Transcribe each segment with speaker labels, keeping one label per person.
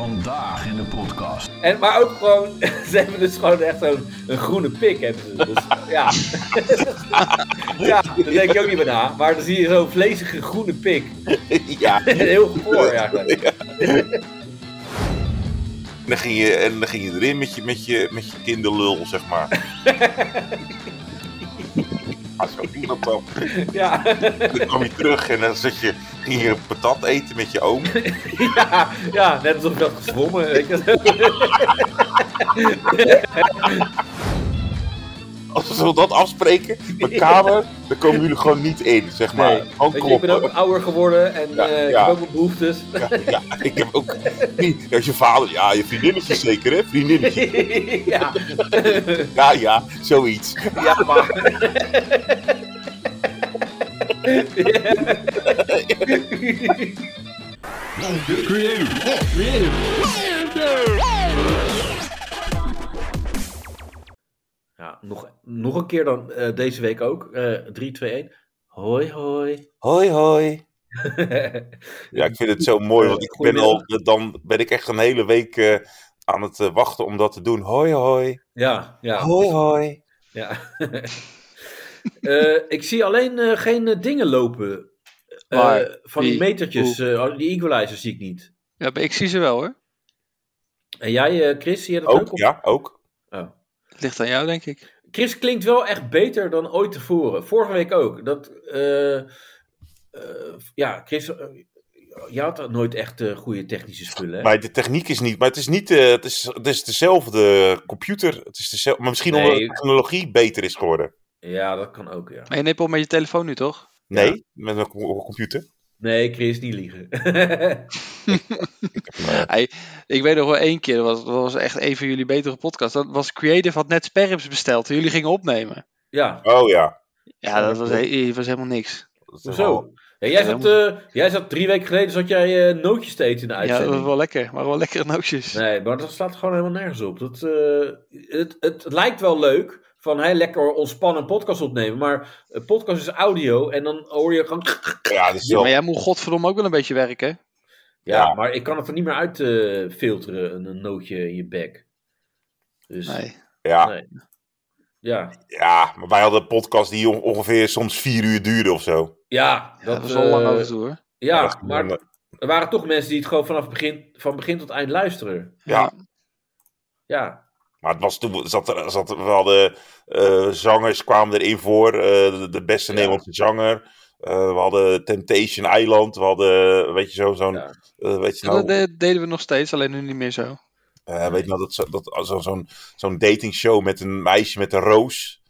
Speaker 1: Vandaag in de podcast.
Speaker 2: En, maar ook gewoon, ze hebben dus gewoon echt zo'n een groene pik. Hebben ze. Dus, ja. ja, daar denk je ook niet meer na. Maar dan zie je zo'n vlezige groene pik.
Speaker 3: Ja.
Speaker 2: Heel goor eigenlijk.
Speaker 3: En dan ging je, en dan ging je erin met je, met je, met je kinderlul, zeg maar. Ah, zo ging dat dan.
Speaker 2: Ja,
Speaker 3: Dan kwam je terug en dan zat je, ging je patat eten met je oom.
Speaker 2: ja, ja, net alsof ik had gezwommen. Weet je. wel.
Speaker 3: Als we dat afspreken, mijn kamer, dan komen jullie gewoon niet in, zeg maar.
Speaker 2: Nee.
Speaker 3: Gewoon
Speaker 2: Weet je, ik ben ook
Speaker 3: kloppen.
Speaker 2: ouder geworden en
Speaker 3: Ja,
Speaker 2: eh, ik
Speaker 3: ja.
Speaker 2: heb ook mijn behoeftes.
Speaker 3: Ja, ja, ik heb ook niet. Als je vader, ja, je vriendinnetje zeker, hè? Vriendinnetje.
Speaker 2: ja,
Speaker 3: Ja, ja, zoiets.
Speaker 2: ja, maar.
Speaker 1: Creative. Creative.
Speaker 2: Ja, nog, nog een keer dan eh, deze week ook. Eh 3, 2, 1. Hoi, hoi.
Speaker 3: Hoi, hoi. Ja, ik vind het zo mooi, want ik ben al,
Speaker 2: Goedemiddag.
Speaker 3: dan ben ik echt een hele week eh, aan het eh, wachten om dat te doen. Hoi, hoi.
Speaker 2: ja, ja.
Speaker 3: Hoi, hoi.
Speaker 2: ja. Eh, ik zie alleen eh, geen eh, dingen lopen. Eh,
Speaker 4: Waar?
Speaker 2: van die
Speaker 4: Wie?
Speaker 2: metertjes, eh, die equalizers zie ik niet.
Speaker 4: Ja, maar ik zie ze wel hoor.
Speaker 2: En jij, eh, Chris, zie je dat ook?
Speaker 3: Ook,
Speaker 2: of-
Speaker 3: ja, ook.
Speaker 2: Oh.
Speaker 4: Het ligt aan jou, denk ik.
Speaker 2: Chris klinkt wel echt beter dan ooit tevoren. Vorige week ook. Dat, eh, eh, ja, Chris, eh, je had nooit echt eh, goede technische spullen. Hè?
Speaker 3: Maar de techniek is niet, maar het is niet, eh, het, is, het is dezelfde computer. Het is dezelfde, maar misschien
Speaker 2: Nee.
Speaker 3: omdat de technologie beter is geworden.
Speaker 2: Ja, dat kan ook, ja.
Speaker 4: Maar je neemt al met je telefoon nu, toch?
Speaker 3: Nee, met een co- computer.
Speaker 2: Nee, Chris, niet liegen.
Speaker 4: Hey, ik weet nog wel één keer, dat was, dat was echt een van jullie betere podcasts. Dat was Creative had net sperms besteld en jullie gingen opnemen.
Speaker 2: ja,
Speaker 3: Oh ja.
Speaker 4: Ja, dat was, he- was helemaal niks.
Speaker 3: Dat is wel-
Speaker 2: hoezo? Ja, jij, zat, eh, jij zat drie weken geleden zat jij eh nootjes te eten in de
Speaker 4: Ja, dat
Speaker 2: uitzending.
Speaker 4: was wel lekker, maar wel lekkere nootjes.
Speaker 2: Nee, maar dat slaat gewoon helemaal nergens op. Dat, eh, het, het lijkt wel leuk van hey, lekker ontspannen een podcast opnemen, maar een podcast is audio en dan hoor je gewoon.
Speaker 3: Ja, dat is
Speaker 4: Ja,
Speaker 3: wel.
Speaker 4: maar jij moet godverdomme ook wel een beetje werken.
Speaker 2: Ja,
Speaker 3: Ja.
Speaker 2: maar ik kan het er niet meer uit eh, filteren, een, een nootje in je bek. Dus
Speaker 4: Nee.
Speaker 3: Ja,
Speaker 2: Nee. ja.
Speaker 3: ja, maar wij hadden een podcast die on- ongeveer soms vier uur duurde of zo.
Speaker 2: Ja,
Speaker 4: Ja, dat was
Speaker 2: eh,
Speaker 4: al lang over toe, hoor.
Speaker 2: Ja,
Speaker 3: Dat is
Speaker 2: maar
Speaker 3: gewoon,
Speaker 2: er waren toch mensen die het gewoon vanaf begin, van begin tot eind luisteren.
Speaker 3: ja.
Speaker 2: Ja,
Speaker 3: Maar het was toen, zat er, zat er, we hadden eh, zangers kwamen erin voor, eh, de, de beste
Speaker 2: Ja.
Speaker 3: Nederlandse zanger. Eh, we hadden Temptation Island, we hadden, weet je zo, zo'n,
Speaker 2: Ja.
Speaker 3: eh, weet je
Speaker 4: Ja, Dat
Speaker 3: nou,
Speaker 4: de- deden we nog steeds, alleen nu niet meer zo.
Speaker 3: eh, weet je nou dat, zo- dat, zo, zo'n, zo'n datingshow met een meisje met een roos.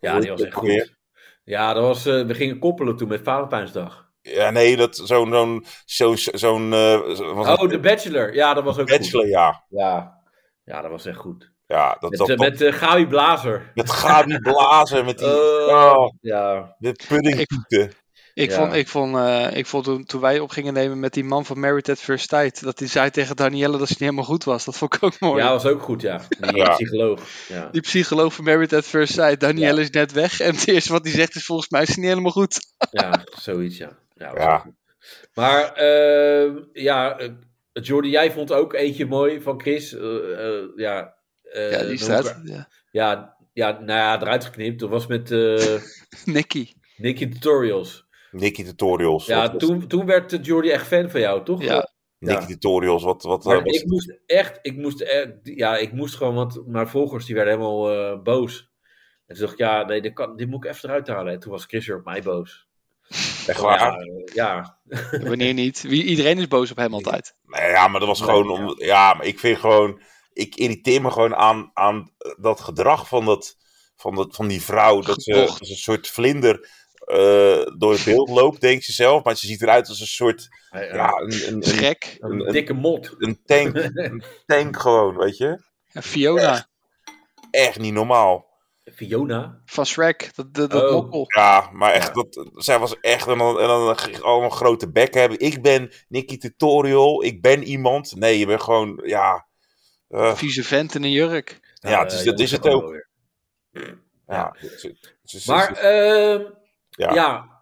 Speaker 2: ja
Speaker 3: Hoe
Speaker 2: die
Speaker 3: heet
Speaker 2: was echt
Speaker 3: ook alweer?
Speaker 2: goed. Ja, dat was, eh, we gingen koppelen toen met Valentijnsdag.
Speaker 3: Ja, nee, dat, zo'n, zo'n, zo'n, zo'n, eh, zo- was
Speaker 2: Oh,
Speaker 3: het-
Speaker 2: The Bachelor. Ja, dat was ook
Speaker 3: Bachelor, ja.
Speaker 2: goed. Ja. ja, dat was echt goed.
Speaker 3: Ja, dat,
Speaker 2: Met,
Speaker 3: dat,
Speaker 2: eh,
Speaker 3: dat-
Speaker 2: met eh, Gabi Blazer.
Speaker 3: met Gabi Blazen, met die,
Speaker 2: Eh,
Speaker 3: oh,
Speaker 2: Ja.
Speaker 3: de puddingpieten.
Speaker 4: Ik
Speaker 2: Ja.
Speaker 4: vond, ik vond, eh, ik vond toen, toen wij op gingen nemen met die man van Married at First Sight, dat hij zei tegen Danielle dat ze niet helemaal goed was. Dat vond ik ook mooi.
Speaker 2: ja, was ook goed, ja. Die
Speaker 3: Ja.
Speaker 2: psycholoog. Ja.
Speaker 4: Die psycholoog van Married at First Sight, Danielle is net weg. En het eerste wat hij zegt is volgens mij is ze niet helemaal goed.
Speaker 2: Ja, zoiets, ja. Ja. was
Speaker 3: Ja.
Speaker 2: ook goed. Maar ehm, ja, eh, Jordi, jij vond ook eentje mooi van Chris. Eh, eh, ja, eh,
Speaker 4: ja, die
Speaker 2: noem
Speaker 4: staat.
Speaker 2: elkaar-
Speaker 4: Ja.
Speaker 2: Ja, ja, nou ja, eruit geknipt. Dat was met eh
Speaker 4: Nicky.
Speaker 2: Nicky Tutorials.
Speaker 3: Nicky Tutorials.
Speaker 2: Ja,
Speaker 3: dat was-
Speaker 2: toen, toen werd eh, Jordi echt fan van jou, toch?
Speaker 4: Ja.
Speaker 3: Nicky
Speaker 2: Ja.
Speaker 3: Tutorials, wat, wat
Speaker 2: Maar
Speaker 3: eh, was
Speaker 2: ik moest echt, ik moest echt, ja, ik moest gewoon, want mijn volgers die werden helemaal eh, boos. En toen dacht ik, ja, nee, dit, kan, dit moet ik even eruit halen. En toen was Chris weer op mij boos.
Speaker 3: echt
Speaker 2: Ja,
Speaker 3: waar.
Speaker 2: eh, ja,
Speaker 4: Wanneer niet? Wie, iedereen is boos op hem altijd.
Speaker 3: Nee, ja, maar dat was
Speaker 2: Nee,
Speaker 3: gewoon
Speaker 2: ja.
Speaker 3: om. Ja, maar ik vind gewoon. Ik irriteer me gewoon aan, aan dat gedrag van, dat, van, dat, van die vrouw. Dat ze,
Speaker 4: Gebocht.
Speaker 3: als een soort vlinder eh, door het beeld loopt, denkt ze zelf. Maar ze ziet eruit als een soort.
Speaker 2: Hij, eh,
Speaker 3: Ja, een, een, een,
Speaker 4: Schrek.
Speaker 2: een,
Speaker 3: een- een-
Speaker 2: dikke mot.
Speaker 3: een tank. Een tank gewoon, weet je?
Speaker 4: En Fiona
Speaker 3: Echt niet normaal.
Speaker 2: Fiona.
Speaker 4: van Shrek. Dat, dat, dat
Speaker 2: Oh.
Speaker 4: mokkel.
Speaker 3: Ja, maar echt,
Speaker 2: Ja.
Speaker 3: dat, zij was echt. En dan, en dan g- allemaal grote bekken hebben. Ik ben Nicky Tutorial. Ik ben iemand. Nee, je bent gewoon. Ja. eh,
Speaker 4: Vieze vent in een jurk.
Speaker 3: ja,
Speaker 2: Nou,
Speaker 3: het is,
Speaker 2: eh,
Speaker 3: dat
Speaker 2: jongens,
Speaker 3: is het
Speaker 2: dat
Speaker 3: ook.
Speaker 2: wel weer.
Speaker 3: Ja. ze- ze- ze- ze-
Speaker 2: Maar, ehm, ja.
Speaker 3: Ja.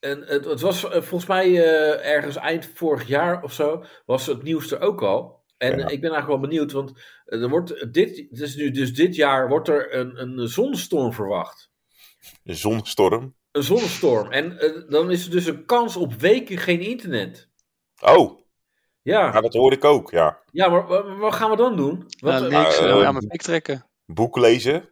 Speaker 2: En het, het was eh, volgens mij eh, ergens eind vorig jaar of zo, was het nieuws er ook al. En
Speaker 3: Ja.
Speaker 2: eh, ik ben eigenlijk wel benieuwd, want eh, er wordt dit, het is nu dus dit jaar wordt er een, een zonstorm verwacht.
Speaker 3: Een zonstorm.
Speaker 2: Een zonnestorm. En eh, dan is er dus een kans op weken geen internet.
Speaker 3: Oh, ja,
Speaker 2: Ja,
Speaker 3: dat hoor ik ook, ja.
Speaker 2: ja maar wa- wat gaan we dan doen? Wat, Ah,
Speaker 4: Nou, niks.
Speaker 3: eh,
Speaker 4: eh, aan mijn pik trekken.
Speaker 2: Oh,
Speaker 3: Boek lezen.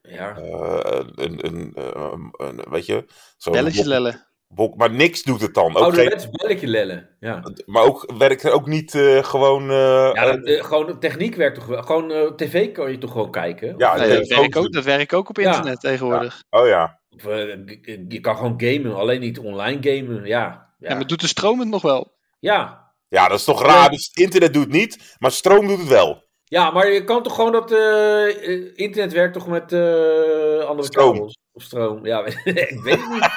Speaker 2: ja,
Speaker 3: eh, een, een, eh, een, een- weet je... zo'n
Speaker 4: Belletje
Speaker 3: bok-
Speaker 4: lellen.
Speaker 3: bok- maar niks doet het dan. Ook geen,
Speaker 2: ouderwets belletje lellen. Ja.
Speaker 3: maar ook, werkt er ook niet eh, gewoon... eh,
Speaker 2: Ja, dat,
Speaker 3: eh,
Speaker 2: eh, gewoon techniek werkt toch wel. Gewoon eh, tv kan je toch gewoon kijken.
Speaker 3: ja,
Speaker 4: Nee, dat,
Speaker 3: telefoon
Speaker 4: werkt ook,
Speaker 3: doen.
Speaker 4: dat werkt ook op
Speaker 2: Ah, Ja.
Speaker 4: internet tegenwoordig. Ja.
Speaker 3: Oh ja.
Speaker 2: Of, eh, g- g- je kan gewoon gamen, alleen niet online gamen. Ja, ja.
Speaker 4: maar doet de stroom het nog wel? Nou,
Speaker 2: ja.
Speaker 3: Ja, dat is toch raar. Dus internet doet het niet, maar stroom doet het wel.
Speaker 2: Ja, maar je kan toch gewoon dat eh, eh, internet werkt toch met eh, andere
Speaker 3: Stroom.
Speaker 2: kabels of stroom? Ja, ik weet het niet.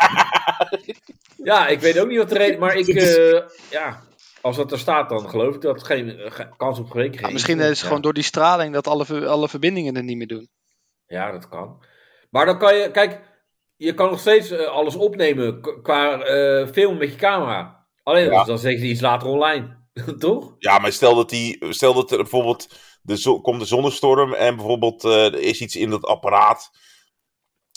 Speaker 2: ja, ik weet ook niet wat de reden, maar ik, eh, ja, als dat er staat, dan geloof ik dat geen eh, ge- kans op geweken.
Speaker 4: Ja, misschien is het gewoon door die straling dat alle, ver- alle verbindingen er niet meer doen.
Speaker 2: Ja, dat kan. Maar dan kan je, kijk, je kan nog steeds eh, alles opnemen k- qua eh, film met je camera. Alleen
Speaker 3: Ja.
Speaker 2: dan zeg je iets later online, toch?
Speaker 3: Ja, maar stel dat, die, stel dat er bijvoorbeeld de zo- komt de zonnestorm en bijvoorbeeld eh, er is iets in dat apparaat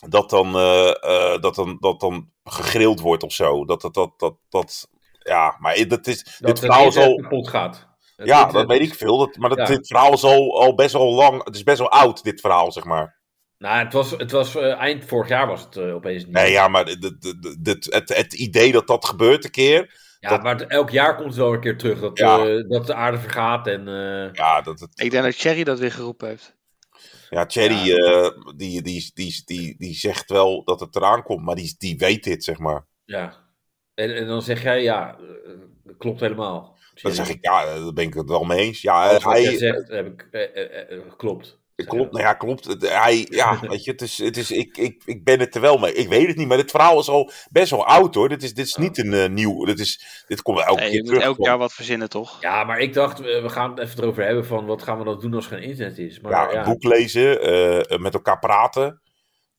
Speaker 3: dat dan, eh, eh, dat dan, dat dan gegrild wordt of zo. Dat, dat, dat, dat, dat, ja, maar dat is, dit
Speaker 2: Dat het
Speaker 3: verhaal is
Speaker 2: internet
Speaker 3: al...
Speaker 2: kapot gaat. Het
Speaker 3: Ja, dat
Speaker 2: internet-
Speaker 3: weet ik veel. Dat, maar dat,
Speaker 2: Ja.
Speaker 3: dit verhaal is al, al best wel lang. Het is best wel oud, dit verhaal, zeg maar.
Speaker 2: Nou, het was, het was eh, eind vorig jaar was het eh, opeens niet.
Speaker 3: Nee, ja, maar dit- dit- dit- het, het idee dat dat gebeurt een keer.
Speaker 2: ja,
Speaker 3: dat-
Speaker 2: maar het- elk jaar komt het wel een keer terug dat,
Speaker 3: Ja.
Speaker 2: eh, dat de aarde vergaat en eh,
Speaker 3: Ja, dat, het,
Speaker 4: Ik denk dat Cherry dat weer geroepen heeft.
Speaker 3: Ja, Thierry, eh, die, die, die, die, die zegt wel dat het eraan komt, maar die, die weet dit, zeg maar.
Speaker 2: ja. En, en dan zeg jij, ja, eh, dat klopt helemaal.
Speaker 3: Dan zeg ik, ja, eh, daar ben ik het wel mee eens. Ja,
Speaker 2: Alles
Speaker 3: eh,
Speaker 2: wat jij
Speaker 3: hij,
Speaker 2: zegt, heb ik, eh, eh, eh, klopt.
Speaker 3: klopt, nou ja, klopt. Het- Hij, ja, weet je, het is, het is, ik, ik, ik ben het er wel mee. Ik weet het niet, maar dit verhaal is al best wel oud, hoor. Dit is, dit is niet een eh, nieuw, dit, is, dit komt elke
Speaker 4: Nee, je
Speaker 3: keer
Speaker 4: moet
Speaker 3: terug.
Speaker 4: elk jaar wat verzinnen, toch?
Speaker 2: Ja, maar ik dacht, eh, we gaan het even erover hebben van wat gaan we dan doen als er geen internet is. Maar,
Speaker 3: ja,
Speaker 2: ja,
Speaker 3: een boek lezen, eh, met elkaar praten.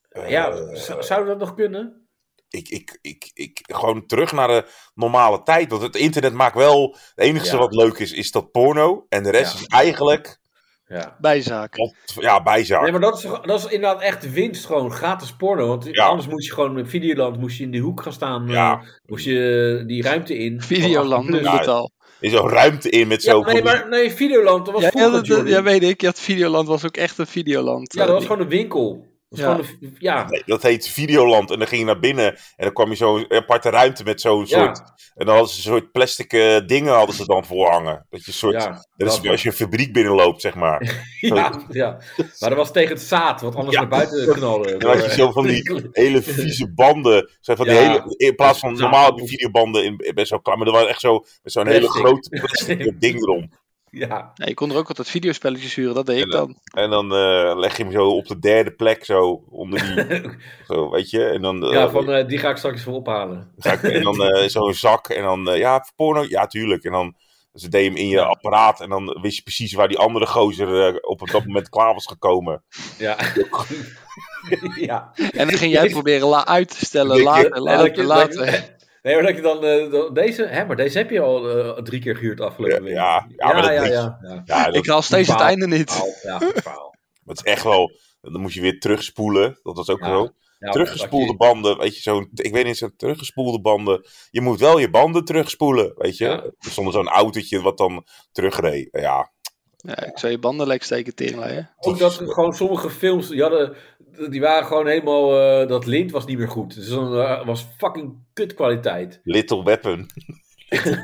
Speaker 3: Eh,
Speaker 2: Ja, z- zou dat nog kunnen?
Speaker 3: ik, ik, ik, ik, gewoon terug naar de normale tijd. Want het internet maakt wel. Het enige
Speaker 2: Ja.
Speaker 3: wat leuk is, is dat porno. En de rest
Speaker 2: Ja.
Speaker 3: is eigenlijk.
Speaker 2: Ja.
Speaker 4: Bijzaak.
Speaker 3: wat- ja, bijzaak.
Speaker 2: Nee, maar dat is, dat is inderdaad echt winst, gewoon gratis porno. Want
Speaker 3: Ja.
Speaker 2: anders moest je gewoon met Videoland moest je in die hoek gaan staan.
Speaker 3: Ja.
Speaker 2: eh, moest je die ruimte in.
Speaker 4: Videoland
Speaker 2: Van 18 plus.
Speaker 4: noemen we het al.
Speaker 3: Er is zo'n ruimte in met
Speaker 2: Ja,
Speaker 3: zo'n.
Speaker 2: nee, maar nee, Videoland, dat was
Speaker 4: Ja, ja,
Speaker 2: vroeger,
Speaker 4: dat, dat-
Speaker 2: Jordi.
Speaker 4: ja, weet ik. Ja, het Videoland was ook echt een Videoland.
Speaker 2: Ja, dat
Speaker 4: Eh,
Speaker 2: was gewoon een winkel. Dat was
Speaker 4: Ja.
Speaker 2: gewoon een, ja.
Speaker 3: Nee, dat heet Videoland. En dan ging je naar binnen. En dan kwam je zo'n aparte ruimte met
Speaker 2: Ja,
Speaker 3: zo'n soort. En dan hadden ze een soort plastic eh, dingen hadden ze dan voorhangen. Dat je een soort.
Speaker 2: ja,
Speaker 3: dat is als je een fabriek binnenloopt, zeg maar.
Speaker 2: ja, ja. Maar dat was tegen het zaad, wat anders
Speaker 3: Ja.
Speaker 2: naar buiten knallen.
Speaker 3: Dan had je zo van die hele vieze banden. Zo van die
Speaker 2: Ja.
Speaker 3: hele, in plaats van normaal heb je videobanden in, in best wel klaar. Maar er waren echt zo, met zo'n hele
Speaker 2: Plastic.
Speaker 3: grote plastic ding erom.
Speaker 2: Ja,
Speaker 4: nee, je kon er ook altijd videospelletjes huren, dat deed
Speaker 3: En
Speaker 4: ik dan.
Speaker 3: En dan eh, leg je hem zo op de derde plek, zo onder die. zo, weet je? En dan, eh,
Speaker 2: ja van, eh, die ga ik straks voor ophalen.
Speaker 3: zak- en dan eh, zo'n zak. En dan, eh, ja, porno. Ja, tuurlijk. En dan ze deed hem in je
Speaker 2: Ja.
Speaker 3: apparaat. En dan wist je precies waar die andere gozer eh, op dat moment klaar was gekomen.
Speaker 2: Ja. ja.
Speaker 4: En dan ging jij proberen la uit te stellen,
Speaker 3: Ik-
Speaker 4: later,
Speaker 2: En dat je-
Speaker 4: later,
Speaker 2: dat je-
Speaker 4: later.
Speaker 2: Nee, maar dat je dan, eh, dan- deze, hè, maar deze heb je al eh, drie keer gehuurd afgelopen
Speaker 3: Ja,
Speaker 2: week.
Speaker 3: ja. Ja, maar dat
Speaker 2: ja,
Speaker 3: is-
Speaker 2: ja, ja.
Speaker 3: Ja, dat,
Speaker 4: Ik haal steeds het
Speaker 2: Verhaal.
Speaker 4: einde niet.
Speaker 2: Verhaal, ja, verhaal.
Speaker 3: dat is echt wel. Dan moest je weer terugspoelen. Dat was ook
Speaker 2: Ja.
Speaker 3: zo.
Speaker 2: Ja,
Speaker 3: teruggespoelde
Speaker 2: dat
Speaker 3: banden, weet je, zo'n, ik weet niet, zo'n teruggespoelde banden. Je moet wel je banden terugspoelen, weet je.
Speaker 2: Ja.
Speaker 3: Zonder zo'n autootje wat dan terugreed. Ja,
Speaker 4: Ja, ik zou je banden lek steken, teringleier.
Speaker 2: je- Ook dat er gewoon sommige films, die, hadden, die waren gewoon helemaal, eh, dat lint was niet meer goed. Dus dan eh, was fucking kutkwaliteit.
Speaker 3: Little Weapon.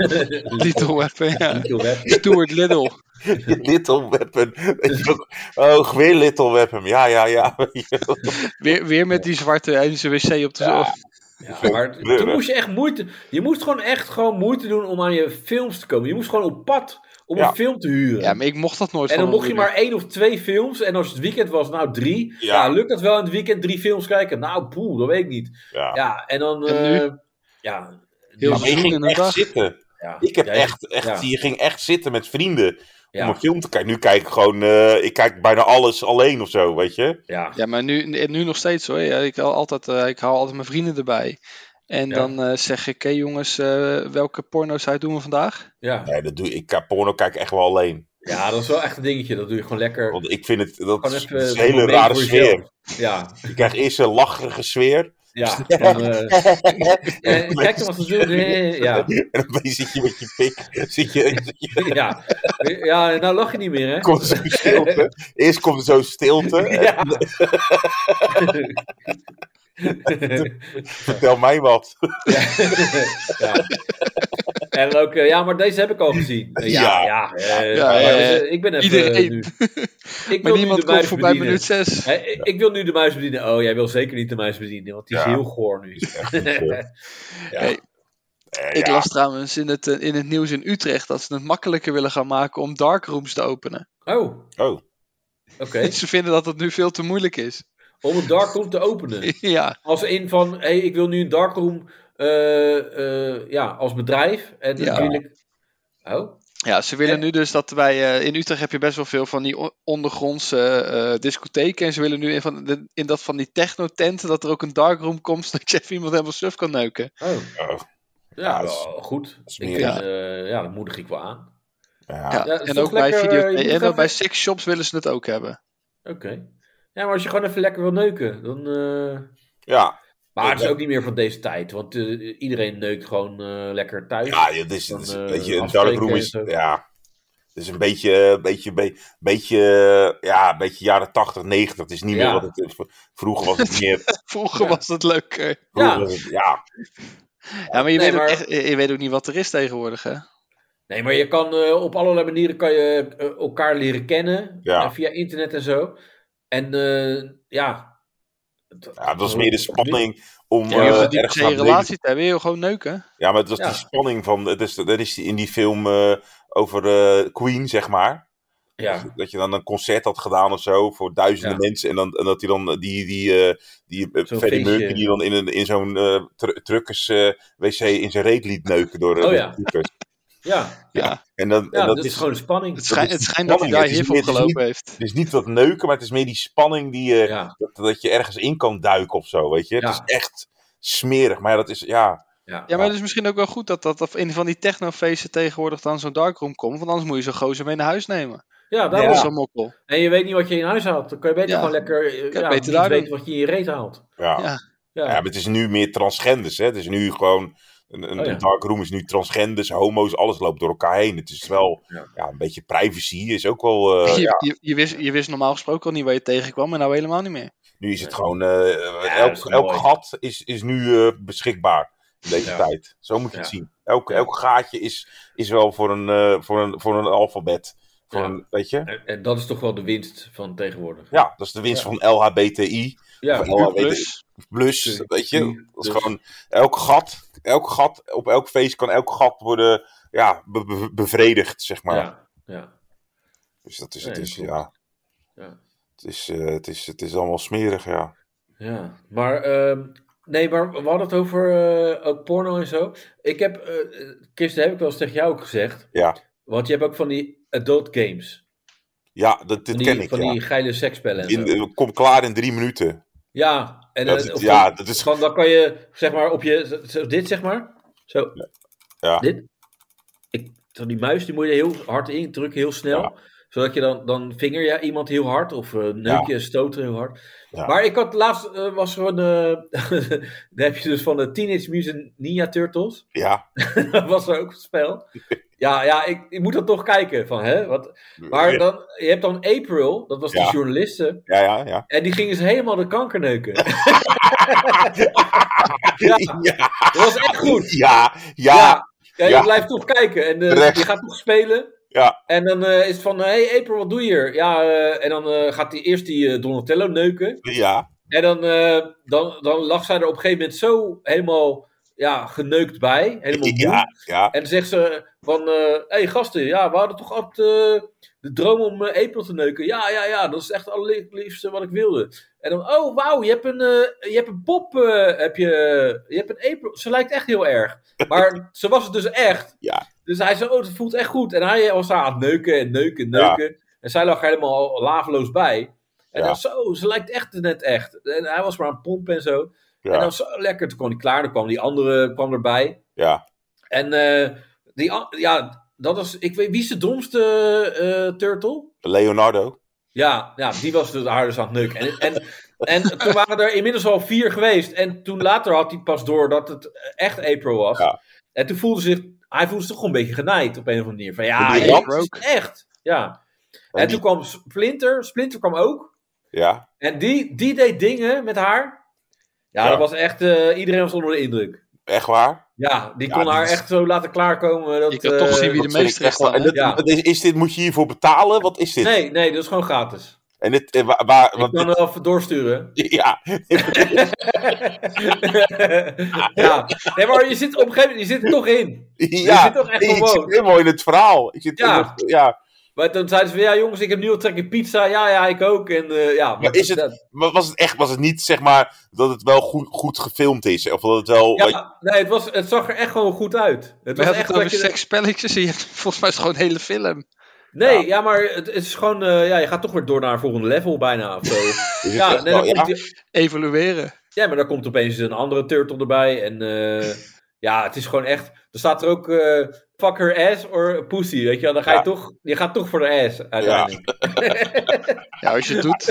Speaker 4: Little Weapon, ja.
Speaker 2: Niet heel weg.
Speaker 4: Stuart Little.
Speaker 3: little Weapon. Weet je ook? Oh, weer Little Weapon. Ja, ja, ja. weet je wel.
Speaker 4: Weer, weer met die zwarte en zijn wc op de...
Speaker 3: Ja.
Speaker 2: Ja, maar toen moest je echt moeite, je moest gewoon echt gewoon moeite doen om aan je films te komen. Je moest gewoon op pad om
Speaker 3: Ja.
Speaker 2: een film te huren.
Speaker 4: Ja, maar ik mocht dat nooit
Speaker 2: En dan
Speaker 4: van
Speaker 2: mocht je
Speaker 4: mijn
Speaker 2: maar één of twee films. En als het weekend was, nou drie.
Speaker 3: Ja.
Speaker 2: Ja, lukt dat wel in het weekend drie films kijken? Nou, poeh, dat weet ik niet.
Speaker 3: Ja.
Speaker 2: Ja, en dan...
Speaker 4: En nu?
Speaker 2: eh, ja,
Speaker 4: Heel
Speaker 2: ja,
Speaker 3: Maar je
Speaker 4: seizoen in
Speaker 3: ging
Speaker 4: een
Speaker 3: echt
Speaker 4: dag.
Speaker 3: zitten.
Speaker 2: ja.
Speaker 3: Ik heb
Speaker 2: Ja,
Speaker 3: echt, echt
Speaker 2: ja.
Speaker 3: je ging echt zitten met vrienden om
Speaker 2: Ja,
Speaker 3: een film te kijken. Nu kijk ik gewoon, eh, ik kijk bijna alles alleen of zo, weet je.
Speaker 2: ja,
Speaker 4: Ja, maar nu, nu nog steeds hoor. Ja, ik, haal altijd, eh, ik hou altijd mijn vrienden erbij. En
Speaker 2: Ja.
Speaker 4: dan eh, zeg ik, hé jongens, eh, welke porno-site doen we vandaag?
Speaker 2: Ja.
Speaker 3: Nee, dat doe ik. ik. Porno kijk ik echt wel alleen.
Speaker 2: ja, dat is wel echt een dingetje. Dat doe je gewoon lekker.
Speaker 3: Want ik vind het. Dat
Speaker 2: Gewoon
Speaker 3: is,
Speaker 2: even
Speaker 3: dat is een
Speaker 2: een
Speaker 3: hele
Speaker 2: moment
Speaker 3: rare
Speaker 2: voor
Speaker 3: sfeer.
Speaker 2: jezelf. Ja,
Speaker 3: Je krijgt eerst een lacherige sfeer.
Speaker 2: ja. Dan, eh, eh, kijk dan wat ze doen. Eh, Ja.
Speaker 3: En dan zit je met je pik. Zit je, zit je
Speaker 2: Ja. ja, nou lach je niet meer, hè?
Speaker 3: komt er zo'n stilte. Eerst komt er zo'n stilte. En
Speaker 2: Ja.
Speaker 3: Vertel mij wat.
Speaker 2: ja. En dan ook, eh, ja, maar deze heb ik al gezien. Eh, Ja, ja. eh,
Speaker 4: Ja,
Speaker 2: maar
Speaker 4: ja,
Speaker 2: dat is- ik ben even
Speaker 4: Iedereen.
Speaker 2: eh, nu. Ik
Speaker 4: Maar
Speaker 2: wil nu
Speaker 4: niemand
Speaker 2: de
Speaker 4: komt
Speaker 2: muis
Speaker 4: voorbij
Speaker 2: bedienen.
Speaker 4: minuut 6.
Speaker 2: Hè, ik- Ik wil nu de muis bedienen. Oh, jij wil zeker niet de muis bedienen, want die is
Speaker 3: Ja.
Speaker 2: heel goor nu.
Speaker 3: Echt niet, hoor.
Speaker 2: Ja.
Speaker 4: Hey,
Speaker 3: Eh,
Speaker 4: Ik
Speaker 3: ja.
Speaker 4: las trouwens in het, eh, in het nieuws in Utrecht dat ze het makkelijker willen gaan maken om darkrooms te openen.
Speaker 2: Oh,
Speaker 3: Oh,
Speaker 2: oké.
Speaker 4: Ze vinden dat het nu veel te moeilijk is.
Speaker 2: Om een darkroom te openen.
Speaker 4: ja,
Speaker 2: Als in van, hé, hey, ik wil nu een darkroom eh, eh, ja, als bedrijf. En
Speaker 4: Ja.
Speaker 2: natuurlijk... Oh,
Speaker 4: ja, ze willen
Speaker 2: En-
Speaker 4: nu dus dat wij... eh, in Utrecht heb je best wel veel van die o- ondergrondse eh, discotheken. En ze willen nu in, van de- in dat van die technotenten dat er ook een darkroom komt... dat je even iemand helemaal suf kan neuken.
Speaker 2: oh.
Speaker 3: oh.
Speaker 2: Ja,
Speaker 3: dat is-
Speaker 2: wel goed.
Speaker 3: is
Speaker 2: Ik
Speaker 3: meer-
Speaker 2: vind,
Speaker 4: Ja.
Speaker 2: eh, ja, dat moedig ik wel aan.
Speaker 3: Ja.
Speaker 4: Ja,
Speaker 2: Ja, is
Speaker 4: en
Speaker 2: toch
Speaker 4: ook bij
Speaker 2: lekker,
Speaker 4: video
Speaker 2: eh, je moet
Speaker 4: en ook
Speaker 2: even-
Speaker 4: bij sex shops willen ze het ook hebben.
Speaker 2: Oké. Ja, maar als je gewoon even lekker wil neuken, dan... eh,
Speaker 3: Ja,
Speaker 2: Maar het is ook niet meer van deze tijd, want eh, iedereen neukt gewoon eh, lekker thuis.
Speaker 3: ja dit is,
Speaker 2: Dan,
Speaker 3: dit is
Speaker 2: eh,
Speaker 3: een beetje een
Speaker 2: afspreken
Speaker 3: darkroom
Speaker 2: en
Speaker 3: is.
Speaker 2: zo.
Speaker 3: Ja. Het is een beetje, eh, beetje, be- beetje, eh, ja, een beetje jaren 80, 90. Het is niet
Speaker 2: Ja.
Speaker 3: meer wat het v- vroeger was. Het meer,
Speaker 4: Vroeger
Speaker 2: Ja.
Speaker 4: was het leuker.
Speaker 3: vroeger
Speaker 2: Ja.
Speaker 3: was het- ja.
Speaker 4: Ja, maar je,
Speaker 2: Nee,
Speaker 4: weet
Speaker 2: maar-
Speaker 4: Ook echt, je weet ook niet wat er is tegenwoordig, hè?
Speaker 2: Nee, maar je kan eh, op allerlei manieren kan je, eh, elkaar leren kennen.
Speaker 3: Ja.
Speaker 2: eh, via internet en zo. En eh, ja. Het-
Speaker 3: ja, het was meer de spanning om
Speaker 4: Ja, je
Speaker 3: eh,
Speaker 4: hoeft niet per
Speaker 3: ergens
Speaker 4: se een
Speaker 3: naar beneden
Speaker 4: relatie te hebben, je wil gewoon neuken.
Speaker 3: Ja, maar het was
Speaker 2: Ja.
Speaker 3: die spanning van. Het is, dat is die- in die film eh, over eh, Queen, zeg maar.
Speaker 2: Ja,
Speaker 3: Dus Dat je dan een concert had gedaan of zo voor duizenden
Speaker 2: Ja.
Speaker 3: mensen. En, dan, en dat hij dan eh, die, die, eh die eh,
Speaker 2: Zo'n
Speaker 3: Freddie
Speaker 2: feestje.
Speaker 3: Mercury die dan in, een, in zo'n eh tru- truckers-wc in zijn reet liet neuken door eh,
Speaker 2: Oh
Speaker 3: de
Speaker 2: ja.
Speaker 3: truckers.
Speaker 2: ja.
Speaker 4: Ja,
Speaker 3: En, dan,
Speaker 2: ja
Speaker 3: en
Speaker 2: dat,
Speaker 3: dat
Speaker 2: is gewoon de spanning.
Speaker 4: Het, schijnt-
Speaker 3: is
Speaker 4: het schijnt dat hij daar
Speaker 3: spanning, het
Speaker 4: heel
Speaker 3: is
Speaker 4: veel
Speaker 3: niet- het is
Speaker 4: gelopen heeft.
Speaker 3: Het is niet dat neuken, maar het is meer die spanning die, eh,
Speaker 2: Ja,
Speaker 3: dat, dat je ergens in kan duiken of zo. Weet je?
Speaker 2: Ja.
Speaker 3: Het is echt smerig. Maar ja, dat is. Ja,
Speaker 2: ja.
Speaker 4: Ja, maar het is misschien ook wel goed dat dat op een van die technofeesten tegenwoordig dan zo'n darkroom komt. Want anders moet je zo'n gozer mee naar huis nemen.
Speaker 2: ja
Speaker 4: Dat
Speaker 2: daarom.
Speaker 4: is zo'n mokkel.
Speaker 2: En je weet niet wat je in huis haalt. Dan kan je beter
Speaker 4: Ja.
Speaker 2: gewoon lekker. eh,
Speaker 4: Kan
Speaker 2: ja,
Speaker 4: beter
Speaker 2: niet
Speaker 4: daar
Speaker 2: weten
Speaker 4: doen.
Speaker 2: wat je in je reet haalt.
Speaker 3: ja.
Speaker 4: Ja.
Speaker 2: Ja,
Speaker 3: Ja, maar het is nu meer transgenders. Hè? Het is nu gewoon. Een, een,
Speaker 2: Oh, ja.
Speaker 3: een darkroom is nu transgenders, homo's, alles loopt door elkaar heen. Het is wel.
Speaker 2: Ja.
Speaker 3: Ja, een beetje privacy is ook wel. eh,
Speaker 4: je,
Speaker 3: ja,
Speaker 4: je, je, wist, je wist normaal gesproken al niet waar je tegenkwam, maar nou helemaal niet meer.
Speaker 3: nu is het
Speaker 2: Ja.
Speaker 3: gewoon. eh,
Speaker 2: dat is
Speaker 3: elk
Speaker 2: wel
Speaker 3: elk
Speaker 2: mooi.
Speaker 3: gat is, is nu eh, beschikbaar. In deze
Speaker 2: Ja.
Speaker 3: tijd. Zo moet je het
Speaker 2: Ja.
Speaker 3: zien. Elk,
Speaker 2: Ja.
Speaker 3: elk gaatje is, is wel voor een, eh, voor een, voor een alfabet. Voor
Speaker 2: Ja.
Speaker 3: een, weet je?
Speaker 2: En, en dat is toch wel de winst van tegenwoordig.
Speaker 3: Ja, dat is de winst
Speaker 2: Ja.
Speaker 3: van LHBTI.
Speaker 2: Ja,
Speaker 3: Of LHBTI
Speaker 4: Plus,
Speaker 2: Tuurlijk.
Speaker 3: plus,
Speaker 2: Mm, dus-
Speaker 3: weet je.
Speaker 2: Tuurlijk.
Speaker 3: Dat is gewoon elk gat, elk gat, op elk feest kan elk gat worden ja, be- be- bevredigd, zeg maar.
Speaker 2: ja, ja.
Speaker 3: Dus dat is,
Speaker 2: Nee,
Speaker 3: het is,
Speaker 2: klopt.
Speaker 3: ja.
Speaker 2: Ja.
Speaker 3: Het is, eh, het, is, het is allemaal smerig, ja.
Speaker 2: Ja, maar, ehm, nee, maar we hadden het over eh, ook porno en zo. Ik heb, eh Kirsten, heb ik wel eens tegen jou ook gezegd.
Speaker 3: Ja.
Speaker 2: Want je hebt ook van die adult games.
Speaker 3: Ja, dat, dit
Speaker 2: Van die,
Speaker 3: ken ik,
Speaker 2: van
Speaker 3: ja.
Speaker 2: die geile sekspellen en
Speaker 3: In,
Speaker 2: zo.
Speaker 3: eh, kom klaar in drie minuten.
Speaker 2: Ja, en
Speaker 3: Dat
Speaker 2: eh,
Speaker 3: is-
Speaker 2: of
Speaker 3: ja,
Speaker 2: dan-
Speaker 3: dat is-
Speaker 2: van, dan kan je, zeg maar, op je, zo- zo, dit zeg maar. Zo,
Speaker 3: Ja.
Speaker 2: dit. Ik, zo die muis, die moet je er heel hard in drukken, heel snel.
Speaker 3: Ja.
Speaker 2: Zodat je dan, dan vinger je iemand heel hard of eh neuk je en stoot heel hard.
Speaker 3: Ja.
Speaker 2: Maar ik had laatst, eh, was gewoon, eh dan heb je dus van de Teenage Mutant Ninja Turtles,
Speaker 3: ja.
Speaker 2: dat was er ook een spel. Ja, ja ik, ik moet dat toch kijken, van, hè? Wat, maar
Speaker 3: ja,
Speaker 2: dan, je hebt dan April, dat was die
Speaker 3: Ja.
Speaker 2: journaliste,
Speaker 3: ja, ja.
Speaker 2: en die gingen ze helemaal de kanker neuken. ja,
Speaker 3: Ja,
Speaker 2: dat was echt goed.
Speaker 3: ja,
Speaker 2: Ja,
Speaker 3: ja.
Speaker 2: ja, je
Speaker 3: Ja.
Speaker 2: blijft toch kijken en eh,
Speaker 3: Terecht.
Speaker 2: je gaat toch spelen.
Speaker 3: Ja.
Speaker 2: En dan eh, is het van, hey April, wat doe je hier? Ja, eh, en dan eh, gaat hij eerst die eh, Donatello neuken.
Speaker 3: ja.
Speaker 2: En dan, eh, dan, dan lag zij er op een gegeven moment zo helemaal ja, geneukt bij. Helemaal moe.
Speaker 3: Ja, ja.
Speaker 2: En dan zegt ze van, hé hey, gasten, ja, we hadden toch altijd eh, de droom om eh, April te neuken? Ja, ja, ja, dat is echt het allerliefste wat ik wilde. En dan, oh wauw, je hebt een, eh, je hebt een pop, eh, heb je, je hebt een April. Ze lijkt echt heel erg. Maar ze was het dus echt.
Speaker 3: Ja.
Speaker 2: Dus hij zei, oh, dat voelt echt goed. En hij was haar aan het neuken en neuken, neuken. En zij lag helemaal laveloos bij. En
Speaker 3: Ja.
Speaker 2: dan, zo, ze lijkt echt net echt. En hij was maar aan het pompen en zo. En
Speaker 3: Ja,
Speaker 2: dan zo lekker, toen kwam die klaar, dan kwam die andere kwam erbij.
Speaker 3: ja.
Speaker 2: En eh, die, a- ja, dat was, ik weet, wie is de domste eh, turtle?
Speaker 3: Leonardo.
Speaker 2: Ja, ja, die was dus aardig aan het neuken. En, en, en toen waren er inmiddels al vier geweest. En toen later had hij pas door dat het echt April was.
Speaker 3: Ja.
Speaker 2: En toen voelde zich, hij voelde zich toch een beetje genaaid op een of andere manier. Van ja,
Speaker 3: Maar die
Speaker 2: dit
Speaker 3: rat
Speaker 2: is
Speaker 4: ook.
Speaker 2: echt. Ja. En, toen
Speaker 3: En die-
Speaker 2: kwam Splinter, Splinter kwam ook.
Speaker 3: Ja,
Speaker 2: En die, die deed dingen met haar. Ja,
Speaker 3: Ja.
Speaker 2: dat was echt, eh, iedereen was onder de indruk.
Speaker 3: echt waar.
Speaker 2: Ja, die
Speaker 3: Ja,
Speaker 2: kon
Speaker 3: die
Speaker 2: haar
Speaker 3: is-
Speaker 2: echt zo laten klaarkomen. Dat,
Speaker 4: Je kan toch
Speaker 2: eh,
Speaker 4: zien wie de
Speaker 3: Dat vind
Speaker 4: meester
Speaker 3: ik
Speaker 4: is
Speaker 3: echt wel-
Speaker 4: dan.
Speaker 3: En
Speaker 4: hè?
Speaker 3: dit,
Speaker 2: Ja.
Speaker 3: dit is, is dit, moet je hiervoor betalen? Wat is dit?
Speaker 2: Nee, nee, dat is gewoon gratis.
Speaker 3: En dit, eh, waar, waar-
Speaker 2: Ik
Speaker 3: want
Speaker 2: kan wel even doorsturen.
Speaker 3: dit- ja,
Speaker 2: ja, nee, maar je zit op een gegeven moment, je zit er toch in.
Speaker 3: ja.
Speaker 2: zit toch echt
Speaker 3: Nee, ik
Speaker 2: gewoon.
Speaker 3: zit helemaal in het verhaal. Ik zit
Speaker 2: Ja.
Speaker 3: in het- ja.
Speaker 2: Maar toen zeiden ze van, ja jongens, ik heb nu al trek in pizza. Ja, ja, ik ook. En, eh, ja,
Speaker 3: Maar is het-
Speaker 2: dat-
Speaker 3: Maar was het echt, was het niet zeg maar dat het wel goed, goed gefilmd is? Of dat het wel. wat-
Speaker 2: ja, nee, het, was, het zag er echt gewoon goed uit. Het
Speaker 4: We
Speaker 2: was
Speaker 4: hebben
Speaker 2: echt
Speaker 4: het over
Speaker 2: dat je-
Speaker 4: seksspelletjes en je hebt volgens mij is het gewoon een hele film.
Speaker 2: Nee, ja, maar het, het is gewoon, eh, ja, je gaat toch weer door naar een volgende level bijna of zo.
Speaker 3: is het
Speaker 2: ja,
Speaker 3: echt
Speaker 2: nee, dan
Speaker 3: wel- Oh, ja?
Speaker 2: komt die-
Speaker 4: Evalueren.
Speaker 2: ja, maar daar komt opeens een andere turtle erbij. En eh, ja, het is gewoon echt, er staat er ook eh fuck her ass or pussy, weet je wel. Dan ga je
Speaker 3: Ja.
Speaker 2: toch, je gaat toch voor de ass uiteindelijk.
Speaker 4: Ja, als je het doet.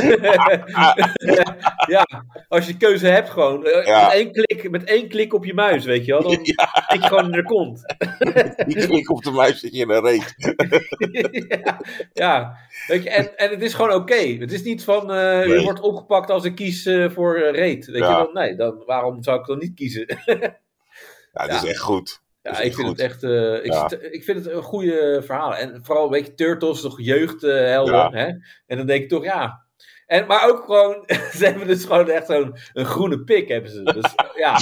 Speaker 2: ja, als je de keuze hebt gewoon. eh,
Speaker 3: Ja.
Speaker 2: Met, één klik, met één klik op je muis, weet je wel. Dan tik je gewoon in de kont.
Speaker 3: Die klik op de muis zit je in een reet.
Speaker 2: ja, ja. Weet je, en, en het is gewoon oké. Het is niet van, eh
Speaker 3: Nee.
Speaker 2: je wordt opgepakt als ik kies eh, voor eh, reet. Weet
Speaker 3: Ja.
Speaker 2: je wel, nee, dan, waarom zou ik dan niet kiezen?
Speaker 3: Ja, dat is echt goed.
Speaker 2: ja,
Speaker 3: is
Speaker 2: ik
Speaker 3: echt
Speaker 2: vind
Speaker 3: goed.
Speaker 2: het echt, eh, ik,
Speaker 3: Ja.
Speaker 2: zit- ik vind het een goede eh, verhaal. En vooral, weet je, Turtles, toch jeugdhelden,
Speaker 3: Ja.
Speaker 2: hè? En dan denk ik toch, ja... En, maar ook gewoon, ze hebben dus gewoon echt zo'n een groene pik hebben ze. Dus, ja.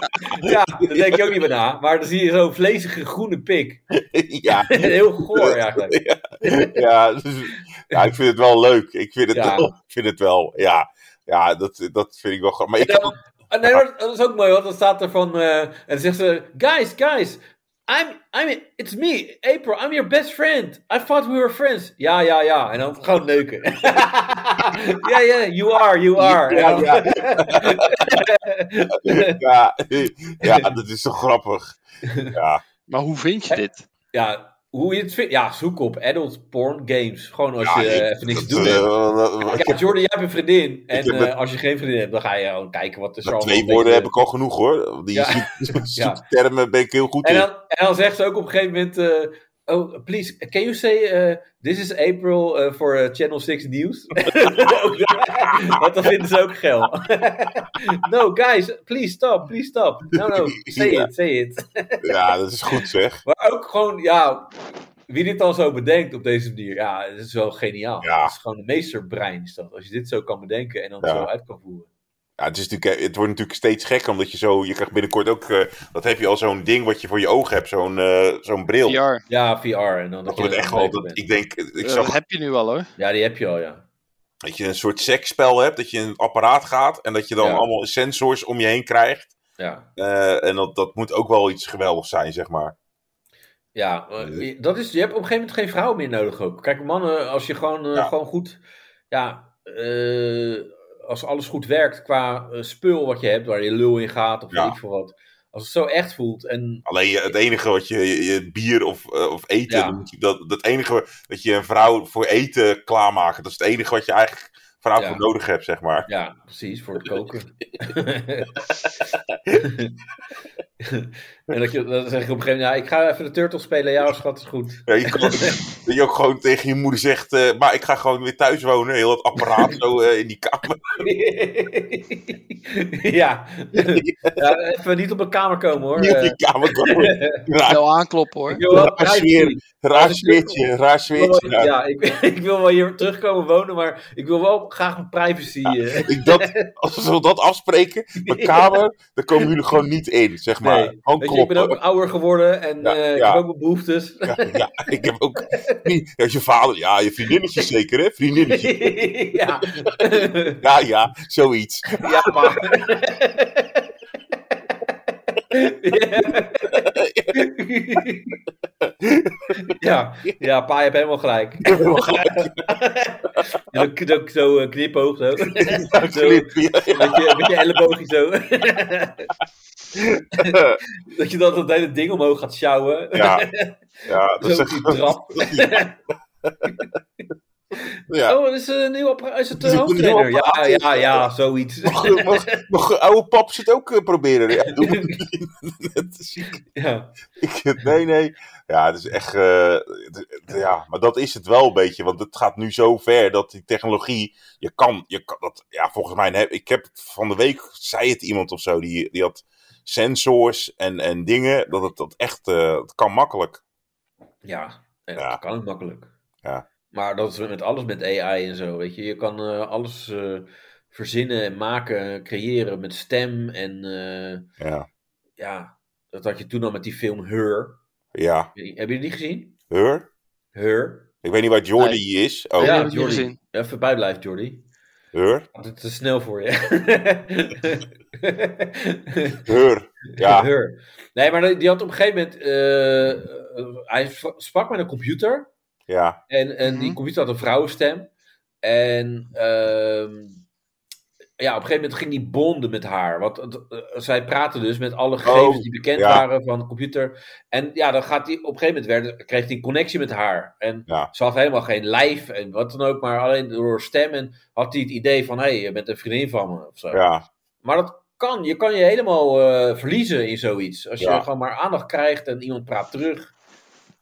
Speaker 2: ja, daar denk je ook niet meer na. Maar dan zie je zo'n vlezige groene pik.
Speaker 3: ja,
Speaker 2: Heel goor eigenlijk.
Speaker 3: ja, dus- ja, ik vind het wel leuk. Ik vind het,
Speaker 2: Ja.
Speaker 3: wel, ik vind het wel. Ja, ja dat, dat vind ik wel grappig. Maar ik
Speaker 2: En dan- Ah, nee, maar dat is ook mooi, want dan staat er van... eh, en dan zegt ze... Guys, guys, I'm, I'm, it's me, April, I'm your best friend. I thought we were friends. Ja, ja, ja. En dan gewoon neuken. Ja, ja, you are, you are.
Speaker 3: Ja,
Speaker 2: En dan- ja.
Speaker 3: ja, ja, dat is toch grappig. Ja,
Speaker 4: Maar hoe vind je dit?
Speaker 2: hoe je het vindt. Ja, zoek op adult porn games. Gewoon als
Speaker 3: ja,
Speaker 2: je
Speaker 3: ik-
Speaker 2: eh, even niks te
Speaker 3: dat,
Speaker 2: doen
Speaker 3: eh,
Speaker 2: hebt.
Speaker 3: eh, ik
Speaker 2: Ja,
Speaker 3: heb
Speaker 2: Jordan, jij hebt een vriendin. En
Speaker 3: heb
Speaker 2: eh,
Speaker 3: met-
Speaker 2: als je geen vriendin hebt, dan ga je gewoon kijken wat er zo
Speaker 3: met twee
Speaker 2: allemaal
Speaker 3: woorden
Speaker 2: tegen-
Speaker 3: heb ik al genoeg hoor. Die
Speaker 2: Ja.
Speaker 3: zoek-
Speaker 2: Ja.
Speaker 3: zoektermen ben ik heel goed
Speaker 2: En
Speaker 3: in.
Speaker 2: dan, en dan zegt ze ook op een gegeven moment: eh, Oh, please, can you say eh, this is April eh, for eh, Channel 6 News? Ook dat- Want dat vinden ze ook geil. no, guys, please stop, please stop. No, no, say
Speaker 3: Ja.
Speaker 2: it, say it.
Speaker 3: Ja, dat is goed zeg.
Speaker 2: Maar ook gewoon, ja, wie dit dan zo bedenkt op deze manier, ja, dat is wel geniaal.
Speaker 3: Ja.
Speaker 2: Dat is gewoon een meesterbrein, is dat. Als je dit zo kan bedenken en dan
Speaker 3: Ja.
Speaker 2: zo uit kan voeren.
Speaker 3: Ja, het, is natuurlijk, eh, het wordt natuurlijk steeds gekker, omdat je zo... Je krijgt binnenkort ook... eh, dat heb je al zo'n ding wat je voor je ogen hebt, zo'n eh, zo'n bril.
Speaker 4: VR.
Speaker 2: Ja, VR. En dan
Speaker 3: Dat
Speaker 2: dat
Speaker 3: wordt
Speaker 2: je
Speaker 3: echt
Speaker 2: dan
Speaker 3: wel...
Speaker 2: beter
Speaker 3: Dat,
Speaker 2: bent.
Speaker 3: ik denk... Ik
Speaker 4: Eh,
Speaker 3: zag
Speaker 4: dat heb je nu al hoor.
Speaker 2: Ja, die heb je al, ja.
Speaker 3: dat je een soort seksspel hebt, dat je in een apparaat gaat en dat je dan
Speaker 2: Ja.
Speaker 3: allemaal sensors om je heen krijgt.
Speaker 2: ja.
Speaker 3: Eh, en dat, dat moet ook wel iets geweldigs zijn, zeg maar.
Speaker 2: Ja, eh, dat is, je hebt op een gegeven moment geen vrouw meer nodig ook. Kijk, mannen, als je gewoon, eh,
Speaker 3: Ja.
Speaker 2: gewoon goed... Ja, eh, als alles goed werkt qua eh, spul wat je hebt, waar je lul in gaat of
Speaker 3: Ja.
Speaker 2: weet ik veel wat. Als het zo echt voelt en...
Speaker 3: Alleen je- het enige wat je, je, je bier of, eh, of eten,
Speaker 2: Ja.
Speaker 3: dan moet je dat, dat enige dat je een vrouw voor eten klaarmaken, dat is het enige wat je eigenlijk vrouw
Speaker 2: Ja.
Speaker 3: voor nodig hebt, zeg maar.
Speaker 2: Ja, precies, voor het koken. en dat je, dan zeg je op een gegeven moment, ja, ik ga even de turtle spelen. Ja, schat, is goed.
Speaker 3: Ja, je kan, dat je ook gewoon tegen je moeder zegt, eh, maar ik ga gewoon weer thuis wonen, heel dat apparaat zo eh, in die kamer.
Speaker 2: ja. ja, even niet op mijn kamer komen hoor.
Speaker 3: in
Speaker 2: Eh,
Speaker 3: die kamer komen. Raar,
Speaker 4: Wel aankloppen hoor.
Speaker 2: Johan,
Speaker 3: raar
Speaker 2: hij-
Speaker 3: sfeer. raar sfeertje, raar
Speaker 2: Ik wil
Speaker 3: sfeertje.
Speaker 2: wel- Oh, ja, ik, ik wil wel hier terugkomen wonen, maar ik wil wel graag mijn privacy. eh.
Speaker 3: Ik dat, als we dat afspreken, mijn kamer, dan komen jullie gewoon niet in, zeg maar.
Speaker 2: Nee.
Speaker 3: Gewoon
Speaker 2: Weet je, ik ben
Speaker 3: kloppen.
Speaker 2: ook ouder geworden en
Speaker 3: Ja,
Speaker 2: eh, ik
Speaker 3: ja.
Speaker 2: heb ook mijn behoeftes.
Speaker 3: Ja, ja, ik heb ook niet... Ja, je vader, ja, je vriendinnetje zeker, hè? Vriendinnetje.
Speaker 2: ja.
Speaker 3: Ja, ja, zoiets.
Speaker 2: ja, maar. ja, ja, pa, je hebt helemaal gelijk. Zo, zo, zo eh, knipoog, zo. zo
Speaker 3: Filip, ja, ja.
Speaker 2: met, je, met je elleboogje zo. dat je dan dat hele ding omhoog gaat sjouwen.
Speaker 3: Ja, ja, dat is
Speaker 2: zo op die
Speaker 3: echt...
Speaker 2: trap.
Speaker 3: Ja.
Speaker 2: Oh, dat is een nieuw appara- is het eh,
Speaker 3: Is
Speaker 2: een
Speaker 3: het een nieuw
Speaker 2: hoofdtrainer? Ja,
Speaker 3: apparaat?
Speaker 2: ja, ja, zoiets.
Speaker 3: Mag, mag, mag oude pap het ook eh, proberen? Ja, doe het. Het is ziek.
Speaker 2: ja.
Speaker 3: Ik- nee, nee. Ja, het is echt. eh, het- het- ja, maar dat is het wel een beetje. Want het gaat nu zo ver dat die technologie. Je kan. Je kan dat, ja, volgens mij. hè, Ik heb van de week. zei het iemand of zo. Die, die had sensors en, en dingen. Dat het dat echt. eh, het kan makkelijk.
Speaker 2: Ja, en
Speaker 3: Ja.
Speaker 2: dat kan ook makkelijk.
Speaker 3: Ja.
Speaker 2: Maar dat is met alles met AI en zo, weet je. Je kan eh, alles eh, verzinnen en maken, creëren met stem en eh,
Speaker 3: Ja.
Speaker 2: ja, dat had je toen al met die film Her.
Speaker 3: Ja.
Speaker 2: Heb je die gezien?
Speaker 3: Heur?
Speaker 2: Her.
Speaker 3: Ik weet niet waar Jordi is. Oh,
Speaker 4: Ja.
Speaker 3: ja.
Speaker 4: heb ik niet gezien.
Speaker 2: Even bijblijven, Jordi.
Speaker 3: Heur?
Speaker 2: Het is te snel voor je.
Speaker 3: Heur. Ja.
Speaker 2: Her. Nee, maar die had op een gegeven moment. eh, eh, hij sprak met een computer.
Speaker 3: Ja.
Speaker 2: En, en die
Speaker 4: Mhm.
Speaker 2: computer had een vrouwenstem. En ehm, ja, op een gegeven moment ging die bonden met haar. Want het- eh, zij praten dus met alle gegevens die bekend
Speaker 3: Oh, ja.
Speaker 2: waren van de computer. En ja, dan gaat die, op een gegeven moment werd, kreeg hij een connectie met haar. En
Speaker 3: Ja.
Speaker 2: ze had helemaal geen lijf en wat dan ook. Maar alleen door stem en had hij het idee van... hé, hey, je bent een vriendin van me of zo.
Speaker 3: Ja.
Speaker 2: Maar dat kan. Je kan je helemaal eh, verliezen in zoiets. Als je
Speaker 3: Ja.
Speaker 2: gewoon maar aandacht krijgt en iemand praat terug.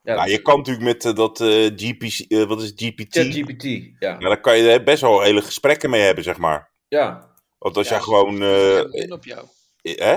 Speaker 2: Ja,
Speaker 3: Nou, je kan natuurlijk met eh, dat eh, GPC. eh, wat is GPT?
Speaker 2: ChatGPT, ja.
Speaker 3: Ja, daar kan je eh, best wel hele gesprekken mee hebben, zeg maar.
Speaker 2: ja.
Speaker 3: Want als
Speaker 4: Ja,
Speaker 3: jij gewoon. eh,
Speaker 4: Ze in op jou.
Speaker 3: eh, hè?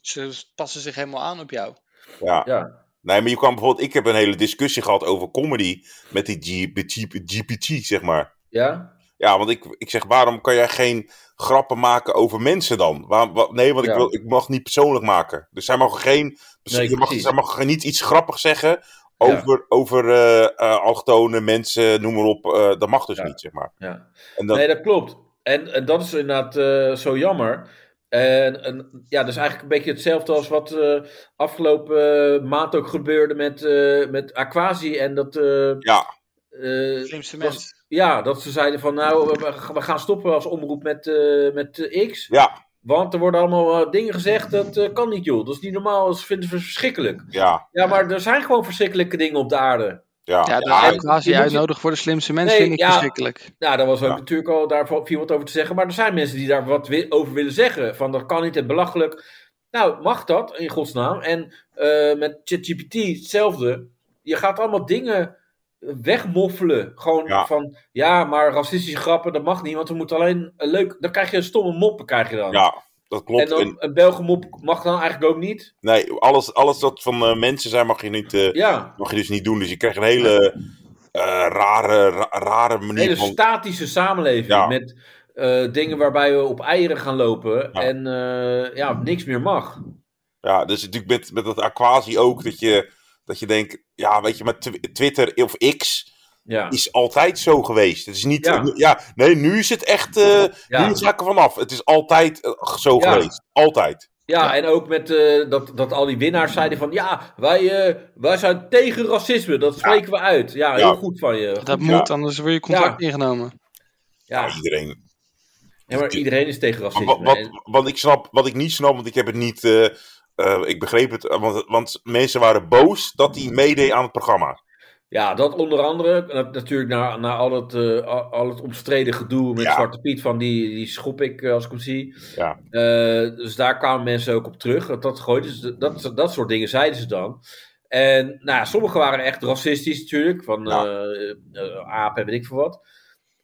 Speaker 4: Ze passen zich helemaal aan op jou.
Speaker 3: Ja.
Speaker 2: Ja.
Speaker 3: Nee, maar je kan bijvoorbeeld. Ik heb een hele discussie gehad over comedy. met die G- G- GPT, zeg maar.
Speaker 2: Ja?
Speaker 3: Ja, want ik, ik zeg, waarom kan jij geen grappen maken over mensen dan? Waar, wa- nee, want ik,
Speaker 2: Ja.
Speaker 3: wil, ik mag niet persoonlijk maken. Dus zij mogen geen.
Speaker 2: Nee,
Speaker 3: je mag,
Speaker 2: precies.
Speaker 3: zij mogen niet iets grappigs zeggen. Over, over eh, eh, allochtonen, mensen, noem maar op. eh, dat mag dus
Speaker 2: Ja.
Speaker 3: niet, zeg maar.
Speaker 2: ja.
Speaker 3: En dan,
Speaker 2: Nee, dat klopt. En, en dat is inderdaad eh, zo jammer. En, en ja, dat is eigenlijk een beetje hetzelfde als wat eh, afgelopen eh, maand ook gebeurde met, eh, met Aquasi. En dat, eh,
Speaker 3: ja,
Speaker 2: eh,
Speaker 4: Slimste
Speaker 2: dat-
Speaker 4: mens.
Speaker 2: ja, dat ze zeiden van nou, we, we- we gaan stoppen als omroep met, eh, met eh, X.
Speaker 3: ja,
Speaker 2: Want er worden allemaal eh, dingen gezegd, dat eh, kan niet joh. Dat is niet normaal, dat vinden ze verschrikkelijk.
Speaker 3: ja,
Speaker 2: Ja, maar er zijn gewoon verschrikkelijke dingen op de aarde.
Speaker 3: ja.
Speaker 4: Ja,
Speaker 3: Ja,
Speaker 4: dat ja,
Speaker 2: je
Speaker 4: je
Speaker 2: moet-
Speaker 4: uitnodigt voor de slimste mensen
Speaker 2: Nee,
Speaker 4: vind ik
Speaker 2: ja.
Speaker 4: verschrikkelijk.
Speaker 2: Nou, daar was ook
Speaker 3: Ja.
Speaker 2: natuurlijk al daar viel wat over te zeggen. Maar er zijn mensen die daar wat wi- over willen zeggen. Van dat kan niet en belachelijk. Nou, mag dat in godsnaam? En eh, met ChatGPT hetzelfde. Je gaat allemaal dingen wegmoffelen. Gewoon
Speaker 3: Ja.
Speaker 2: van ja, maar racistische grappen dat mag niet. Want we moeten alleen een leuk. Dan krijg je een stomme moppen, krijg je dan.
Speaker 3: ja, dat klopt.
Speaker 2: en dan
Speaker 3: En-
Speaker 2: een Belgische mop mag dan eigenlijk ook niet.
Speaker 3: Nee, alles, alles dat van eh, mensen zijn mag je, niet, eh,
Speaker 2: Ja,
Speaker 3: mag je dus niet doen. Dus je krijgt een hele eh, rare, ra- rare
Speaker 2: een
Speaker 3: manier
Speaker 2: hele
Speaker 3: van...
Speaker 2: statische samenleving.
Speaker 3: Ja.
Speaker 2: Met eh, dingen waarbij we op eieren gaan lopen.
Speaker 3: Ja.
Speaker 2: En eh, ja, niks meer mag.
Speaker 3: Ja, dus natuurlijk met, met dat aquasi ook, dat je, dat je denkt... Ja, weet je, maar Tw- Twitter of X
Speaker 2: Ja.
Speaker 3: is altijd zo geweest. Het is niet... eh,
Speaker 2: Ja.
Speaker 3: Ja, nee, nu is het echt... eh
Speaker 2: Ja.
Speaker 3: Nu is het er vanaf. Het is altijd eh, zo
Speaker 2: Ja.
Speaker 3: geweest. Altijd.
Speaker 2: Ja, en ook met eh, dat, dat al die winnaars zeiden van ja, wij, eh, wij zijn tegen racisme. Dat spreken we uit. Ja, heel
Speaker 3: Ja.
Speaker 2: goed van je.
Speaker 4: Dat moet, anders word je contract ingenomen.
Speaker 2: Ja,
Speaker 3: Iedereen.
Speaker 2: ja, maar iedereen is tegen
Speaker 3: Maar
Speaker 2: racisme.
Speaker 3: Wat, wat,
Speaker 2: En-
Speaker 3: wat, ik snap, wat ik niet snap, want ik heb het niet. eh, eh, ik begreep het, eh, want, want mensen waren boos dat hij meedeed aan het programma.
Speaker 2: ja, dat onder andere. na- Natuurlijk na, na al, het, eh, al- al het omstreden gedoe met
Speaker 3: Ja.
Speaker 2: Zwarte Piet van die, die schop ik eh, als ik hem zie.
Speaker 3: Ja.
Speaker 2: Eh, dus daar kwamen mensen ook op terug. Dat, dat, gooiden ze- dat, dat soort dingen zeiden ze dan. En nou ja, sommige waren echt racistisch natuurlijk. Van eh
Speaker 3: Ja.
Speaker 2: eh, apen en weet ik veel wat.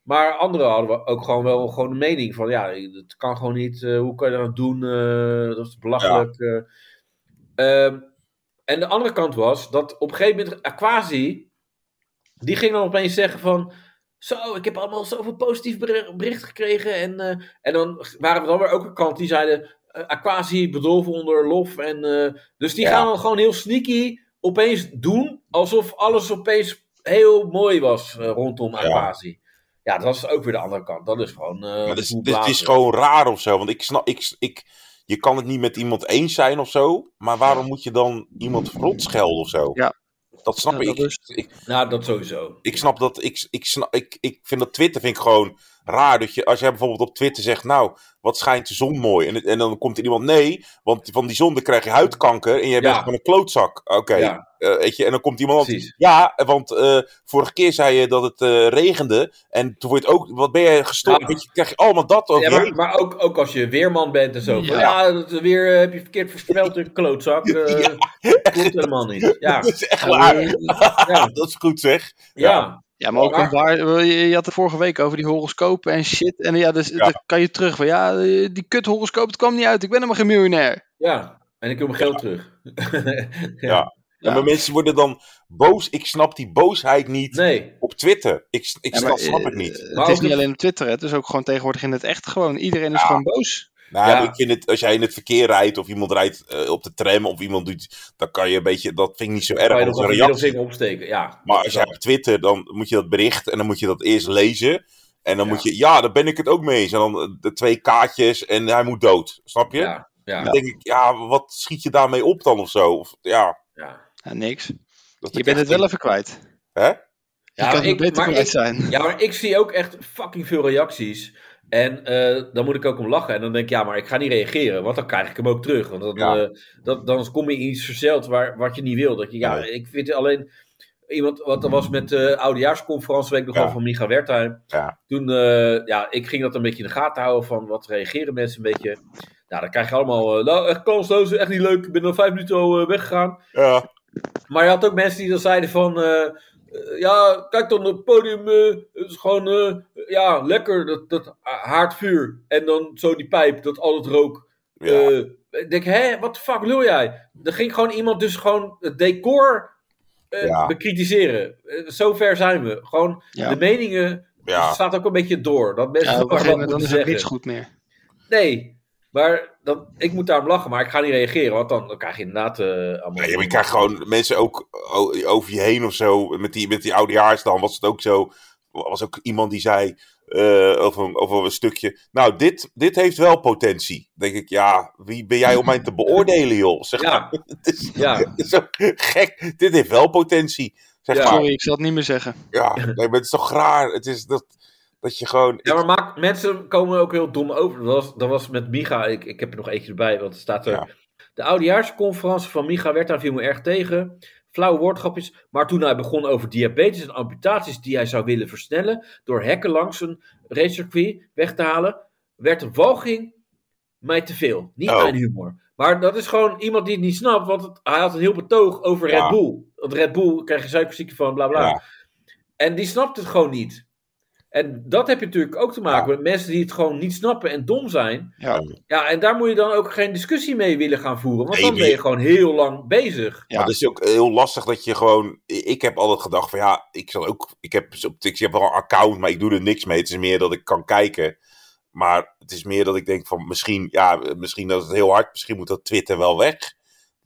Speaker 2: Maar anderen hadden we ook gewoon wel gewoon een mening van... Ja, dat kan gewoon niet. eh, hoe kan je dat doen? eh, dat is belachelijk. eh. Ehm, en de andere kant was dat op een gegeven moment Aquasi... Die ging dan opeens zeggen van... Zo, ik heb allemaal zoveel positief beri- bericht gekregen. En, eh, en dan waren we dan weer ook een kant die zeiden... eh, Aquasi bedolven onder lof. En, eh, dus die
Speaker 3: Ja.
Speaker 2: gaan dan gewoon heel sneaky opeens doen... alsof alles opeens heel mooi was eh, rondom Aquasi. Ja. dat is ook weer de andere kant. Dat is gewoon... eh,
Speaker 3: maar het, is,
Speaker 2: boel
Speaker 3: het is
Speaker 2: blazen.
Speaker 3: gewoon raar of zo, want ik snap. Ik, ik, je kan het niet met iemand eens zijn of zo. Maar waarom moet je dan iemand rot schelden of zo?
Speaker 4: Ja.
Speaker 3: Dat snap
Speaker 4: Ja,
Speaker 3: ik.
Speaker 4: dat is-
Speaker 3: ik.
Speaker 2: Nou, dat sowieso.
Speaker 3: Ik snap dat. Ik, ik, snap, ik, ik vind dat Twitter vind ik gewoon raar. Dat je, als jij bijvoorbeeld op Twitter zegt. Nou, wat schijnt de zon mooi. En, het- en dan komt er iemand. Nee, want van die zon dan krijg je huidkanker. En jij bent
Speaker 2: Ja.
Speaker 3: gewoon een klootzak. Oké.
Speaker 2: Ja,
Speaker 3: eh, weet je, en dan komt iemand.
Speaker 2: precies.
Speaker 3: Ja, want eh, vorige keer zei je dat het eh, regende. En toen word je het ook. Wat ben jij gestoord?
Speaker 2: Ja.
Speaker 3: Weet je, krijg je allemaal dat over
Speaker 2: Ja,
Speaker 3: je
Speaker 2: maar maar ook, ook als je weerman bent en zo. van,
Speaker 4: Ja.
Speaker 2: Ja, dat weer eh, heb je verkeerd versmeld, een klootzak. eh,
Speaker 3: Ja.
Speaker 2: Klopt helemaal niet. Ja,
Speaker 3: Dat is echt
Speaker 2: ja,
Speaker 3: waar.
Speaker 2: ja.
Speaker 3: Dat is goed zeg.
Speaker 2: ja.
Speaker 4: Ja, maar ook
Speaker 2: Maar-
Speaker 4: een waar, je, je had het vorige week over die horoscopen en shit. En ja, dus
Speaker 3: Ja.
Speaker 4: dan kan je terug van ja, eh, die kut horoscoop, het kwam niet uit. Ik ben helemaal geen miljonair.
Speaker 2: Ja, en ik wil mijn geld terug.
Speaker 4: Ja.
Speaker 3: En maar mensen worden dan boos. Ik snap die boosheid niet
Speaker 2: nee,
Speaker 3: op Twitter. Ik, s- ik
Speaker 4: Ja,
Speaker 3: snap,
Speaker 4: maar,
Speaker 3: snap
Speaker 4: eh,
Speaker 3: het niet.
Speaker 4: Het
Speaker 2: Maar
Speaker 4: is
Speaker 2: ook
Speaker 4: niet
Speaker 2: het-
Speaker 4: alleen op Twitter, hè. het is ook gewoon tegenwoordig in het echt gewoon. Iedereen is
Speaker 3: Ja.
Speaker 4: gewoon boos.
Speaker 3: Nou,
Speaker 2: ja.
Speaker 3: ik vind het, als jij in het verkeer rijdt of iemand rijdt eh, op de tram of iemand doet, dan kan je een beetje, dat vind ik niet zo erg
Speaker 2: kan je
Speaker 3: als
Speaker 2: nog
Speaker 3: een
Speaker 2: een
Speaker 3: reactie.
Speaker 2: middelvinger opsteken. Ja,
Speaker 3: Maar
Speaker 2: dat
Speaker 3: als
Speaker 2: wel.
Speaker 3: jij op Twitter, dan moet je dat bericht en dan moet je dat eerst lezen. En dan
Speaker 2: Ja.
Speaker 3: moet je, ja, daar ben ik het ook mee eens. En dan eh, de twee kaartjes en hij moet dood. Snap je?
Speaker 2: Ja, ja,
Speaker 3: Dan denk ik, ja, wat schiet je daarmee op dan of zo? Of, ja,
Speaker 2: ja.
Speaker 4: Ja, niks.
Speaker 3: dat
Speaker 4: Je
Speaker 3: ik
Speaker 4: bent
Speaker 3: echt
Speaker 4: het wel
Speaker 3: denk,
Speaker 4: even kwijt.
Speaker 3: Hè?
Speaker 4: Je
Speaker 2: Ja,
Speaker 4: kan
Speaker 2: maar
Speaker 4: het
Speaker 2: ik-
Speaker 4: beter
Speaker 2: maar
Speaker 4: kwijt
Speaker 2: ik-
Speaker 4: zijn.
Speaker 2: Ja, maar ik zie ook echt fucking veel reacties. En eh, dan moet ik ook om lachen. En dan denk ik, ja, maar ik ga niet reageren. Want dan krijg ik hem ook terug. Want dan,
Speaker 3: Ja.
Speaker 2: eh, dat, dan kom je in iets verzeld waar, wat je niet wil. Dat je, ja,
Speaker 3: Nee.
Speaker 2: ik vind alleen... Iemand, wat er was met de oudejaarsconferentie week nog
Speaker 3: Ja.
Speaker 2: wel van Micha Wertheim.
Speaker 3: Ja.
Speaker 2: Toen, eh, ja, ik ging dat een beetje in de gaten houden van wat reageren mensen een beetje. Nou, dan krijg je allemaal, eh, nou, echt kansloos, echt niet leuk. Ik ben al vijf minuten al eh, weggegaan.
Speaker 3: Ja,
Speaker 2: Maar je had ook mensen die dan zeiden van... eh, eh, ja, kijk dan, het podium eh, het is gewoon... eh, ja, lekker, dat, dat haardvuur. En dan zo die pijp, dat al het rook.
Speaker 3: ja.
Speaker 2: Eh, ik denk, hè, wat de fuck lul jij? Dan ging gewoon iemand dus gewoon het decor eh,
Speaker 3: Ja.
Speaker 2: bekritiseren. Eh, Zover zijn we. Gewoon
Speaker 4: Ja.
Speaker 2: de meningen...
Speaker 3: Ja.
Speaker 2: staat ook een beetje door. Dat mensen
Speaker 4: Ja, op een
Speaker 2: elkaar
Speaker 4: gegeven
Speaker 2: wat
Speaker 4: moment dan
Speaker 2: moeten
Speaker 4: is ook
Speaker 2: zeggen.
Speaker 4: niks goed meer.
Speaker 2: Nee, maar dan, ik moet daarom lachen. Maar ik ga niet reageren, want dan, dan krijg je inderdaad eh allemaal...
Speaker 3: Nee, maar je krijgt gewoon mensen ook o- over je heen of zo. Met die, met die oudejaars dan was het ook zo. Was ook iemand die zei eh, over, een- over een stukje. Nou, dit, dit heeft wel potentie. Dan Denk ik, ja, wie ben jij om mij te beoordelen, joh? Zeg
Speaker 2: Ja,
Speaker 3: maar. Het is,
Speaker 2: ja.
Speaker 3: het is zo gek. Dit heeft wel potentie. Zeg
Speaker 2: Ja.
Speaker 3: maar.
Speaker 4: Sorry, ik zal het niet meer zeggen.
Speaker 3: Ja, nee, maar het is toch raar. Het is dat, dat je gewoon.
Speaker 2: Ja, maar maak, mensen komen ook heel dom over. Dat was, dat was met Micha, ik, ik heb er nog eentje erbij, want het staat er.
Speaker 3: Ja.
Speaker 2: De oudejaarsconferentie van Micha werd daar viel me erg tegen. Flauwe woordgrapjes. Maar toen hij begon over diabetes en amputaties die hij zou willen versnellen. door hekken langs een racecircuit weg te halen. werd de walging mij te veel. Niet
Speaker 3: Oh.
Speaker 2: mijn humor. Maar dat is gewoon iemand die het niet snapt, want het- hij had een heel betoog over
Speaker 3: Ja.
Speaker 2: Red Bull. Want Red Bull krijg je suikerziekte van, bla bla.
Speaker 3: Ja.
Speaker 2: En die snapt het gewoon niet. En dat heb je natuurlijk ook te maken met mensen die het gewoon niet snappen en dom zijn.
Speaker 4: Ja.
Speaker 2: Ja, en daar moet je dan ook geen discussie mee willen gaan voeren, want
Speaker 3: Nee,
Speaker 2: dan
Speaker 3: maar
Speaker 2: ben je
Speaker 3: je-
Speaker 2: gewoon heel lang bezig.
Speaker 4: Ja.
Speaker 3: Maar het is ook heel lastig dat je gewoon. Ik heb altijd gedacht van ja, ik zal ook. Ik heb, dus ik heb wel een account, maar ik doe er niks mee. Het is meer dat ik kan kijken. Maar het is meer dat ik denk van misschien, ja, misschien dat het heel hard. Misschien moet dat Twitter wel weg.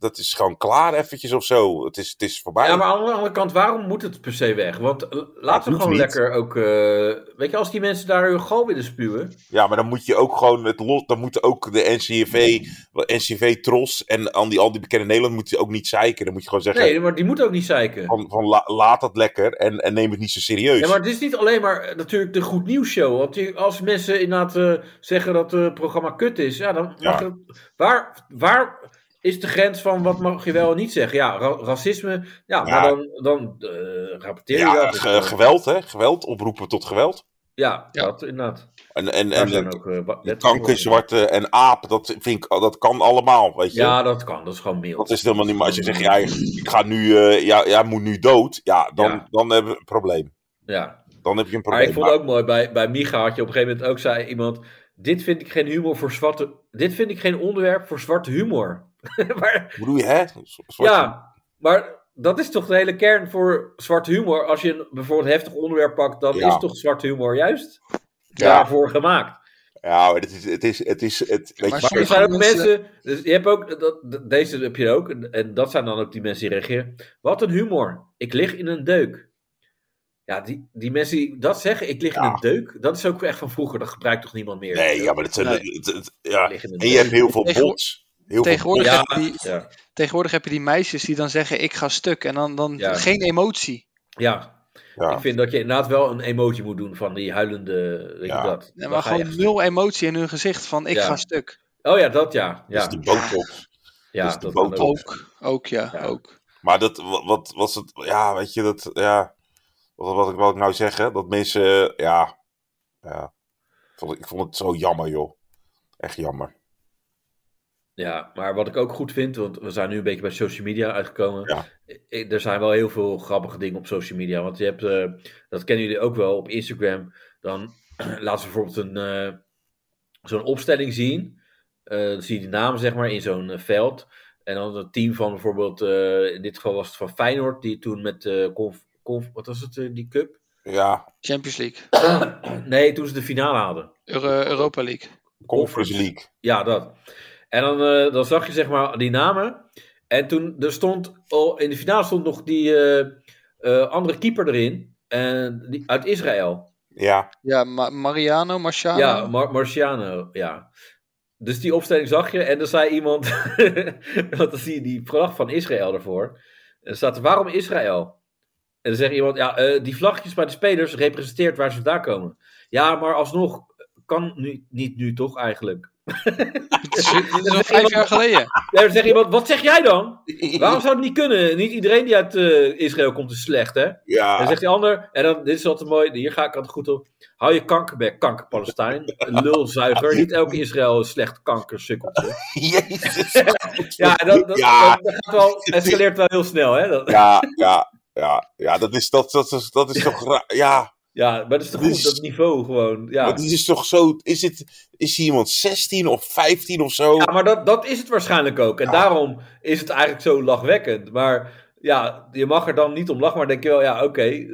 Speaker 3: Dat is gewoon klaar eventjes of zo. Het is, het is voorbij.
Speaker 2: Ja, maar aan de andere kant, waarom moet het per se weg? Want eh, laten we
Speaker 3: hoeft
Speaker 2: gewoon
Speaker 3: niet.
Speaker 2: lekker ook. eh, weet je, als die mensen daar hun gal willen spuwen.
Speaker 3: dan moet je ook gewoon het los. Dan moeten ook de NCV, NCV Tros en al die, al die bekende Nederland moeten ook niet zeiken. Dan moet je gewoon zeggen
Speaker 2: Nee, maar die moet ook niet zeiken.
Speaker 3: van, van la- laat dat lekker en, en neem het niet zo serieus.
Speaker 2: Ja, maar het is niet alleen maar eh, natuurlijk de goed nieuws show. Want die- als mensen inderdaad eh, zeggen dat eh, het programma kut is, ja, dan mag
Speaker 3: Ja.
Speaker 2: het- waar, waar is de grens van wat mag je wel en niet zeggen? Ja, ra- racisme. Ja, maar dan, dan eh, rapporteer je
Speaker 3: Ja,
Speaker 2: dat.
Speaker 3: ge- geweld, hè? Geweld, oproepen tot geweld.
Speaker 2: ja,
Speaker 4: Ja.
Speaker 2: dat inderdaad.
Speaker 3: En, en,
Speaker 2: Daar
Speaker 3: en
Speaker 2: zijn
Speaker 3: de,
Speaker 2: ook eh, wa-
Speaker 3: de
Speaker 2: letters
Speaker 3: kanker,
Speaker 2: voor.
Speaker 3: zwarte en aap, dat, vind ik, dat kan allemaal, weet je.
Speaker 2: Ja, dat kan. Dat is gewoon mild.
Speaker 3: Dat is helemaal niet, maar als je zegt, ja, ik ga nu, eh, ja, jij moet nu dood, ja, dan,
Speaker 2: Ja.
Speaker 3: dan hebben we een probleem.
Speaker 2: Ja.
Speaker 3: Dan heb je een
Speaker 2: Maar ik
Speaker 3: probleem.
Speaker 2: vond
Speaker 3: Maar-
Speaker 2: ook mooi, bij, bij Micha had je op een gegeven moment ook zei iemand... Dit vind ik geen humor voor zwarte... Dit vind ik geen onderwerp voor zwarte humor. maar
Speaker 3: Hoe bedoel je, hè? Z- zwarte-
Speaker 2: Ja, maar dat is toch de hele kern voor zwart humor. Als je een bijvoorbeeld heftig onderwerp pakt, dan
Speaker 3: Ja.
Speaker 2: is toch zwart humor juist
Speaker 3: Ja.
Speaker 2: daarvoor gemaakt.
Speaker 3: ja maar het is, het is, het is, het, weet
Speaker 4: Maar
Speaker 3: je,
Speaker 2: Maar er
Speaker 4: Zeker.
Speaker 2: zijn ook
Speaker 4: Mensen-
Speaker 2: mensen, dus je hebt ook, dat, dat- deze heb je ook, en- en dat zijn dan ook die mensen die reageren. Wat een humor, ik lig in een deuk. Ja, die, die mensen die dat zeggen, ik lig in
Speaker 3: Ja.
Speaker 2: een deuk. Dat is ook echt van vroeger, dat gebruikt toch niemand meer?
Speaker 3: Nee, ja, maar dat zijn.
Speaker 4: Nee.
Speaker 3: het- het- ja.
Speaker 2: Lig in een
Speaker 3: En je hebt
Speaker 2: deuk.
Speaker 3: heel veel
Speaker 4: Tegenwo-
Speaker 3: bots. Heel veel
Speaker 4: Tegenwoordig,
Speaker 2: Ja.
Speaker 4: heb je die,
Speaker 2: Ja.
Speaker 4: tegenwoordig heb je die meisjes die dan zeggen: Ik ga stuk. En dan, dan
Speaker 2: Ja.
Speaker 4: geen emotie.
Speaker 2: ja,
Speaker 3: bots,
Speaker 2: ik vind dat je inderdaad wel een emoji moet doen van die huilende. Weet
Speaker 3: Ja.
Speaker 2: je dat?
Speaker 4: Nee,
Speaker 2: Dan
Speaker 4: Maar
Speaker 2: ga je
Speaker 4: gewoon
Speaker 2: echt-
Speaker 4: nul emotie in hun gezicht van: Ik
Speaker 2: Ja.
Speaker 4: ga stuk.
Speaker 2: Oh ja, dat ja.
Speaker 3: Ja.
Speaker 2: Ja,
Speaker 3: Dat is Dus de botox.
Speaker 2: ja
Speaker 3: dat is de
Speaker 2: kan
Speaker 3: dus botox.
Speaker 2: ook.
Speaker 4: Ook, ook ja,
Speaker 2: Ja.
Speaker 4: ook.
Speaker 3: Maar dat, wa- wat was het? Ja, weet je, dat, ja. Wat, wat, ik- wat ik nou zeg, hè? Dat mensen, eh, ja. ja. Ik vond- Ik vond het zo jammer, joh. Echt jammer.
Speaker 2: Ja, maar wat ik ook goed vind, want we zijn nu een beetje bij social media uitgekomen.
Speaker 3: Ja.
Speaker 2: Eh, Er zijn wel heel veel grappige dingen op social media. Want je hebt, eh, dat kennen jullie ook wel, op Instagram. Dan laten ze bijvoorbeeld een, eh, zo'n opstelling zien. Eh, dan zie je die naam zeg maar in zo'n eh, veld. En dan het team van bijvoorbeeld, eh, in dit geval was het van Feyenoord. Die toen met, eh conf, conf, wat was het, eh, die cup?
Speaker 3: Ja,
Speaker 4: Champions League,
Speaker 2: nee, toen ze de finale hadden.
Speaker 4: Euro- Europa League.
Speaker 3: Conference League.
Speaker 2: Ja, dat. En dan, eh, dan zag je zeg maar die namen. En toen er stond, al in de finale stond nog die eh, eh, andere keeper erin. En die, uit Israël.
Speaker 3: Ja,
Speaker 4: Ja, Ma- Mariano, Marciano.
Speaker 2: Ja, Mar- Marciano, ja. Dus die opstelling zag je. En dan zei iemand, want dan zie je die vlag van Israël ervoor. En dan staat er, waarom Israël? En dan zegt iemand, ja, eh, die vlaggetjes bij de spelers representeert waar ze vandaan komen. Ja, maar alsnog kan nu, niet nu toch eigenlijk.
Speaker 4: Dit is- dit is nog vijf jaar geleden.
Speaker 2: Ja, dan zegt iemand, wat zeg jij dan? Waarom zou het niet kunnen? Niet iedereen die uit eh, Israël komt is slecht, hè? En dan
Speaker 3: ja.
Speaker 2: zegt die ander, en dan, dit is altijd mooi, hier ga ik altijd goed op. Hou je kanker bij, kanker Palestijn. Lulzuiger, niet elke Israël is slecht kankersukkeltje.
Speaker 3: Jezus.
Speaker 2: Ja, en dat, dat,
Speaker 3: Ja.
Speaker 2: dat- dat gaat wel, escaleert wel heel snel, hè? Dat,
Speaker 3: Ja, ja, ja, ja, dat is, dat, dat, is- dat is toch, ra- ja,
Speaker 2: ja, maar dat is toch
Speaker 3: Dus-
Speaker 2: goed, dat niveau gewoon.
Speaker 3: maar
Speaker 2: Ja,
Speaker 3: dit is toch zo, is het, is hier iemand 16 of 15 of zo?
Speaker 2: ja maar dat, dat is het waarschijnlijk ook. En
Speaker 3: Ja.
Speaker 2: daarom is het eigenlijk zo lachwekkend. Maar ja, je mag er dan niet om lachen, maar denk je wel, ja, oké, eh,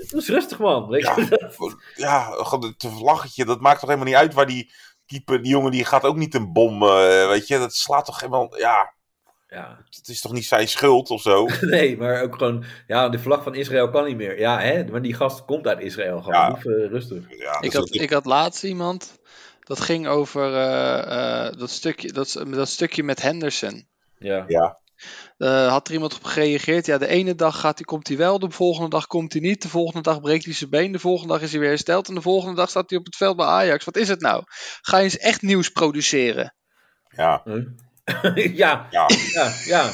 Speaker 2: het is rustig man. Weet je?
Speaker 3: Ja, ja, gewoon het vlaggetje, dat maakt toch helemaal niet uit waar die keeper, die jongen, die gaat ook niet een bom, eh, weet je, dat slaat toch helemaal, ja,
Speaker 2: ja.
Speaker 3: het is toch niet zijn schuld of zo?
Speaker 2: Nee, maar ook gewoon, ja, de vlag van Israël kan niet meer. Ja, hè, maar die gast komt uit Israël. Gewoon
Speaker 3: Ja.
Speaker 2: Doe even rustig.
Speaker 3: Ja,
Speaker 4: Ik
Speaker 3: dus
Speaker 4: had,
Speaker 3: dat-
Speaker 4: ik had laatst iemand. Dat ging over eh, eh, dat, stukje, dat, dat stukje met Henderson.
Speaker 2: Ja.
Speaker 3: ja,
Speaker 4: Eh, had er iemand op gereageerd? Ja, de ene dag gaat hij, komt hij wel, de volgende dag komt hij niet. De volgende dag breekt hij zijn been, de volgende dag is hij weer hersteld. En de volgende dag staat hij op het veld bij Ajax. Wat is het nou? Ga je eens echt nieuws produceren?
Speaker 3: ja,
Speaker 2: Huh? ja,
Speaker 3: ja,
Speaker 2: ja, ja.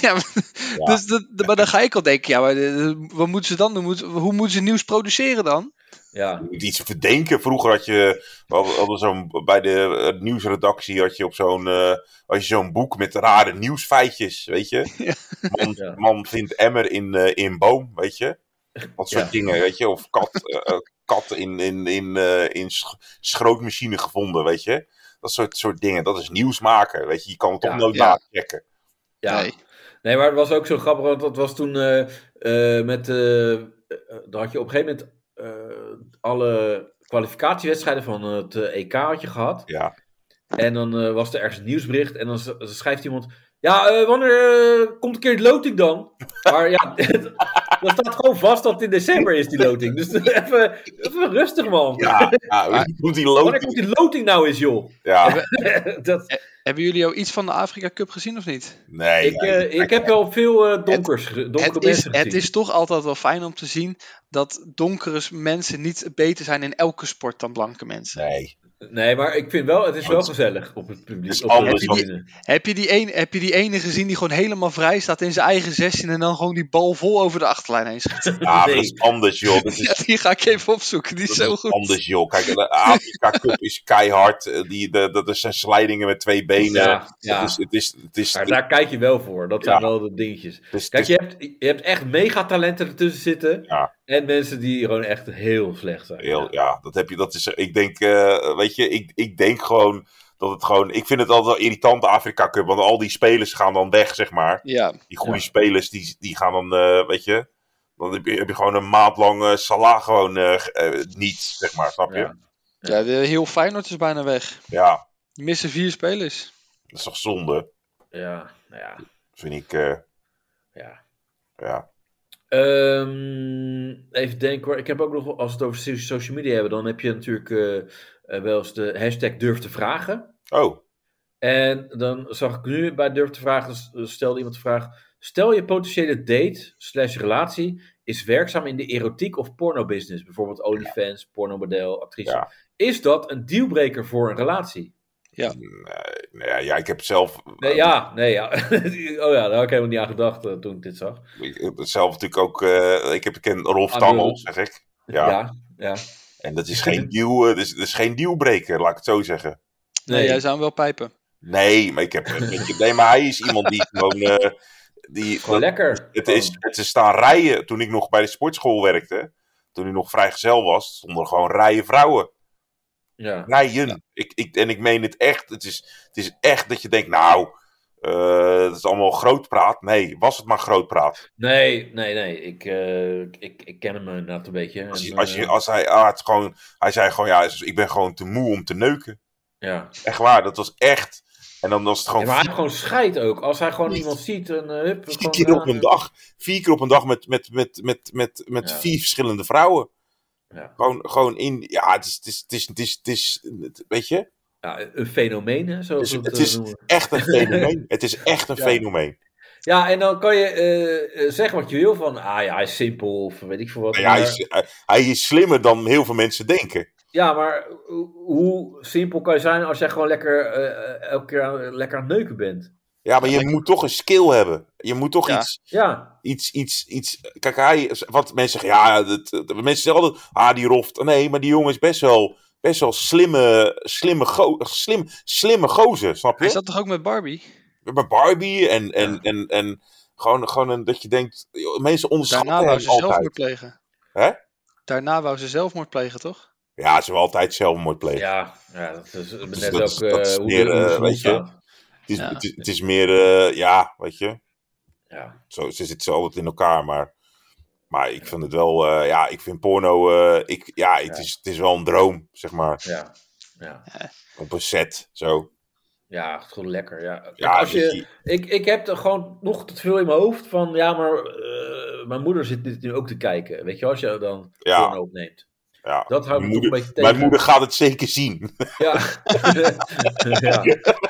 Speaker 4: ja, maar,
Speaker 3: Ja.
Speaker 4: Dus dat, maar dan ga ik al denken: ja, maar eh, wat moeten ze dan doen? Moet- Hoe moeten ze nieuws produceren dan?
Speaker 2: Ja,
Speaker 3: je moet iets verdenken. Vroeger had je, hadden zo'n, bij de eh, nieuwsredactie had je op zo'n, eh, had je zo'n boek met rare nieuwsfeitjes, weet je?
Speaker 4: Ja.
Speaker 3: Man,
Speaker 2: Ja.
Speaker 3: man vindt emmer in, eh, in boom, weet je? Dat soort
Speaker 2: Ja.
Speaker 3: dingen, weet je? Of kat, eh, eh, kat in, in, in, eh, in sch- schrootmachine gevonden, weet je? Dat soort, soort dingen, dat is nieuws maken, weet je? Je kan het toch
Speaker 2: Ja,
Speaker 3: nooit
Speaker 4: ja.
Speaker 3: nachecken.
Speaker 2: ja.
Speaker 4: Nee.
Speaker 2: Nee, maar het was ook zo grappig, want dat was toen eh, eh, met, eh, eh, dan had je op een gegeven moment eh, alle kwalificatiewedstrijden van het eh, EK had je gehad.
Speaker 3: Ja,
Speaker 2: En dan eh, was er ergens een nieuwsbericht. En dan z- schrijft iemand. Ja, eh, wanneer eh, komt een keer de loting dan? Maar ja, dan staat gewoon vast dat het in december is, die loting. Dus even, even rustig, man.
Speaker 3: ja, ja. Hoe die
Speaker 2: wanneer komt
Speaker 3: loting,
Speaker 2: die loting nou eens, joh?
Speaker 3: ja.
Speaker 2: dat,
Speaker 4: Hebben jullie al iets van de Afrika Cup gezien of niet?
Speaker 3: Nee,
Speaker 2: ik, eh,
Speaker 3: nee,
Speaker 2: ik heb wel veel eh, donkers, ge- donkere
Speaker 4: Het is,
Speaker 2: mensen
Speaker 4: het
Speaker 2: gezien.
Speaker 4: is toch altijd wel fijn om te zien dat donkere mensen niet beter zijn in elke sport dan blanke mensen.
Speaker 3: nee.
Speaker 2: Nee, maar ik vind wel, het is
Speaker 3: Ja,
Speaker 2: wel
Speaker 3: het-
Speaker 2: gezellig op het publiek.
Speaker 3: het is
Speaker 2: op de
Speaker 3: anders, want-
Speaker 2: tribune.
Speaker 4: Heb, je die een, heb je die ene gezien die gewoon helemaal vrij staat in zijn eigen 16 en dan gewoon die bal vol over de achterlijn heen schiet?
Speaker 3: Ja, maar dat
Speaker 2: Nee.
Speaker 3: is anders, joh. Dat is
Speaker 4: Ja, die ga ik even opzoeken, die is
Speaker 3: Dat
Speaker 4: zo
Speaker 3: is
Speaker 4: goed.
Speaker 3: anders, joh. Kijk, de Afrika Cup is keihard. Eh, Die, de, dat zijn slijdingen met twee benen.
Speaker 2: Ja, ja.
Speaker 3: Het is, het is, het is,
Speaker 2: Maar daar kijk je wel voor. Dat zijn
Speaker 3: Ja.
Speaker 2: wel de dingetjes.
Speaker 3: het is-
Speaker 2: Kijk,
Speaker 3: het is-
Speaker 2: je hebt, je hebt echt megatalenten ertussen zitten.
Speaker 3: Ja.
Speaker 2: En mensen die gewoon echt heel slecht zijn.
Speaker 3: heel- ja, dat heb je. Dat is, ik denk, eh, weet je, ik, ik denk gewoon dat het gewoon. Ik vind het altijd wel irritant, de Afrika Cup. Want al die spelers gaan dan weg, zeg maar.
Speaker 4: Ja,
Speaker 3: Die goede
Speaker 2: Ja.
Speaker 3: spelers, die, die gaan dan, eh, weet je. Dan heb je, heb je gewoon een maand lang eh Salah gewoon eh, ge- eh, niet, zeg maar. Snap je?
Speaker 2: Ja.
Speaker 3: Ja.
Speaker 4: ja de, heel Feyenoord is bijna weg. Die missen vier spelers.
Speaker 3: dat is toch zonde,
Speaker 2: Ja, nou ja,
Speaker 3: vind ik. eh,
Speaker 2: ja.
Speaker 3: ja.
Speaker 2: Ehm, even denken hoor. Ik heb ook nog, wel- als we het over so- social media hebben, dan heb je natuurlijk eh, eh, wel eens de hashtag durf te vragen.
Speaker 3: Oh,
Speaker 2: En dan zag ik nu bij durf te vragen, s- stelde iemand de vraag, stel je potentiële date slash relatie is werkzaam in de erotiek of porno-business, bijvoorbeeld OnlyFans, pornomodel, actrice.
Speaker 3: Ja.
Speaker 2: Is dat een dealbreaker voor een relatie?
Speaker 3: nee, nee, ja, ik heb zelf,
Speaker 2: Nee, ja, nee, ja. oh ja, daar had ik helemaal niet aan gedacht eh, toen ik dit zag.
Speaker 3: ik heb zelf natuurlijk ook, eh, ik heb ik ken Rolf
Speaker 2: Ah,
Speaker 3: Tammel,
Speaker 2: Rolf.
Speaker 3: zeg ik. Ja.
Speaker 2: ja, ja.
Speaker 3: En dat is geen deal, eh, dat is, dat is geen dealbreaker, laat ik het zo zeggen.
Speaker 4: Nee,
Speaker 2: Nee.
Speaker 4: jij zou hem wel pijpen.
Speaker 3: Nee, maar ik heb. ik heb- nee, maar hij is iemand die gewoon. eh, die,
Speaker 2: Gewoon
Speaker 3: dat-
Speaker 2: lekker. Oh,
Speaker 3: het, is, het is staan rijen. Toen ik nog bij de sportschool werkte. Toen ik nog vrijgezel was. Stonden er gewoon rijen vrouwen.
Speaker 2: Ja.
Speaker 3: Rijen. Ik, ik, en ik meen het echt. Het is, het is echt dat je denkt. Nou, eh dat is allemaal grootpraat. Nee, was het maar grootpraat.
Speaker 2: Nee, nee, nee. Ik, eh, ik, ik ken hem inderdaad een beetje.
Speaker 3: Als, je,
Speaker 2: En,
Speaker 3: als, je,
Speaker 2: eh,
Speaker 3: als hij. Ah, het is gewoon, hij zei gewoon. Ja, ik ben gewoon te moe om te neuken.
Speaker 2: ja.
Speaker 3: Echt waar. Dat was echt. En dan was het
Speaker 2: Ja,
Speaker 3: gewoon.
Speaker 2: maar hij heeft gewoon scheid ook. Als hij gewoon iemand ziet en eh, hup,
Speaker 3: Vier
Speaker 2: gewoon
Speaker 3: keer
Speaker 2: eraan,
Speaker 3: op een
Speaker 2: eh,
Speaker 3: dag. Vier keer op een dag met, met, met, met, met, met
Speaker 2: Ja.
Speaker 3: vier verschillende vrouwen.
Speaker 2: Ja.
Speaker 3: Gewoon, gewoon in. Ja, het is. Het is, het is, het is, het is het- weet je?
Speaker 2: Ja, een fenomeen, hè,
Speaker 3: Het
Speaker 2: zoals
Speaker 3: is,
Speaker 2: we het
Speaker 3: Dus het
Speaker 2: eh,
Speaker 3: is
Speaker 2: noemen.
Speaker 3: echt een fenomeen. Het is echt een
Speaker 2: Ja.
Speaker 3: fenomeen.
Speaker 2: Ja, en dan kan je eh, eh, zeggen wat je wil van, ah ja, hij is simpel of weet ik veel wat.
Speaker 3: Ja, hij,
Speaker 2: maar-
Speaker 3: is, hij- hij is slimmer dan heel veel mensen denken.
Speaker 2: Ja, maar hoe- hoe simpel kan je zijn als jij gewoon lekker eh, elke keer aan- lekker aan het neuken bent?
Speaker 3: Ja, maar je moet toch een skill hebben. Je moet toch
Speaker 4: Ja.
Speaker 3: iets,
Speaker 2: Ja,
Speaker 3: iets, iets, iets. Kijk, hij, wat mensen zeggen, ja, dat, dat- mensen zeggen altijd, ah, die roft. Nee, maar die jongen is best wel, best wel slimme, slimme, go, slim, slimme gozer, snap je?
Speaker 4: Hij zat toch ook met Barbie?
Speaker 3: bij Barbie en, en, en, en gewoon, gewoon een, dat je denkt, joh, mensen onderschatten
Speaker 4: Daarna wou
Speaker 3: hem
Speaker 4: ze
Speaker 3: altijd.
Speaker 4: zelfmoord plegen.
Speaker 3: Hè?
Speaker 4: Daarna wou ze zelfmoord plegen, toch?
Speaker 3: Ja, ze wil altijd zelfmoord plegen.
Speaker 2: ja, ja dat is net
Speaker 3: dat
Speaker 2: ook
Speaker 3: is- dat is
Speaker 2: eh, hoe de-
Speaker 3: meer,
Speaker 2: hoe de
Speaker 3: eh,
Speaker 2: zon
Speaker 3: weet je.
Speaker 2: staat.
Speaker 3: het, is,
Speaker 4: Ja.
Speaker 3: het, is, het is meer, eh, ja, weet je,
Speaker 2: Ja.
Speaker 3: zo, ze zitten altijd in elkaar, maar, maar ik vind het wel, eh, ja, ik vind porno, eh, ik, ja, het,
Speaker 2: Ja.
Speaker 3: Is, het is wel een droom, zeg maar,
Speaker 2: Ja, ja.
Speaker 3: op een set, zo.
Speaker 2: ja het is gewoon lekker. Ja. Kijk,
Speaker 3: Ja,
Speaker 2: als
Speaker 3: dat
Speaker 2: je, ik, ik heb er gewoon nog te veel in mijn hoofd van, ja, maar eh, mijn moeder zit dit nu ook te kijken. Weet je, als je dan
Speaker 3: Ja.
Speaker 2: porno opneemt.
Speaker 3: ja.
Speaker 2: Dat houdt me toch een
Speaker 3: Mijn moeder-
Speaker 2: beetje tegen.
Speaker 3: Mijn moeder gaat het zeker zien.
Speaker 2: Ja. ja.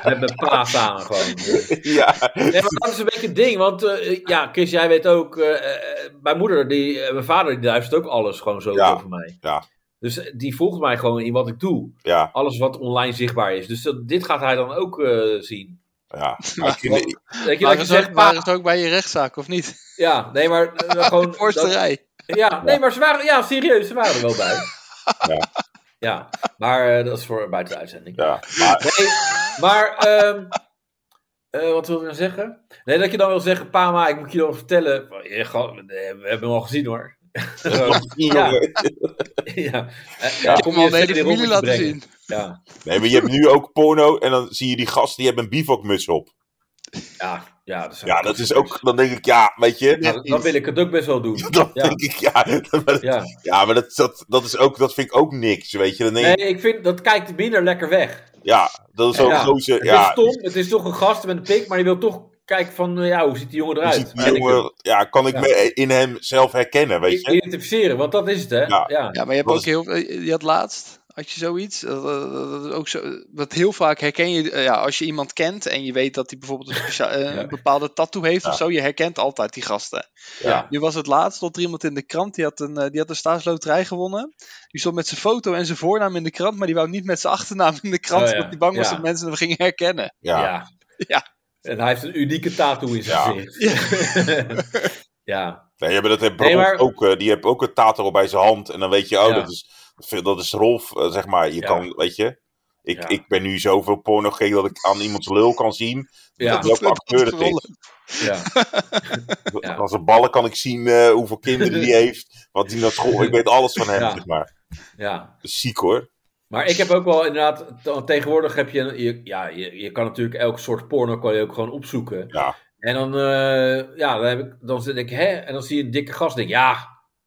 Speaker 2: Met mijn paas aan gewoon.
Speaker 3: ja.
Speaker 2: Nee, maar dat is een beetje het ding. Want eh, ja, Chris, jij weet ook. eh, eh, mijn moeder, die, eh, mijn vader, die luistert ook alles gewoon zo
Speaker 3: Ja,
Speaker 2: over mij.
Speaker 3: ja.
Speaker 2: Dus eh, die volgt mij gewoon in wat ik doe.
Speaker 3: ja,
Speaker 2: Alles wat online zichtbaar is. Dus dat- dit gaat hij dan ook eh, zien.
Speaker 3: ja. Maar ik vind-
Speaker 2: Want- Weet je, dat
Speaker 4: Waren
Speaker 2: je
Speaker 4: ze, ook,
Speaker 2: zegt, pa,
Speaker 4: waren ze ook bij je rechtszaak, of niet?
Speaker 2: ja, nee, maar eh, gewoon.
Speaker 4: Voorste
Speaker 2: dat-
Speaker 4: rij.
Speaker 2: ja, nee, maar ze waren, ja, serieus, ze waren er wel bij.
Speaker 3: Ja.
Speaker 2: Ja, maar eh, dat is voor buiten de uitzending.
Speaker 3: ja, maar,
Speaker 2: Nee, maar ehm, eh, wat wil ik nou zeggen? Nee, dat je dan wil zeggen, pa, maar ik moet je dan vertellen. van, je gaat- nee, we hebben hem al gezien hoor. Ja. ja. Eh,
Speaker 3: Ja.
Speaker 2: eh,
Speaker 4: Ik heb
Speaker 2: kom
Speaker 4: hem al de
Speaker 2: je
Speaker 4: hele
Speaker 2: die rond
Speaker 4: familie
Speaker 2: te
Speaker 4: laten
Speaker 2: brengen.
Speaker 4: zien.
Speaker 2: Ja,
Speaker 3: Nee, maar je hebt nu ook porno en dan zie je die gast die hebben een bivakmuts op.
Speaker 2: ja, ja, dat, zijn
Speaker 3: Ja, dat is ook, dan denk ik, ja, weet je,
Speaker 2: Nou, dan wil ik het ook best wel doen.
Speaker 3: dan
Speaker 2: Ja.
Speaker 3: denk ik, ja, maar, dat-
Speaker 2: Ja.
Speaker 3: ja, maar dat, dat, dat, is ook, dat vind ik ook niks, weet je. Dan denk
Speaker 2: Nee,
Speaker 3: ik,
Speaker 2: ik vind dat kijkt minder lekker weg.
Speaker 3: ja, dat is zo'n
Speaker 2: Ja.
Speaker 3: gozer,
Speaker 2: Het is
Speaker 3: ja,
Speaker 2: stom, het is toch een gast met een pik, maar je wil toch kijken van, eh, ja, hoe ziet die jongen
Speaker 3: je
Speaker 2: eruit?
Speaker 3: ziet die
Speaker 2: En ik-
Speaker 3: jongen, ja, kan ik
Speaker 2: Ja.
Speaker 3: me in hem zelf herkennen, weet je.
Speaker 2: Identificeren, want dat is het, hè?
Speaker 3: Ja.
Speaker 2: ja.
Speaker 4: Ja, maar je hebt
Speaker 3: Dat
Speaker 4: ook heel eh, Je had laatst, had je zoiets, dat, dat, dat- dat is ook zo, dat heel vaak herken je, eh, ja, als je iemand kent en je weet dat hij bijvoorbeeld een, specia- eh,
Speaker 2: Ja.
Speaker 4: een bepaalde tattoo heeft
Speaker 3: Ja.
Speaker 4: of zo, je herkent altijd die gasten.
Speaker 2: Ja.
Speaker 4: Nu was het laatst, stond er iemand in de krant, die had een, eh, die had een staatsloterij gewonnen. Die stond met zijn foto en zijn voornaam in de krant, maar die wou niet met zijn achternaam in de krant,
Speaker 2: Oh ja,
Speaker 4: omdat hij bang was
Speaker 2: ja.
Speaker 4: dat mensen hem gingen herkennen.
Speaker 3: Ja, ja.
Speaker 2: Ja.
Speaker 4: Ja.
Speaker 2: En hij heeft een unieke tattoo in zijn
Speaker 3: Ja.
Speaker 2: gezicht. Ja. ja.
Speaker 3: Nee, maar dat heeft
Speaker 2: Nee,
Speaker 3: Rolf
Speaker 2: maar-
Speaker 3: ook, eh, die heeft ook een tato bij zijn hand. En dan weet je, oh,
Speaker 2: Ja.
Speaker 3: dat, is, dat is Rolf, eh, zeg maar. Je
Speaker 2: Ja.
Speaker 3: kan, weet je. Ik,
Speaker 2: Ja.
Speaker 3: ik ben nu zoveel porno gek dat ik aan iemands lul kan zien.
Speaker 2: Ja.
Speaker 3: Welke acteur het is.
Speaker 2: Ja.
Speaker 3: Aan zijn ballen kan ik zien eh, hoeveel kinderen die heeft. Wat hij naar school. Ik weet alles van hem,
Speaker 2: Ja.
Speaker 3: zeg maar.
Speaker 2: ja.
Speaker 3: Dat is Ziek hoor.
Speaker 2: Maar ik heb ook wel inderdaad, te- tegenwoordig heb je, je ja, je, je kan natuurlijk elk soort porno kan je ook gewoon opzoeken.
Speaker 3: Ja.
Speaker 2: En dan, eh, ja, dan, heb ik, dan zit ik, hè, en dan zie je een dikke gast, denk ik, ja,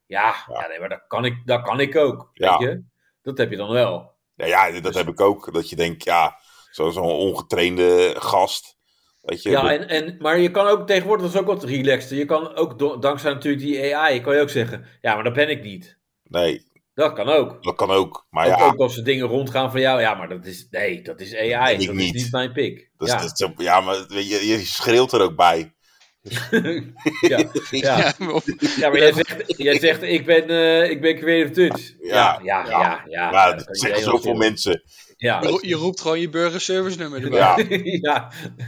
Speaker 2: ja, ja.
Speaker 3: Ja.
Speaker 2: nee, maar dat kan ik, dat kan ik ook,
Speaker 3: Ja.
Speaker 2: weet je. Dat heb je dan wel. Dus-
Speaker 3: Ja, ja, dat heb ik ook. Dat je denkt, ja, zo- zo'n ongetrainde gast. Weet je,
Speaker 2: Ja,
Speaker 3: dat-
Speaker 2: en, en, maar je kan ook tegenwoordig, dat is ook wat relaxter. Je kan ook, do- dankzij natuurlijk die AI, kan je ook zeggen, ja, maar dat ben ik niet.
Speaker 3: Nee,
Speaker 2: Dat kan ook.
Speaker 3: dat kan ook. Maar
Speaker 2: Ook,
Speaker 3: Ah, ja,
Speaker 2: ook als er dingen rondgaan van jou, ja, maar dat is, nee, dat is AI,
Speaker 3: Dat ben ik
Speaker 2: dat
Speaker 3: niet.
Speaker 2: is niet mijn pik.
Speaker 3: dat is-
Speaker 2: ja.
Speaker 3: dat is- ja, maar weet je, je schreeuwt er ook bij.
Speaker 2: ja. Ja.
Speaker 4: Ja, maar of-
Speaker 2: ja, maar jij zegt, jij zegt ik ben, eh ik ben creative touch.
Speaker 3: Ja,
Speaker 2: Ja, ja, ja.
Speaker 3: ja.
Speaker 2: ja, ja,
Speaker 3: Ja,
Speaker 2: kan
Speaker 3: dat
Speaker 2: iedereen
Speaker 3: zeggen
Speaker 2: wel
Speaker 3: zoveel
Speaker 2: schelen.
Speaker 3: mensen.
Speaker 2: Ja.
Speaker 4: je ro- je roept gewoon je burgerservice nummer
Speaker 3: Ja,
Speaker 4: erbij.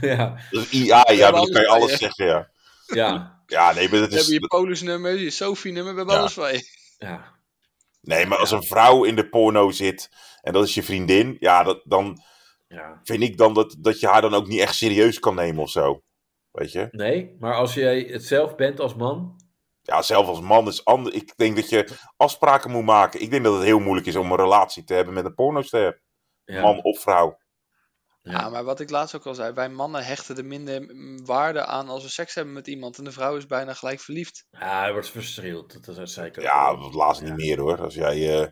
Speaker 2: ja, ja,
Speaker 3: dat is AI, ja,
Speaker 4: hebben
Speaker 3: dan kan je
Speaker 4: alles
Speaker 3: alles
Speaker 4: bij
Speaker 3: zeggen, ja.
Speaker 2: ja,
Speaker 3: Ja, nee, maar dus dat
Speaker 4: We hebben
Speaker 3: is...
Speaker 4: je Polis nummer, je Sophie nummer, we hebben
Speaker 3: Ja.
Speaker 4: alles van je.
Speaker 2: ja.
Speaker 3: Nee, maar als een vrouw in de porno zit en dat is je vriendin, ja, dat, dan
Speaker 2: ja.
Speaker 3: vind ik dan dat, dat je haar dan ook niet echt serieus kan nemen of zo. Weet je?
Speaker 2: Nee, maar als jij het zelf bent als man.
Speaker 3: Ja, zelf als man is anders. Ik denk dat je afspraken moet maken. Ik denk dat het heel moeilijk is om een relatie te hebben met een pornoster.
Speaker 2: Ja,
Speaker 3: Man of vrouw.
Speaker 4: Ja,
Speaker 2: Ja.
Speaker 4: maar wat ik laatst ook al zei, wij mannen hechten er minder mm, waarde aan als we seks hebben met iemand. En de vrouw is bijna gelijk verliefd.
Speaker 2: ja hij wordt verschreeuwd. Dat, dat zei ik ook
Speaker 3: Ja,
Speaker 2: al.
Speaker 3: dat laatst niet meer hoor. Als jij eh,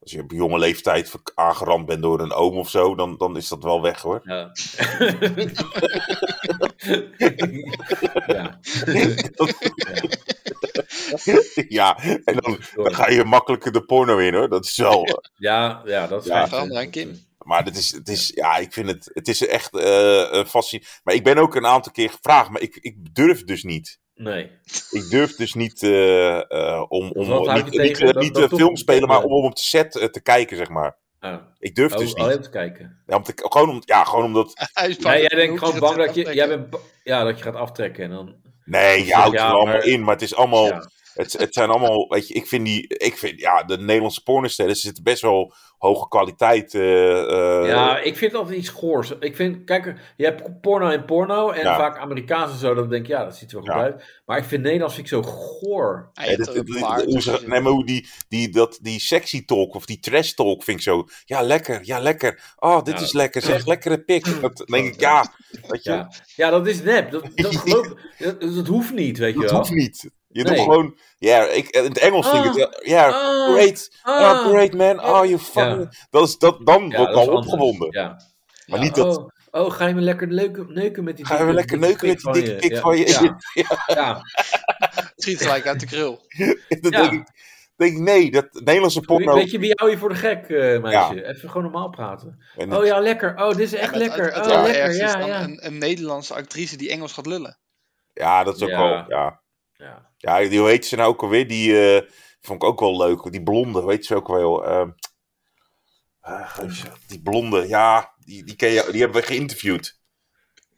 Speaker 3: als je op jonge leeftijd ver- aangerand bent door een oom of zo, dan, dan is dat wel weg hoor.
Speaker 2: Ja. ja.
Speaker 3: ja, en dan, dan ga je makkelijker de porno in hoor. Dat is wel. eh,
Speaker 2: ja, ja, dat is
Speaker 3: Ja.
Speaker 2: waar.
Speaker 4: Veranderen aan Kim.
Speaker 3: Maar het is, het is, ja, ik vind het, het is echt eh eh, fascinerend. Maar ik ben ook een aantal keer gevraagd, maar ik, ik durf dus niet.
Speaker 2: Nee.
Speaker 3: Ik durf dus niet eh, eh, om, om
Speaker 2: Dus Wat houdt
Speaker 3: niet,
Speaker 2: je
Speaker 3: niet,
Speaker 2: tegen?
Speaker 3: eh,
Speaker 2: Dat-
Speaker 3: niet
Speaker 2: dat
Speaker 3: eh,
Speaker 2: toch-
Speaker 3: film spelen, maar om, om op de set eh, te kijken, zeg maar.
Speaker 2: Ah.
Speaker 3: Ik durf
Speaker 2: Oh,
Speaker 3: dus niet.
Speaker 2: alleen te kijken.
Speaker 3: Ja, om te, gewoon, om, ja, gewoon omdat...
Speaker 4: Hij is bang
Speaker 2: Nee,
Speaker 4: dat
Speaker 2: jij
Speaker 4: hij
Speaker 2: denkt
Speaker 4: een
Speaker 2: gewoon
Speaker 4: hoekje
Speaker 2: bang
Speaker 4: gaat
Speaker 2: dat je, jij
Speaker 4: aftrekken.
Speaker 2: bent, ba- ja, dat je gaat aftrekken. En dan,
Speaker 3: Nee, je
Speaker 2: Ja,
Speaker 3: houdt er allemaal
Speaker 2: maar-
Speaker 3: in, maar het is allemaal...
Speaker 2: ja.
Speaker 3: Het, het zijn allemaal, weet je, ik vind die... Ik vind, ja, de Nederlandse pornosterren, ze zitten best wel hoge kwaliteit... eh, eh,
Speaker 2: ja, ik vind altijd iets goors. Ik vind, kijk, je hebt porno en porno. En
Speaker 3: Ja.
Speaker 2: vaak Amerikaans en zo. Dan denk ik, ja, dat ziet er wel goed
Speaker 3: Ja.
Speaker 2: uit. Maar ik vind Nederlands vind ik zo goor.
Speaker 4: Hij
Speaker 3: Nee,
Speaker 4: heeft
Speaker 3: dat,
Speaker 4: er een dus
Speaker 3: dat-
Speaker 4: paar
Speaker 3: dat- hoe ze-
Speaker 4: tussen
Speaker 3: nee,
Speaker 4: zitten.
Speaker 3: maar hoe die, die, dat, die sexy talk of die trash talk vind ik zo. Ja, lekker, ja, lekker. Oh, dit
Speaker 2: Ja,
Speaker 3: is
Speaker 2: dat-
Speaker 3: lekkere lekker. Zeg, lekkere pik. Dat dan denk ik,
Speaker 2: Ja.
Speaker 3: ja. Weet je,
Speaker 2: Ja, ja dat is nep. Dat, dat, geloof, dat, dat hoeft niet, weet je
Speaker 3: dat
Speaker 2: wel.
Speaker 3: hoeft niet. Je doet
Speaker 2: Nee.
Speaker 3: gewoon, ja, ik, in het Engels vind ik het, ja, ja,
Speaker 2: Ah,
Speaker 3: great,
Speaker 2: ah.
Speaker 3: ah, great man, oh, you fucking... Dat is, dat, dan
Speaker 2: Ja,
Speaker 3: wordt
Speaker 2: dat is
Speaker 3: al
Speaker 2: anders.
Speaker 3: opgewonden.
Speaker 2: Ja.
Speaker 3: Maar
Speaker 4: Ja.
Speaker 3: niet dat,
Speaker 2: Oh, oh, ga je me lekker leuken, neuken met die
Speaker 3: gaan we
Speaker 2: dikke-
Speaker 3: lekker
Speaker 2: dikke
Speaker 3: neuken met die
Speaker 2: pik
Speaker 3: dikke pik
Speaker 2: Ja.
Speaker 3: van je.
Speaker 2: Ja, ja.
Speaker 4: Het Schiet gelijk uit de krul.
Speaker 3: dan
Speaker 2: Ja.
Speaker 3: denk, ik, denk ik, nee, dat Nederlandse porno...
Speaker 2: Oh. Weet je, wie hou je voor de gek, eh, meisje? Even gewoon normaal praten.
Speaker 3: en het-
Speaker 2: Oh ja, lekker. Oh, dit is echt
Speaker 4: Maar het-
Speaker 2: lekker.
Speaker 4: Het, het
Speaker 2: oh, lekker.
Speaker 4: ergste is
Speaker 2: Ja,
Speaker 4: dan
Speaker 2: ja.
Speaker 4: Een, een Nederlandse actrice die Engels gaat lullen.
Speaker 3: ja, dat is ook
Speaker 2: Ja.
Speaker 3: wel, ja.
Speaker 2: ja.
Speaker 3: Ja, die, hoe heet ze nou ook alweer? Die eh, vond ik ook wel leuk. Die blonde, weet ze ook wel. ehm, ah, gozer, die blonde, ja, die, die, ken je, die hebben we geïnterviewd.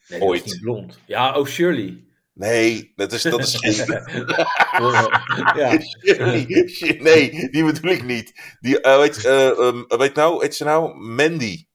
Speaker 2: Nee,
Speaker 3: Ooit.
Speaker 2: Ooit. Niet blond. Ja, oh, Shirley.
Speaker 3: Nee, dat is, dat is geen...
Speaker 2: ja.
Speaker 3: Shirley. nee, die bedoel ik niet. Die, eh, weet, eh, ehm, weet nou, heet ze nou? Mandy.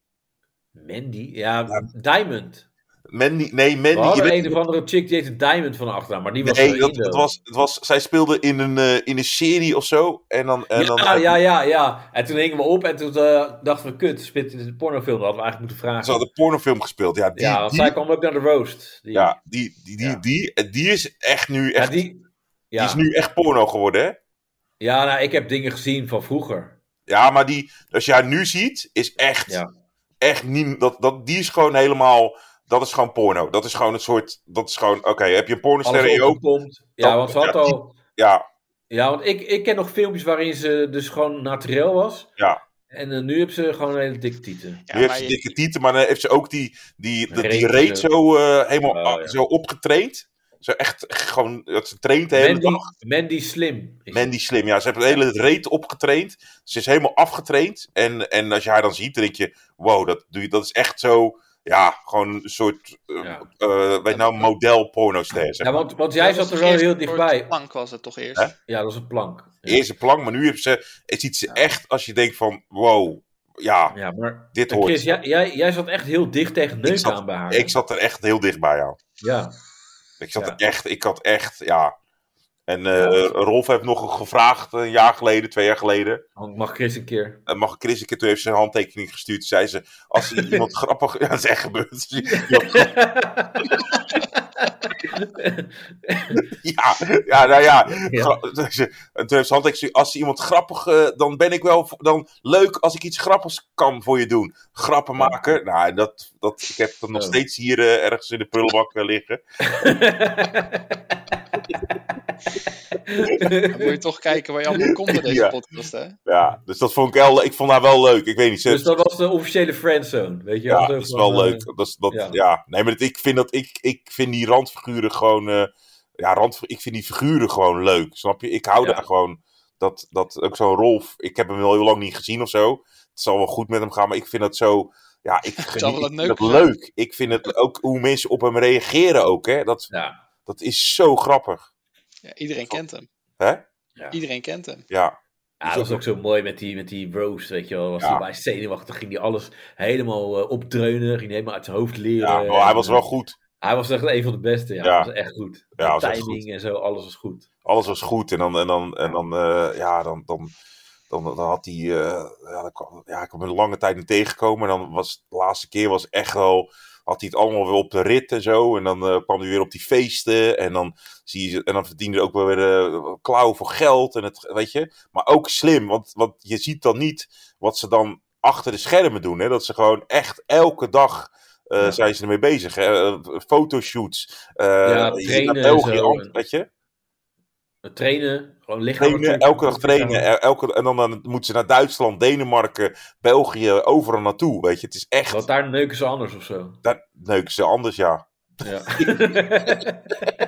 Speaker 2: Mandy? Ja, Diamond.
Speaker 3: Mandy, nee,
Speaker 2: We
Speaker 3: Mandy. je
Speaker 2: hadden
Speaker 3: weet-
Speaker 2: een of andere chick die heette Diamond van de achternaam, maar die was
Speaker 3: Nee,
Speaker 2: van
Speaker 3: dat,
Speaker 2: Indo.
Speaker 3: dat was, het was, zij speelde in een, eh, in een serie of zo. En dan, en
Speaker 2: eh, ja,
Speaker 3: dan,
Speaker 2: ja, ja, ja. En toen hingen we op en toen eh, dachten we, kut, spit in de pornofilm, dat hadden we eigenlijk moeten vragen.
Speaker 3: Ze had een pornofilm gespeeld. Ja, die,
Speaker 2: ja, want
Speaker 3: die,
Speaker 2: zij kwam ook naar de roast. Die,
Speaker 3: ja, die, die, die,
Speaker 2: Ja.
Speaker 3: die, en die is echt nu
Speaker 2: Ja,
Speaker 3: echt
Speaker 2: die, ja.
Speaker 3: Die is nu echt porno geworden, hè?
Speaker 2: ja nou, ik heb dingen gezien van vroeger.
Speaker 3: Ja, maar die, als je haar nu ziet, is echt,
Speaker 2: Ja.
Speaker 3: echt niet, dat, dat, die is gewoon helemaal, dat is gewoon porno. Dat is gewoon een soort, dat is gewoon, oké, heb je een pornoster in
Speaker 2: Alles
Speaker 3: je ook?
Speaker 2: opgepompt. Ja,
Speaker 3: Dat-
Speaker 2: want ze had
Speaker 3: ja,
Speaker 2: al...
Speaker 3: Ja,
Speaker 2: Ja, want ik, ik ken nog filmpjes waarin ze dus gewoon naturel was.
Speaker 3: Ja.
Speaker 2: En eh, nu heb ze gewoon een hele dikke tieten.
Speaker 4: Ja,
Speaker 3: nu heeft
Speaker 4: maar
Speaker 3: ze
Speaker 4: je-
Speaker 3: dikke tieten, maar dan heeft ze ook die, die, die, die
Speaker 2: Reet
Speaker 3: reet
Speaker 2: zo.
Speaker 3: zo eh, helemaal
Speaker 2: Oh,
Speaker 3: ah,
Speaker 2: ja.
Speaker 3: zo opgetraind. Zo echt, echt gewoon, dat ze traint de hele
Speaker 2: Mandy,
Speaker 3: dag.
Speaker 2: Mandy Slim. is
Speaker 3: Mandy Slim, ja, ze heeft de hele reet opgetraind. Ze is helemaal afgetraind. En, en als je haar dan ziet, dan denk je, wow, dat, doe je, dat is echt zo, ja, gewoon een soort, eh,
Speaker 2: Ja.
Speaker 3: eh, weet nou, model pornoster, zeg
Speaker 2: Ja, want, want Dus jij
Speaker 4: Dat was
Speaker 2: zat er
Speaker 4: toch
Speaker 2: wel
Speaker 4: eerst
Speaker 2: heel
Speaker 4: een soort
Speaker 2: dichtbij.
Speaker 4: Plank was het toch eerst?
Speaker 3: Hè?
Speaker 2: Ja, dat is een plank. Ja,
Speaker 3: eerste plank, maar nu heeft ze, het ziet ze echt als je denkt van, wow, ja,
Speaker 2: Ja, maar
Speaker 3: dit hoort.
Speaker 2: Chris, jij, jij, jij zat echt heel dicht tegen neuken
Speaker 3: zat-
Speaker 2: aan bij haar.
Speaker 3: Ik zat er echt heel dichtbij aan.
Speaker 2: Ja,
Speaker 3: Ik zat
Speaker 2: Ja.
Speaker 3: er echt, ik had echt, ja. En eh,
Speaker 2: Ja.
Speaker 3: Rolf heeft nog gevraagd een jaar geleden, twee jaar geleden.
Speaker 2: dan mag Chris een keer.
Speaker 3: En Eh, mag ik Chris een keer, toen heeft ze een handtekening gestuurd. Zei ze, Dus als er iemand grappig, ja dat is echt gebeurd. Iemand- Ja, ja, nou ja. Gra- En Toen heeft Zandijk, als iemand grappig, eh, dan ben ik wel v- dan leuk als ik iets grappigs kan voor je doen. Grappen maken, nou, dat, dat, ik heb dat nog
Speaker 2: Ja.
Speaker 3: steeds hier eh, ergens in de prullenbak eh, liggen.
Speaker 4: Dan moet je toch kijken waar je allemaal komt met deze
Speaker 3: Ja.
Speaker 4: podcast, hè?
Speaker 3: Ja, dus dat vond ik wel, ik vond haar wel leuk. Ik weet niet, ze-
Speaker 2: dus dat was de officiële friendzone, weet je
Speaker 3: ja,
Speaker 2: wel? Zo
Speaker 3: dat is
Speaker 2: van,
Speaker 3: wel
Speaker 2: eh,
Speaker 3: leuk. Dat is, dat, ja.
Speaker 2: ja.
Speaker 3: nee, maar dat, ik, vind dat, ik, ik vind die randfiguren gewoon, eh, ja, rand, ik vind die figuren gewoon leuk, snap je? Ik hou
Speaker 2: Ja.
Speaker 3: daar gewoon, dat, dat ook zo'n Rolf, ik heb hem wel heel lang niet gezien of zo. Het zal wel goed met hem gaan, maar ik vind dat zo, ja, ik, geniet,
Speaker 4: zal wel
Speaker 3: ik vind
Speaker 4: leuk
Speaker 3: dat
Speaker 4: zijn.
Speaker 3: leuk. Ik vind het ook hoe mensen op hem reageren ook, hè. Dat,
Speaker 2: Ja,
Speaker 3: dat is zo grappig,
Speaker 4: Ja, iedereen kent hem.
Speaker 3: hè?
Speaker 2: ja.
Speaker 4: Iedereen kent hem.
Speaker 3: Ja,
Speaker 2: Ja, dat was ook zo mooi met die, met die roast, weet je wel. Was
Speaker 3: Ja.
Speaker 2: hij bij zenuwachtig, ging hij alles helemaal eh, opdreunen, ging helemaal uit zijn hoofd leren.
Speaker 3: ja maar hij was
Speaker 2: En,
Speaker 3: wel goed.
Speaker 2: Hij was echt een van de beste, ja.
Speaker 3: Ja.
Speaker 2: Hij was echt goed.
Speaker 3: Ja,
Speaker 2: De
Speaker 3: was echt
Speaker 2: timing en zo, alles was goed.
Speaker 3: alles was goed. En dan, en dan, en dan eh, ja, dan, dan, dan, dan had hij, eh, ja, dan kwam- ja, ik heb hem een lange tijd niet tegengekomen. En dan was de laatste keer was echt wel, had hij het allemaal weer op de rit en zo. En dan eh, kwam hij weer op die feesten. En dan, zie je, en dan verdiende hij ook wel weer eh, klauw voor geld. En het, weet je, maar ook slim, want, want je ziet dan niet wat ze dan achter de schermen doen. Hè? Dat ze gewoon echt elke dag. eh,
Speaker 2: Ja.
Speaker 3: Zijn ze ermee bezig? hè? Eh, Fotoshoots. eh,
Speaker 2: Ja,
Speaker 3: je
Speaker 2: trainen
Speaker 3: ziet
Speaker 2: en
Speaker 3: België,
Speaker 2: zo.
Speaker 3: Ant- weet je?
Speaker 2: Het trainen, gewoon lichaam.
Speaker 3: trainen,
Speaker 2: natuurlijk.
Speaker 3: elke dag trainen. eh, Elke, en dan, dan moeten ze naar Duitsland, Denemarken, België, overal naartoe. Weet je, het is echt.
Speaker 2: Want daar neuken ze anders of zo.
Speaker 3: Daar neuken ze anders, ja.
Speaker 2: Ja.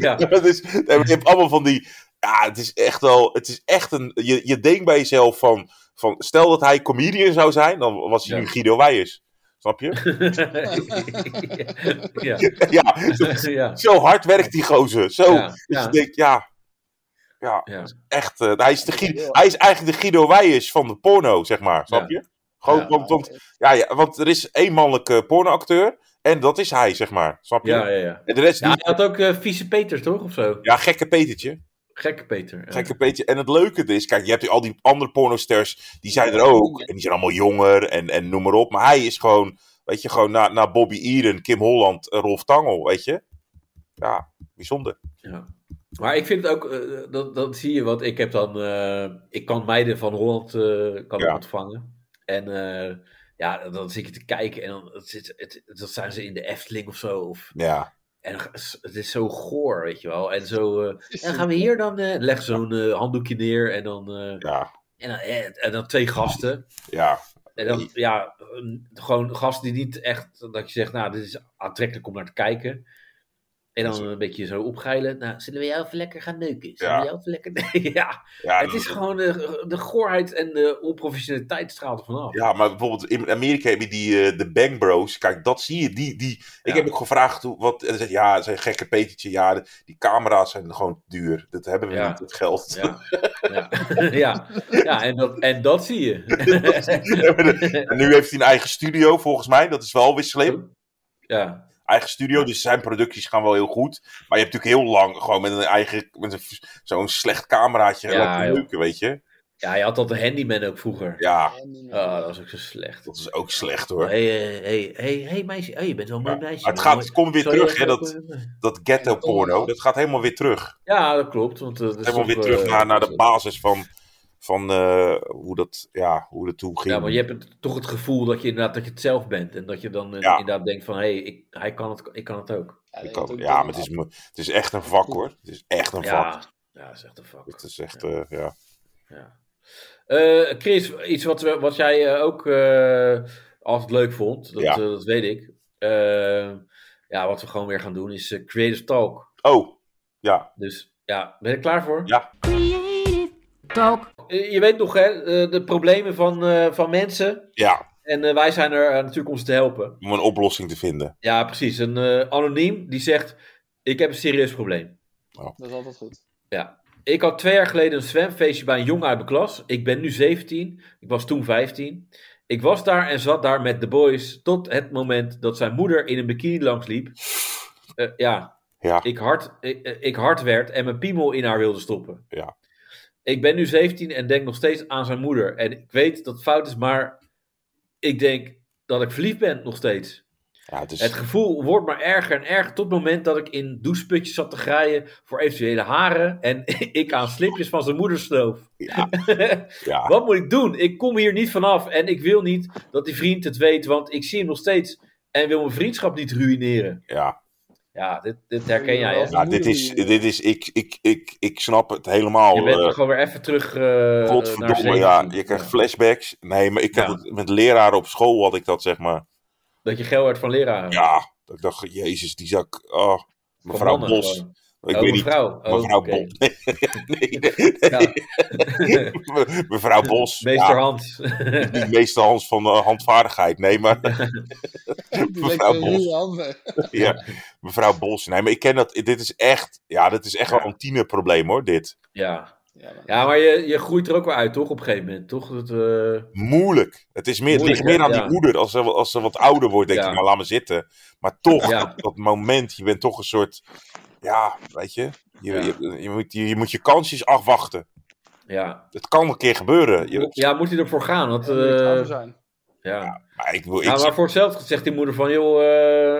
Speaker 2: ja.
Speaker 3: Dat is, nee, maar je hebt allemaal van die. Ja, het is echt wel. Het is echt een. Je, je denkt bij jezelf van, van. Stel dat hij comedian zou zijn, dan was hij
Speaker 2: Ja.
Speaker 3: nu Guido Weijers. Snap je?
Speaker 2: ja.
Speaker 3: ja,
Speaker 2: Ja.
Speaker 3: zo hard werkt die gozer. Zo.
Speaker 2: Ja,
Speaker 3: Dus
Speaker 2: ja.
Speaker 3: je denkt, ja. Ja,
Speaker 2: Ja.
Speaker 3: echt. eh, hij, is de, Guido- hij is eigenlijk de Guido Weijers van de porno, zeg maar. Snap je? Gewoon,
Speaker 2: Ja.
Speaker 3: want, want Ja, ja, want er is één mannelijke pornoacteur. En dat is hij, zeg maar. Snap je?
Speaker 2: Ja, ja, ja.
Speaker 3: En de rest
Speaker 2: Ja,
Speaker 3: niet.
Speaker 2: hij had ook eh, vieze Peters, toch? Of zo?
Speaker 3: Ja, gekke Petertje.
Speaker 2: Gekke Peter. ja.
Speaker 3: Gekke Petertje. En het leuke is, kijk, je hebt al die andere pornosters. Die zijn er ook. En die zijn allemaal jonger en, en noem maar op. Maar hij is gewoon, weet je, gewoon na, na Bobby Eden, Kim Holland, eh, Rolf Tangel, weet je. Ja, bijzonder.
Speaker 2: Ja. Maar ik vind het ook, eh, dat, dat zie je, want ik heb dan, eh, ik kan meiden van Holland eh, kan ik
Speaker 3: Ja.
Speaker 2: ontvangen. En eh, ja, dan zit je te kijken en dan, het zit, het, dat zijn ze in de Efteling of zo. Of,
Speaker 3: Ja.
Speaker 2: en dan- het is zo goor, weet je wel. En zo, eh, en dan gaan we hier dan, eh, leg zo'n eh, handdoekje neer en dan, eh,
Speaker 3: Ja.
Speaker 2: en, dan eh, en dan twee gasten.
Speaker 3: Ja.
Speaker 2: En dan, ja, een- gewoon gasten die niet echt, dat je zegt, nou, dit is aantrekkelijk om naar te kijken. En dan een beetje zo opgeilen. Nou, zullen we jou even lekker gaan neuken? Zullen
Speaker 3: Ja.
Speaker 2: we jou even lekker neuken? Ja,
Speaker 3: ja
Speaker 2: het is gewoon de, de goorheid en de onprofessionaliteit straalt er vanaf.
Speaker 3: Ja, maar bijvoorbeeld in Amerika heb je die, eh, de Bang Bros. Kijk, dat zie je. Die, die, Ik
Speaker 2: Ja.
Speaker 3: heb ook gevraagd, hoe, wat, en ze zegt, ja, het zijn gekke Petertje. Ja, de- die camera's zijn gewoon duur. Dat hebben we
Speaker 2: Ja.
Speaker 3: niet, dat geld.
Speaker 2: Ja, ja. ja. ja en, dat, en dat zie je.
Speaker 3: en nu heeft hij een eigen studio, volgens mij. Dat is wel weer slim.
Speaker 2: ja,
Speaker 3: Eigen studio, dus zijn producties gaan wel heel goed. Maar je hebt natuurlijk heel lang gewoon met een eigen, met een, zo'n slecht cameraatje
Speaker 2: Ja,
Speaker 3: lopen
Speaker 2: joh.
Speaker 3: neuken, weet je.
Speaker 2: ja, je had dat de handyman ook vroeger.
Speaker 3: Ja,
Speaker 2: Oh, dat was ook zo slecht.
Speaker 3: dat is ook slecht hoor.
Speaker 2: hey, eh, hey, hey, hey, meisje, hey, je bent wel een mooi meisje.
Speaker 3: Maar het, gaat, het komt weer
Speaker 2: Zou je
Speaker 3: terug, hè,
Speaker 2: even
Speaker 3: dat,
Speaker 2: op, eh,
Speaker 3: dat ghetto porno. Dat gaat helemaal weer terug.
Speaker 2: Ja, dat klopt. Want, eh, dat is
Speaker 3: helemaal weer
Speaker 2: toch,
Speaker 3: terug
Speaker 2: eh,
Speaker 3: naar, naar de
Speaker 2: dat-
Speaker 3: basis van, van eh, hoe, dat, ja, hoe dat toen ging.
Speaker 2: Ja, maar je hebt het- toch het gevoel dat je inderdaad dat je het zelf bent. En dat je dan eh,
Speaker 3: Ja.
Speaker 2: inderdaad denkt van, hé, hey, ik, hij kan het, ik kan het ook.
Speaker 3: Ik kan- ja, maar het is, mo- het is echt een vak hoor. Het is echt een vak.
Speaker 2: Ja, ja, dat is echt een vak.
Speaker 3: Het is echt, eh, ja.
Speaker 2: Ja. Eh, Chris, iets wat, we- wat jij eh, ook eh, altijd leuk vond, dat,
Speaker 3: Ja.
Speaker 2: eh, dat weet ik. Eh, ja, wat we gewoon weer gaan doen is eh, Creative Talk.
Speaker 3: Oh, ja,
Speaker 2: Dus ja, ben je er klaar voor?
Speaker 3: Ja.
Speaker 5: Talk.
Speaker 2: Eh, je weet nog, hè, eh, de problemen van, eh, van mensen.
Speaker 3: ja.
Speaker 2: En eh, wij zijn er eh, natuurlijk om ze te helpen.
Speaker 3: Om een oplossing te vinden.
Speaker 2: Ja, precies. Een eh, anoniem die zegt: Ik heb een serieus probleem.
Speaker 4: Dat is altijd goed.
Speaker 2: Ik had twee jaar geleden een zwemfeestje bij een jongen uit mijn klas. Ik ben nu 17. Ik was toen 15. Ik was daar en zat daar met de boys tot het moment dat zijn moeder in een bikini langsliep. Eh, ja,
Speaker 3: Ja,
Speaker 2: ik hard, ik, eh, ik hard werd en mijn piemel in haar wilde stoppen.
Speaker 3: Ja.
Speaker 2: Ik ben nu 17 en denk nog steeds aan zijn moeder. En ik weet dat het fout is, maar ik denk dat ik verliefd ben nog steeds.
Speaker 3: Ja, het is,
Speaker 2: Het gevoel wordt maar erger en erger tot het moment dat ik in doucheputjes zat te graaien voor eventuele haren en ik aan slipjes van zijn moeder snoof.
Speaker 3: ja, ja.
Speaker 2: Wat moet ik doen? Ik kom hier niet vanaf en ik wil niet dat die vriend het weet, want ik zie hem nog steeds en wil mijn vriendschap niet ruïneren.
Speaker 3: ja.
Speaker 2: Ja, dit, dit herken jij. Hè?
Speaker 3: Ja, dit is, dit is ik, ik, ik, ik snap het helemaal.
Speaker 2: Je bent
Speaker 3: eh,
Speaker 2: er gewoon weer even terug. eh naar
Speaker 3: Godverdomme,
Speaker 2: zeventien.
Speaker 3: ja, je krijgt flashbacks. Nee, maar ik had
Speaker 2: Ja.
Speaker 3: het met leraren op school, had ik dat zeg maar.
Speaker 2: Dat je geld werd van leraren.
Speaker 3: Ja, dat ik dacht, jezus, die zak. Oh,
Speaker 2: Van
Speaker 3: mevrouw
Speaker 2: mannen
Speaker 3: Bos.
Speaker 2: gewoon.
Speaker 3: Ik
Speaker 2: Oh,
Speaker 3: weet niet.
Speaker 2: mevrouw. Oh,
Speaker 3: Mevrouw
Speaker 2: oké.
Speaker 3: Bos. Nee, nee, nee,
Speaker 2: Ja.
Speaker 3: me- mevrouw Bos.
Speaker 2: Meester
Speaker 3: ja,
Speaker 2: Hans.
Speaker 3: niet meester Hans van eh, handvaardigheid. Nee, maar
Speaker 4: Die leek
Speaker 3: Mevrouw
Speaker 4: een
Speaker 3: Bos.
Speaker 4: ruwe handen.
Speaker 3: ja, mevrouw Bos. Nee, maar ik ken dat. Dit is echt, ja, dit is echt wel een tienerprobleem hoor, dit.
Speaker 2: ja.
Speaker 4: Ja, maar-
Speaker 2: ja, maar je, je groeit er ook wel uit, toch? Op een gegeven moment, toch? Dat, eh,
Speaker 3: Moeilijk. Het, is meer, het
Speaker 2: Moeilijk,
Speaker 3: ligt meer
Speaker 2: hè?
Speaker 3: aan
Speaker 2: Ja.
Speaker 3: die moeder. Als ze, als ze wat ouder wordt, denk
Speaker 2: Ja.
Speaker 3: ik, nou laat me zitten. Maar toch,
Speaker 2: Ja.
Speaker 3: dat, dat moment, je bent toch een soort... Ja, weet je, je,
Speaker 2: Ja.
Speaker 3: je, je moet, je, je moet je kansjes afwachten.
Speaker 2: ja.
Speaker 3: Het kan een keer gebeuren. Je-
Speaker 2: ja, moet hij ervoor gaan? Want,
Speaker 4: Dat moet iets
Speaker 2: eh,
Speaker 4: anders zijn.
Speaker 2: ja.
Speaker 3: maar ik, wil- ik,
Speaker 2: Ja, Nou, maar voor hetzelfde zegt die moeder van, joh,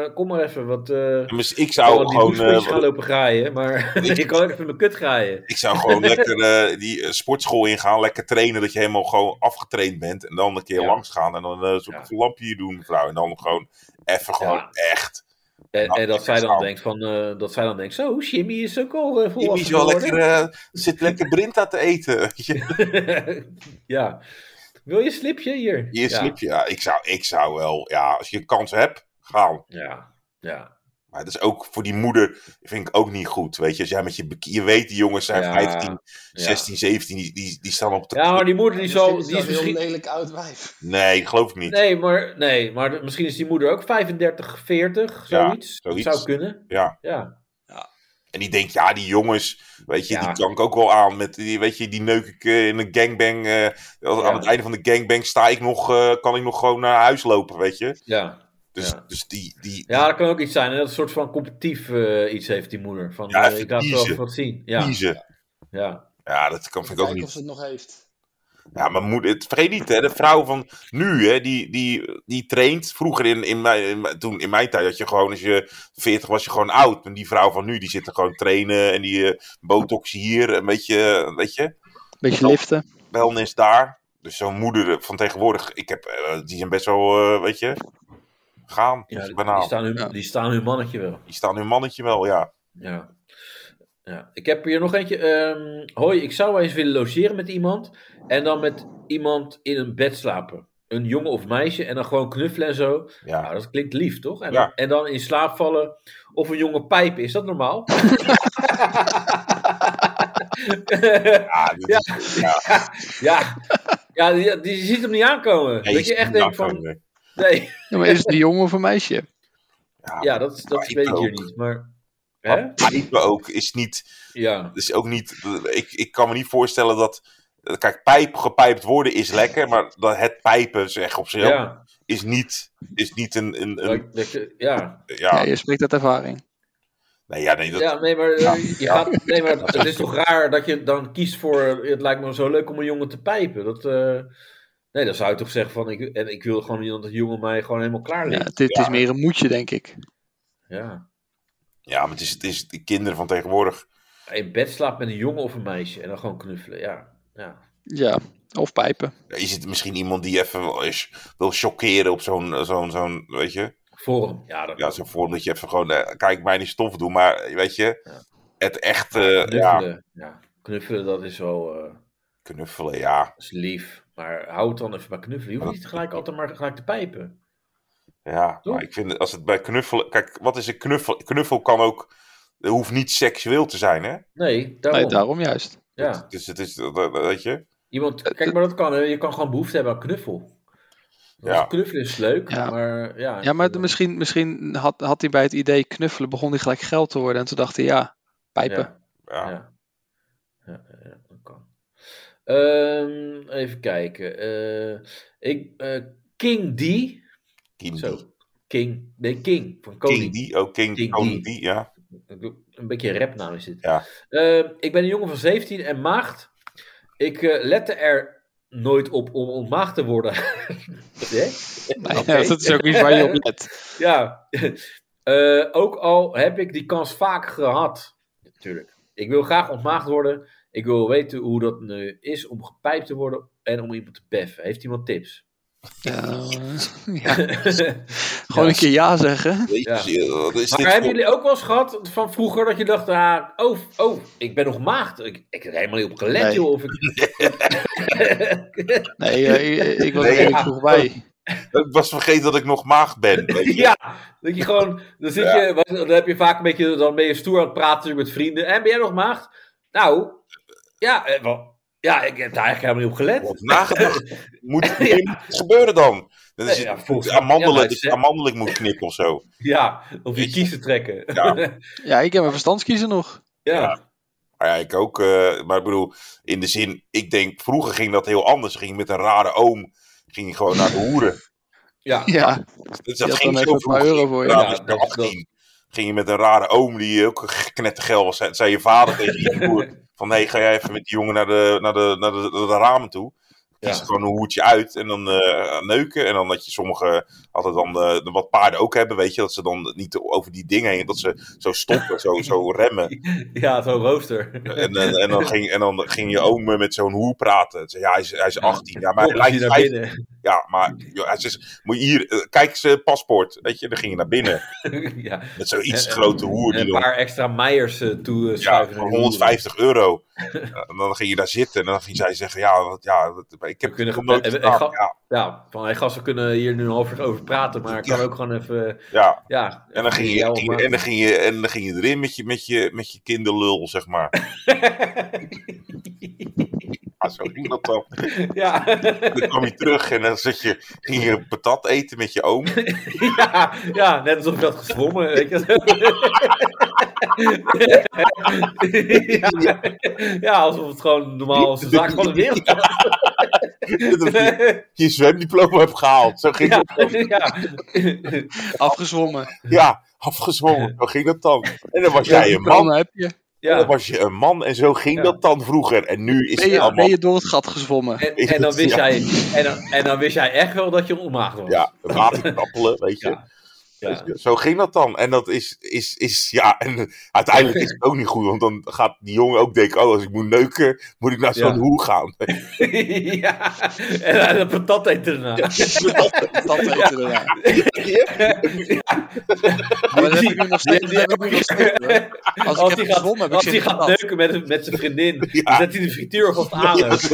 Speaker 2: eh, kom maar even, want eh
Speaker 3: mis- ik
Speaker 2: ik
Speaker 3: zou
Speaker 2: kan wel die
Speaker 3: Nou, gewoon...
Speaker 2: doucheputjes
Speaker 3: eh,
Speaker 2: gaan lopen graaien, maar ik kan ook even mijn kut graaien.
Speaker 3: ik zou gewoon lekker eh, die eh, sportschool ingaan, lekker trainen, dat je helemaal gewoon afgetraind bent. En dan een keer
Speaker 2: Ja.
Speaker 3: langs gaan en dan eh zo'n
Speaker 2: Ja.
Speaker 3: lampje hier doen, mevrouw. En dan gewoon even gewoon
Speaker 2: Ja.
Speaker 3: echt.
Speaker 2: En,
Speaker 3: Nou,
Speaker 2: en dat,
Speaker 3: ik
Speaker 2: zij dan
Speaker 3: zou-
Speaker 2: denkt van, eh, dat zij dan denkt, zo, Jimmy is ook al eh,
Speaker 3: Je
Speaker 2: volwassen
Speaker 3: is wel
Speaker 2: geworden."
Speaker 3: lekker, eh, zit lekker Brinta te eten. weet je.
Speaker 2: ja. Wil je een slipje hier?
Speaker 3: Je
Speaker 2: ja.
Speaker 3: slipje. Ja, ik zou, ik zou wel, ja, als je kans hebt, gaan.
Speaker 2: Ja, ja.
Speaker 3: Maar dat is ook voor die moeder, vind ik ook niet goed. Weet je, als jij met je, bik- je weet, die jongens zijn
Speaker 2: Ja,
Speaker 3: 15,
Speaker 2: ja.
Speaker 3: 16, 17, die, die, die staan op de.
Speaker 2: Ja, maar die moeder die, zal, die is
Speaker 4: dat een
Speaker 2: misschien...
Speaker 4: heel lelijk oud wijf.
Speaker 3: Nee, geloof ik niet.
Speaker 2: Nee maar, nee, maar misschien is die moeder ook 35, 40,
Speaker 3: Ja,
Speaker 2: zoiets. Dat
Speaker 3: zoiets.
Speaker 2: zou kunnen.
Speaker 3: Ja.
Speaker 2: Ja,
Speaker 3: En die denkt, ja, die jongens, weet je,
Speaker 2: Ja.
Speaker 3: die kan ik ook wel aan. Met, die, weet je, die neuk ik eh, in een gangbang. eh, als-
Speaker 2: Ja.
Speaker 3: Aan het einde van de gangbang sta ik nog, eh, kan ik nog gewoon naar huis lopen, weet je.
Speaker 2: ja.
Speaker 3: Dus,
Speaker 2: Ja.
Speaker 3: dus die, die,
Speaker 2: Ja, dat kan ook iets zijn. En dat een soort van competitief eh, iets heeft die moeder. Van,
Speaker 3: Ja,
Speaker 2: eh,
Speaker 3: even
Speaker 2: ik laat wel
Speaker 3: kiezen.
Speaker 2: even wat zien.
Speaker 3: die
Speaker 2: Ja,
Speaker 3: kiezen.
Speaker 2: ja.
Speaker 3: Ja, dat kan, vind ik ook
Speaker 4: Kijken
Speaker 3: niet.
Speaker 4: of ze het nog heeft.
Speaker 3: Ja, maar moeder, het, vergeet niet, hè, de vrouw van nu, hè, die, die, die traint. Vroeger in, in, mijn, in mijn- toen in mijn tijd had je gewoon, als je 40 was, je gewoon oud. En die vrouw van nu, die zit er gewoon trainen en die eh, botox hier, een beetje, weet je,
Speaker 4: Beetje liften.
Speaker 3: wellness daar. Dus zo'n moeder van tegenwoordig, ik heb, eh, die zijn best wel, eh, weet je, gaan.
Speaker 2: ja die,
Speaker 3: banaal.
Speaker 2: die staan hun,
Speaker 4: Ja.
Speaker 2: die staan hun mannetje wel.
Speaker 3: Die staan hun mannetje wel, ja.
Speaker 2: Ja. ja. Ik heb hier nog eentje. ehm, hoi, ik zou wel eens willen logeren met iemand. En dan met iemand in een bed slapen. Een jongen of meisje. En dan gewoon knuffelen en zo.
Speaker 3: ja.
Speaker 2: Nou, dat klinkt lief, toch? En,
Speaker 3: Ja.
Speaker 2: dan, en dan in slaap vallen of een jongen pijpen. Is dat normaal?
Speaker 3: Ja, dit is- ja.
Speaker 2: ja. Ja, die, die ziet hem niet aankomen.
Speaker 3: Nee,
Speaker 2: dat je echt denkt
Speaker 3: nou,
Speaker 2: van...
Speaker 3: nee.
Speaker 2: Nee.
Speaker 4: Ja, maar is het een jongen of een meisje?
Speaker 2: Ja, dat, is- dat
Speaker 3: Pijpen
Speaker 2: weet ik hier
Speaker 3: ook.
Speaker 2: niet. Maar...
Speaker 3: Maar
Speaker 2: Hè?
Speaker 3: pijpen ook is niet...
Speaker 2: Ja.
Speaker 3: Dus ook niet. Ik, ik kan me niet voorstellen dat. eh, Kijk, pijp, gepijpt worden is lekker, maar dat het pijpen zeg op zich
Speaker 2: Ja.
Speaker 3: is, niet, is niet een. een, een
Speaker 2: Dat- dat je- ja.
Speaker 4: Ja,
Speaker 3: ja,
Speaker 4: je spreekt uit ervaring.
Speaker 3: nee, ja, nee, dat,
Speaker 2: Ja, nee, maar, eh, je
Speaker 3: Ja.
Speaker 2: Gaat, nee, maar het is toch raar dat je dan kiest voor. eh, Het lijkt me zo leuk om een jongen te pijpen. Dat, eh, nee, dan zou je toch zeggen van. Ik, en ik wil gewoon niet dat een jongen mij gewoon helemaal klaar
Speaker 4: Ja,
Speaker 2: ligt.
Speaker 4: het, het is meer een moedje, denk ik.
Speaker 2: Ja.
Speaker 3: ja maar het is, het is de kinderen van tegenwoordig.
Speaker 2: In bed slaapt met een jongen of een meisje en dan gewoon knuffelen. Ja. ja.
Speaker 4: Ja, of pijpen.
Speaker 3: Is het misschien iemand die even wel eens wil chockeren op zo'n, zo'n, zo'n weet je,
Speaker 2: Forum. Ja, dat
Speaker 3: ja, zo'n vorm dat je even gewoon, eh, kijk, mij niet stof doen, maar weet je,
Speaker 2: Ja.
Speaker 3: het echt, eh, ja,
Speaker 2: knuffelen. Ja. Knuffelen, dat is wel eh,
Speaker 3: knuffelen, ja,
Speaker 2: is lief. Maar hou het dan even bij knuffelen. Je hoeft niet gelijk altijd maar gelijk te pijpen.
Speaker 3: Ja,
Speaker 2: Toch?
Speaker 3: maar ik vind als het bij knuffelen. Kijk, wat is een knuffel? Knuffel kan ook. Het hoeft niet seksueel te zijn, hè?
Speaker 2: Nee, daarom.
Speaker 4: Nee, daarom juist.
Speaker 2: Ja.
Speaker 3: Dus het is. dat- dat- Weet je?
Speaker 2: Iemand, kijk, maar dat kan. hè. Je kan gewoon behoefte hebben aan knuffel.
Speaker 3: Ja.
Speaker 2: Ja. Knuffelen is leuk,
Speaker 4: Ja.
Speaker 2: maar ja.
Speaker 4: Ja, maar
Speaker 2: eh,
Speaker 4: de- misschien, misschien had, had hij bij het idee knuffelen, begon hij gelijk geld te worden. En toen dacht hij, ja, pijpen.
Speaker 3: Ja.
Speaker 2: Ja, ja. ja, ja, dat kan. Ehm, even kijken. eh, ik, eh, King D.
Speaker 3: King D.
Speaker 2: Zo. King. Nee, King. Van Koning.
Speaker 3: King D. Oh, King,
Speaker 2: King
Speaker 3: Koning
Speaker 2: D.
Speaker 3: D, ja.
Speaker 2: Ik doe- Een beetje een rapnaam is dit. Ehm,
Speaker 3: Ja.
Speaker 2: Eh, ik ben een jongen van 17 en maagd. Ik eh, lette er nooit op om ontmaagd te worden. Hè?
Speaker 4: Nou ja,
Speaker 2: Oké.
Speaker 4: dat is ook iets waar je op let.
Speaker 2: Ja, Eh, ook al heb ik die kans vaak gehad. Natuurlijk. Ik wil graag ontmaagd worden. Ik wil weten hoe dat nu is om gepijpt te worden en om iemand te beffen. Heeft iemand tips?
Speaker 4: Ja, ja, gewoon een keer ja zeggen.
Speaker 3: Jeetje, wat is dit
Speaker 2: maar hebben
Speaker 3: voor-
Speaker 2: jullie ook wel eens gehad van vroeger dat je dacht, ah, oh, oh, ik ben nog maagd. Ik, ik heb er helemaal niet op gelet,
Speaker 4: Nee.
Speaker 2: joh. Of ik...
Speaker 4: Nee, eh, ik, ik was er
Speaker 3: Nee,
Speaker 4: redelijk
Speaker 2: ja.
Speaker 4: vroeg bij.
Speaker 3: Ik was vergeten dat ik nog maag ben. weet je.
Speaker 2: ja, dat je gewoon, dan zit
Speaker 3: Ja.
Speaker 2: je, dan heb je vaak een beetje, dan ben je stoer aan het praten met vrienden. En ben jij nog maagd? Nou, ja, eh, wel, ja ik heb daar eigenlijk helemaal niet op gelet.
Speaker 3: Of nagedacht. Moet, moet gebeuren dan? Dat is
Speaker 2: Nee, ja,
Speaker 3: het,
Speaker 2: volgens-
Speaker 3: amandelen,
Speaker 2: ja, maar
Speaker 3: dat je
Speaker 2: ze-
Speaker 3: amandelen moet knippen of zo.
Speaker 2: Ja, of je kiezen trekken.
Speaker 3: Ja.
Speaker 2: Ja.
Speaker 4: Ja, ik heb mijn verstandskiezer nog.
Speaker 2: ja.
Speaker 3: Maar ja, ik ook. eh, maar ik bedoel, in de zin, ik denk, vroeger ging dat heel anders. Ging je met een rare oom, ging je gewoon naar de hoeren.
Speaker 4: Ja,
Speaker 3: Dus
Speaker 4: die
Speaker 3: dat
Speaker 4: had
Speaker 3: ging
Speaker 4: dan even
Speaker 3: zo
Speaker 4: een paar
Speaker 3: vroeg.
Speaker 4: euro voor je.
Speaker 3: Ja,
Speaker 2: Ja,
Speaker 3: dus
Speaker 2: dat-
Speaker 3: 18 ging je met een rare oom die ook knettergel was. Zei- Zei je vader tegen je broer van, hé, ga jij even met die jongen naar de, naar de, naar de, naar de ramen toe. Kies
Speaker 2: Ja.
Speaker 3: gewoon een hoertje uit en dan eh, neuken. En dan dat je sommige, altijd dan eh, wat paarden ook hebben, weet je. Dat ze dan niet over die dingen heen, dat ze zo stoppen, zo, zo remmen.
Speaker 2: Ja, zo'n rooster.
Speaker 3: En, en, en, dan ging, en dan ging je oom eh, met zo'n hoer praten. Ze zei, ja, hij is, hij is 18. Ja, maar
Speaker 2: Kom,
Speaker 3: hij
Speaker 2: zie
Speaker 3: lijkt
Speaker 2: je naar
Speaker 3: 15.
Speaker 2: binnen.
Speaker 3: Ja, maar joh, hij zegt, moet je hier, eh, kijk zijn paspoort. Weet je, dan ging je naar binnen.
Speaker 2: ja.
Speaker 3: Met zo'n iets
Speaker 2: En-
Speaker 3: grote hoer.
Speaker 2: En
Speaker 3: Die
Speaker 2: een
Speaker 3: dan,
Speaker 2: paar extra meiers eh, toe eh,
Speaker 3: ja,
Speaker 2: schuiven.
Speaker 3: voor 150 euro. Ja, En dan ging je daar zitten. En dan ging zij zeggen, ja, wat, ja wat- ik heb
Speaker 2: We kunnen
Speaker 3: nog nooit
Speaker 2: ge-
Speaker 3: gedaan.
Speaker 2: eh, eh,
Speaker 3: Ja,
Speaker 2: Ja, van hey, gast, we kunnen hier nu een half uur over praten, maar ik kan
Speaker 3: Ja.
Speaker 2: ook gewoon even.
Speaker 3: ja.
Speaker 2: Ja,
Speaker 3: En dan ging je,
Speaker 2: jou
Speaker 3: ging-
Speaker 2: maken.
Speaker 3: en dan ging je, en dan ging je erin met je, met je, met je kinderlul, zeg maar. Ja, Ah, zo ging dat dan.
Speaker 2: ja.
Speaker 3: Dan kwam je terug en dan zat je, ging je patat eten met je oom.
Speaker 2: ja, ja, net alsof je had gezwommen. Weet je. ja. ja, alsof het gewoon normaal is. De zaak van de wereld.
Speaker 3: je zwemdiploma hebt gehaald. Zo ging
Speaker 2: ja,
Speaker 3: dat.
Speaker 2: ja.
Speaker 4: Afgezwommen.
Speaker 3: Ja, afgezwommen. Zo ging dat dan. En dan was
Speaker 4: Ja,
Speaker 3: jij een man.
Speaker 4: heb je.
Speaker 3: En dan
Speaker 2: ja.
Speaker 3: was je een man. En zo ging
Speaker 2: Ja.
Speaker 3: dat dan vroeger. En nu is
Speaker 4: Ben
Speaker 3: het
Speaker 4: je,
Speaker 3: allemaal...
Speaker 4: ben je door het gat gezwommen?
Speaker 2: En, en, dan wist
Speaker 3: Ja.
Speaker 2: jij, en, dan, en dan wist jij echt wel dat je onmaagd was.
Speaker 3: Ja, waterkappelen, weet je.
Speaker 2: Ja. Ja.
Speaker 3: Zo ging dat dan. En dat is, is, is ja, en uiteindelijk is het ook niet goed. Want dan gaat die jongen ook denken, oh, als ik moet neuken, moet ik naar zo'n
Speaker 2: Ja.
Speaker 3: hoe gaan.
Speaker 2: Ja. En dan de patat eten erna.
Speaker 4: Dat weten we daarna. Maar dat heb ik nu nog steeds. dat heb ik nu nog steeds, hoor. Als,
Speaker 2: Als
Speaker 4: ik
Speaker 2: die
Speaker 4: heb
Speaker 2: gaat,
Speaker 4: gezwommen, heb ik
Speaker 2: als die
Speaker 4: zitten
Speaker 2: gaat
Speaker 4: gehad.
Speaker 2: neuken met, met zijn vriendin,
Speaker 3: Ja.
Speaker 2: dan zet hij de frituur vast aan.
Speaker 3: Ja, dat is-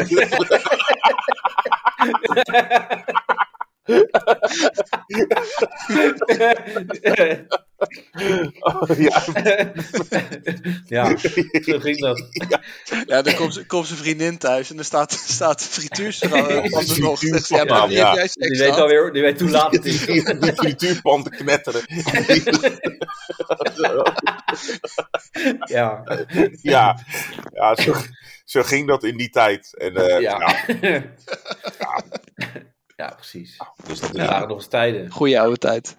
Speaker 3: ja,
Speaker 2: ja, zo ging dat.
Speaker 4: Ja, dan komt, ze- komt zijn vriendin thuis en dan staat, staat de frituurpan
Speaker 3: Ja,
Speaker 4: er nog.
Speaker 3: frituurpan,
Speaker 4: Dus ja, maar die
Speaker 3: ja.
Speaker 4: heb jij seks
Speaker 2: Die weet,
Speaker 4: gehad?
Speaker 2: alweer, die weet hoe laat het is.
Speaker 3: die die frituurpan te knetteren.
Speaker 2: Ja.
Speaker 3: Ja, ja zo, zo ging dat in die tijd. En, eh, ja.
Speaker 2: Ja. Ja, precies.
Speaker 3: dus dat
Speaker 2: Dat
Speaker 3: is, ja.
Speaker 2: waren nog eens tijden.
Speaker 4: Goeie oude tijd.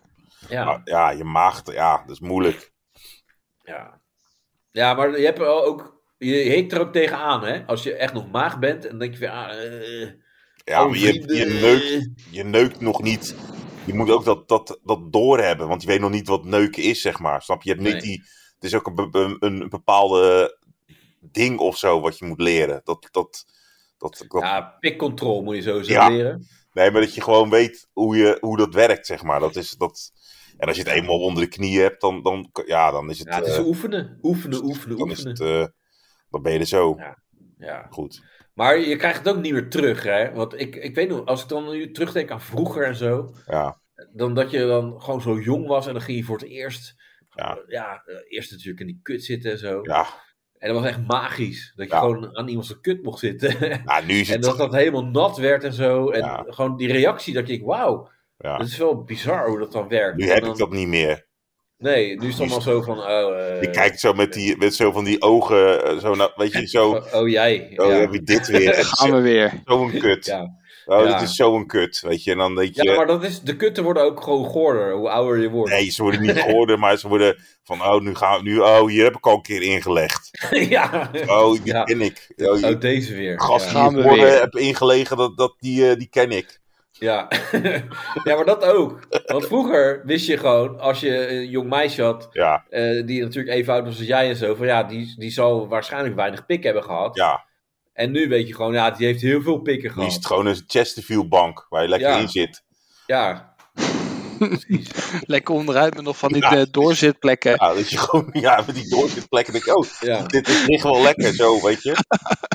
Speaker 2: Ja.
Speaker 3: ja, je maagd, ja, dat is moeilijk.
Speaker 2: Ja, ja maar je hebt wel ook. Je heet er ook tegenaan, hè? Als je echt nog maag bent, dan denk je van. Ah, eh,
Speaker 3: Ja,
Speaker 2: oh,
Speaker 3: maar je, je,
Speaker 2: vrienden,
Speaker 3: neukt, je neukt nog niet. Je moet ook dat, dat, dat doorhebben, want je weet nog niet wat neuken is, zeg maar. Snap je? je hebt niet
Speaker 2: Nee.
Speaker 3: die, het is ook een, be- be- een, een bepaalde ding of zo wat je moet leren. Dat, dat, dat, dat-
Speaker 2: Ja, pikcontrol moet je sowieso
Speaker 3: Ja.
Speaker 2: leren.
Speaker 3: Nee, maar dat je gewoon weet hoe, je, hoe dat werkt, zeg maar. Dat is, dat, en als je het eenmaal onder de knie hebt, dan, dan, ja, dan is het...
Speaker 2: Ja, het is
Speaker 3: eh,
Speaker 2: oefenen. Oefenen, oefenen,
Speaker 3: dan, is het
Speaker 2: oefenen.
Speaker 3: eh, dan ben je er zo.
Speaker 2: Ja. Ja.
Speaker 3: Goed.
Speaker 2: Maar je krijgt het ook niet meer terug, hè? Want ik, ik weet nog, als ik dan nu terugdenk aan vroeger en zo.
Speaker 3: Ja,
Speaker 2: Dan dat je dan gewoon zo jong was en dan ging je voor het eerst.
Speaker 3: Ja.
Speaker 2: ja eh, eerst natuurlijk in die kut zitten en zo.
Speaker 3: ja.
Speaker 2: En dat was echt magisch. Dat je
Speaker 3: Ja.
Speaker 2: gewoon aan iemand zijn kut mocht zitten.
Speaker 3: Nou, nu is
Speaker 2: en
Speaker 3: het...
Speaker 2: dat dat helemaal nat werd en zo. En
Speaker 3: Ja.
Speaker 2: gewoon die reactie dat je denkt, wauw,
Speaker 3: ja.
Speaker 2: dat is wel bizar hoe dat dan werkt.
Speaker 3: Nu
Speaker 2: En
Speaker 3: heb
Speaker 2: dan-
Speaker 3: ik dat niet meer.
Speaker 2: Nee, nu is het allemaal zo van... Oh, eh,
Speaker 3: Die kijkt zo met, die, met zo van die ogen, eh, zo nou, weet je, zo...
Speaker 2: Oh, oh, jij.
Speaker 3: Oh,
Speaker 2: ja.
Speaker 3: heb je dit weer.
Speaker 4: Gaan we weer.
Speaker 3: Zo'n kut.
Speaker 2: Ja.
Speaker 3: Oh,
Speaker 2: Ja.
Speaker 3: dit is zo'n kut, weet je. En dan denk je...
Speaker 2: ja, maar dat is, de kutten worden ook gewoon goorder, hoe ouder je wordt.
Speaker 3: Nee, ze worden niet gehoord, maar ze worden van... Oh, nu gaan we... Nu, oh, hier heb ik al een keer ingelegd.
Speaker 2: ja.
Speaker 3: Oh, die
Speaker 2: Ja.
Speaker 3: ken ik. Oh, die
Speaker 2: Oh, deze weer.
Speaker 3: gast
Speaker 2: Ja.
Speaker 3: die
Speaker 4: Gaan
Speaker 3: ik
Speaker 4: we
Speaker 3: voor
Speaker 4: weer.
Speaker 3: eh, heb ingelegen, dat, dat, die, eh, die ken ik.
Speaker 2: Ja. ja, maar dat ook. Want vroeger wist je gewoon, als je een jong meisje had,
Speaker 3: Ja,
Speaker 2: eh, die natuurlijk even oud was als jij en zo, van ja, die, die zal waarschijnlijk weinig pik hebben gehad.
Speaker 3: ja.
Speaker 2: En nu weet je gewoon, ja, die heeft heel veel pikken
Speaker 3: Nu
Speaker 2: gehad.
Speaker 3: is het gewoon een Chesterfield-bank waar je lekker
Speaker 2: Ja.
Speaker 3: in zit.
Speaker 2: Ja.
Speaker 4: Lekker onderuit met nog van die
Speaker 3: Ja.
Speaker 4: eh, doorzitplekken.
Speaker 3: Ja, Nou, dat je gewoon ja, met die doorzitplekken denk ik, oh,
Speaker 2: Ja.
Speaker 3: dit is ligt wel lekker zo, weet je.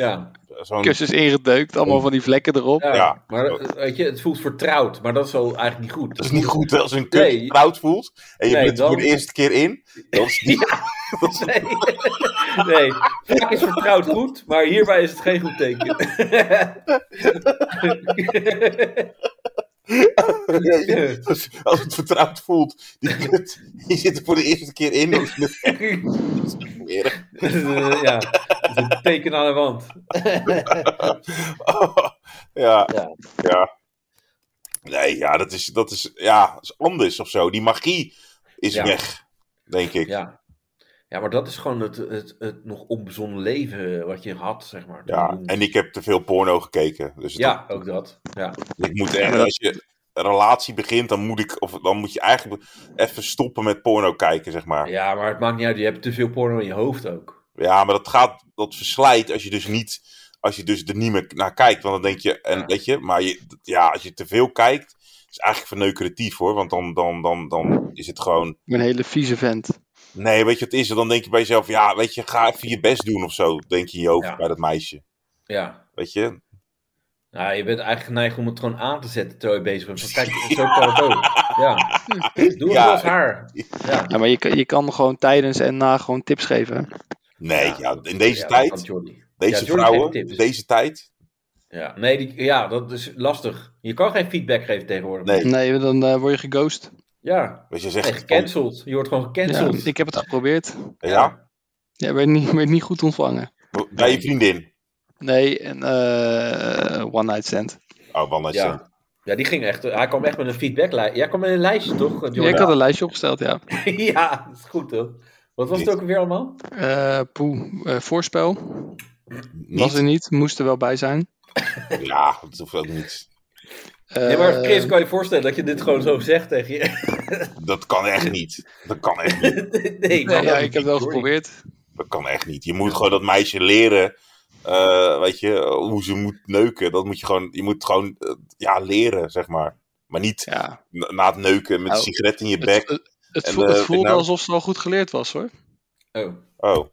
Speaker 2: Ja.
Speaker 3: Zo'n,
Speaker 4: Kussens ingedeukt, allemaal van die vlekken erop.
Speaker 2: ja.
Speaker 3: Ja.
Speaker 2: Maar eh, weet je, het voelt vertrouwd, maar dat is al eigenlijk niet goed.
Speaker 3: dat is niet goed als een kut
Speaker 2: Nee.
Speaker 3: koud voelt en je
Speaker 2: Nee,
Speaker 3: bent er voor de
Speaker 2: dan-
Speaker 3: eerste keer in. Dat is niet
Speaker 2: Nee. nee. Vaak is vertrouwd goed, maar hierbij is het geen goed teken.
Speaker 3: Als het vertrouwd voelt, die kut, je zit er voor de eerste keer in. Dat is net echt smerig.
Speaker 2: Eh, ja. Dat is een teken aan de wand.
Speaker 3: Oh, ja,
Speaker 2: Ja.
Speaker 3: ja. Nee, ja, dat is, dat is, ja, dat is anders of zo. Die magie is
Speaker 2: Ja.
Speaker 3: weg, denk ik. Ja,
Speaker 2: Ja. Ja, maar dat is gewoon het, het, het nog onbezonnen leven eh, wat je had, zeg maar.
Speaker 3: en ik heb te veel porno gekeken. Dus het-
Speaker 2: ja ook dat. Ja.
Speaker 3: ik moet echt, als je een relatie begint, dan moet, ik, of, dan moet je eigenlijk even stoppen met porno kijken, zeg maar. Ja,
Speaker 2: ja, maar het maakt niet uit. Je hebt te veel porno in je hoofd ook.
Speaker 3: maar dat gaat, dat verslijt als je dus niet, als je dus er niet meer naar kijkt. Want dan denk je, en
Speaker 2: Ja.
Speaker 3: weet je, maar je, ja, als je te veel kijkt, is eigenlijk verneukeratief hoor. Want dan, dan, dan, dan is het gewoon...
Speaker 4: Ik ben Een hele vieze vent.
Speaker 3: Nee, weet je wat het is? Dan denk je bij jezelf, ja, weet je, ga even je best doen of zo. Denk je in je hoofd
Speaker 2: Ja.
Speaker 3: bij dat meisje.
Speaker 2: Ja.
Speaker 3: Weet je?
Speaker 2: Nou, je bent eigenlijk geneigd om het gewoon aan te zetten terwijl je bezig bent. Van, kijk, zo kan het ook. Ja. Doe het
Speaker 3: Ja.
Speaker 2: als haar. Ja.
Speaker 4: Ja, maar je, kan- je kan gewoon tijdens en na gewoon tips geven.
Speaker 3: Nee, ja, in deze
Speaker 2: Ja, dat kan
Speaker 3: tijd,
Speaker 2: Jordi. Ja,
Speaker 3: deze
Speaker 2: Jordi geeft
Speaker 3: vrouwen,
Speaker 2: dus- tips.
Speaker 3: deze tijd.
Speaker 2: Ja, nee, die, ja, dat is lastig. Je kan geen feedback geven tegenwoordig.
Speaker 3: Nee,
Speaker 4: Nee, dan eh, word je geghost.
Speaker 2: Ja,
Speaker 3: weet je,
Speaker 2: nee,
Speaker 3: zegt, van-
Speaker 2: gecanceld. Je wordt gewoon
Speaker 4: Ja,
Speaker 2: gecanceld.
Speaker 4: ik heb het geprobeerd.
Speaker 3: ja,
Speaker 4: Ja, werd niet, werd niet goed ontvangen.
Speaker 3: bij je vriendin.
Speaker 4: Nee, een eh, one night stand.
Speaker 3: Oh, wel net zo.
Speaker 2: ja. ja, die ging echt. Hij kwam echt met een feedbacklijst. Jij kwam met een lijstje, toch? Jordi?
Speaker 4: Ja, ik had een lijstje opgesteld, ja.
Speaker 2: ja, dat is goed hoor. Wat was het ook weer allemaal?
Speaker 4: Eh poe, eh, voorspel. Was er
Speaker 3: Niet?
Speaker 4: niet, moest er wel bij zijn.
Speaker 3: Ja, dat hoeft ook niet.
Speaker 4: Eh,
Speaker 2: Nee, maar Chris, kan je voorstellen dat je dit gewoon zo zegt tegen je?
Speaker 3: Dat kan echt niet. Dat kan echt niet.
Speaker 2: nee,
Speaker 4: nee,
Speaker 2: maar
Speaker 4: ja,
Speaker 2: dat-
Speaker 4: ik heb wel
Speaker 2: Jordi.
Speaker 4: geprobeerd.
Speaker 3: Dat kan echt niet. Je moet gewoon dat meisje leren, eh, weet je, hoe ze moet neuken. Dat moet je gewoon, je moet gewoon, eh, ja, leren, zeg maar. Maar niet
Speaker 4: Ja.
Speaker 3: na, na het neuken met een
Speaker 4: Oh.
Speaker 3: sigaret in je
Speaker 4: Het,
Speaker 3: bek.
Speaker 4: het, het
Speaker 3: En,
Speaker 4: voel-
Speaker 3: eh,
Speaker 4: het
Speaker 3: ik
Speaker 4: voelde
Speaker 3: nou-
Speaker 4: alsof ze al goed geleerd was, hoor.
Speaker 2: Oh.
Speaker 3: Oh.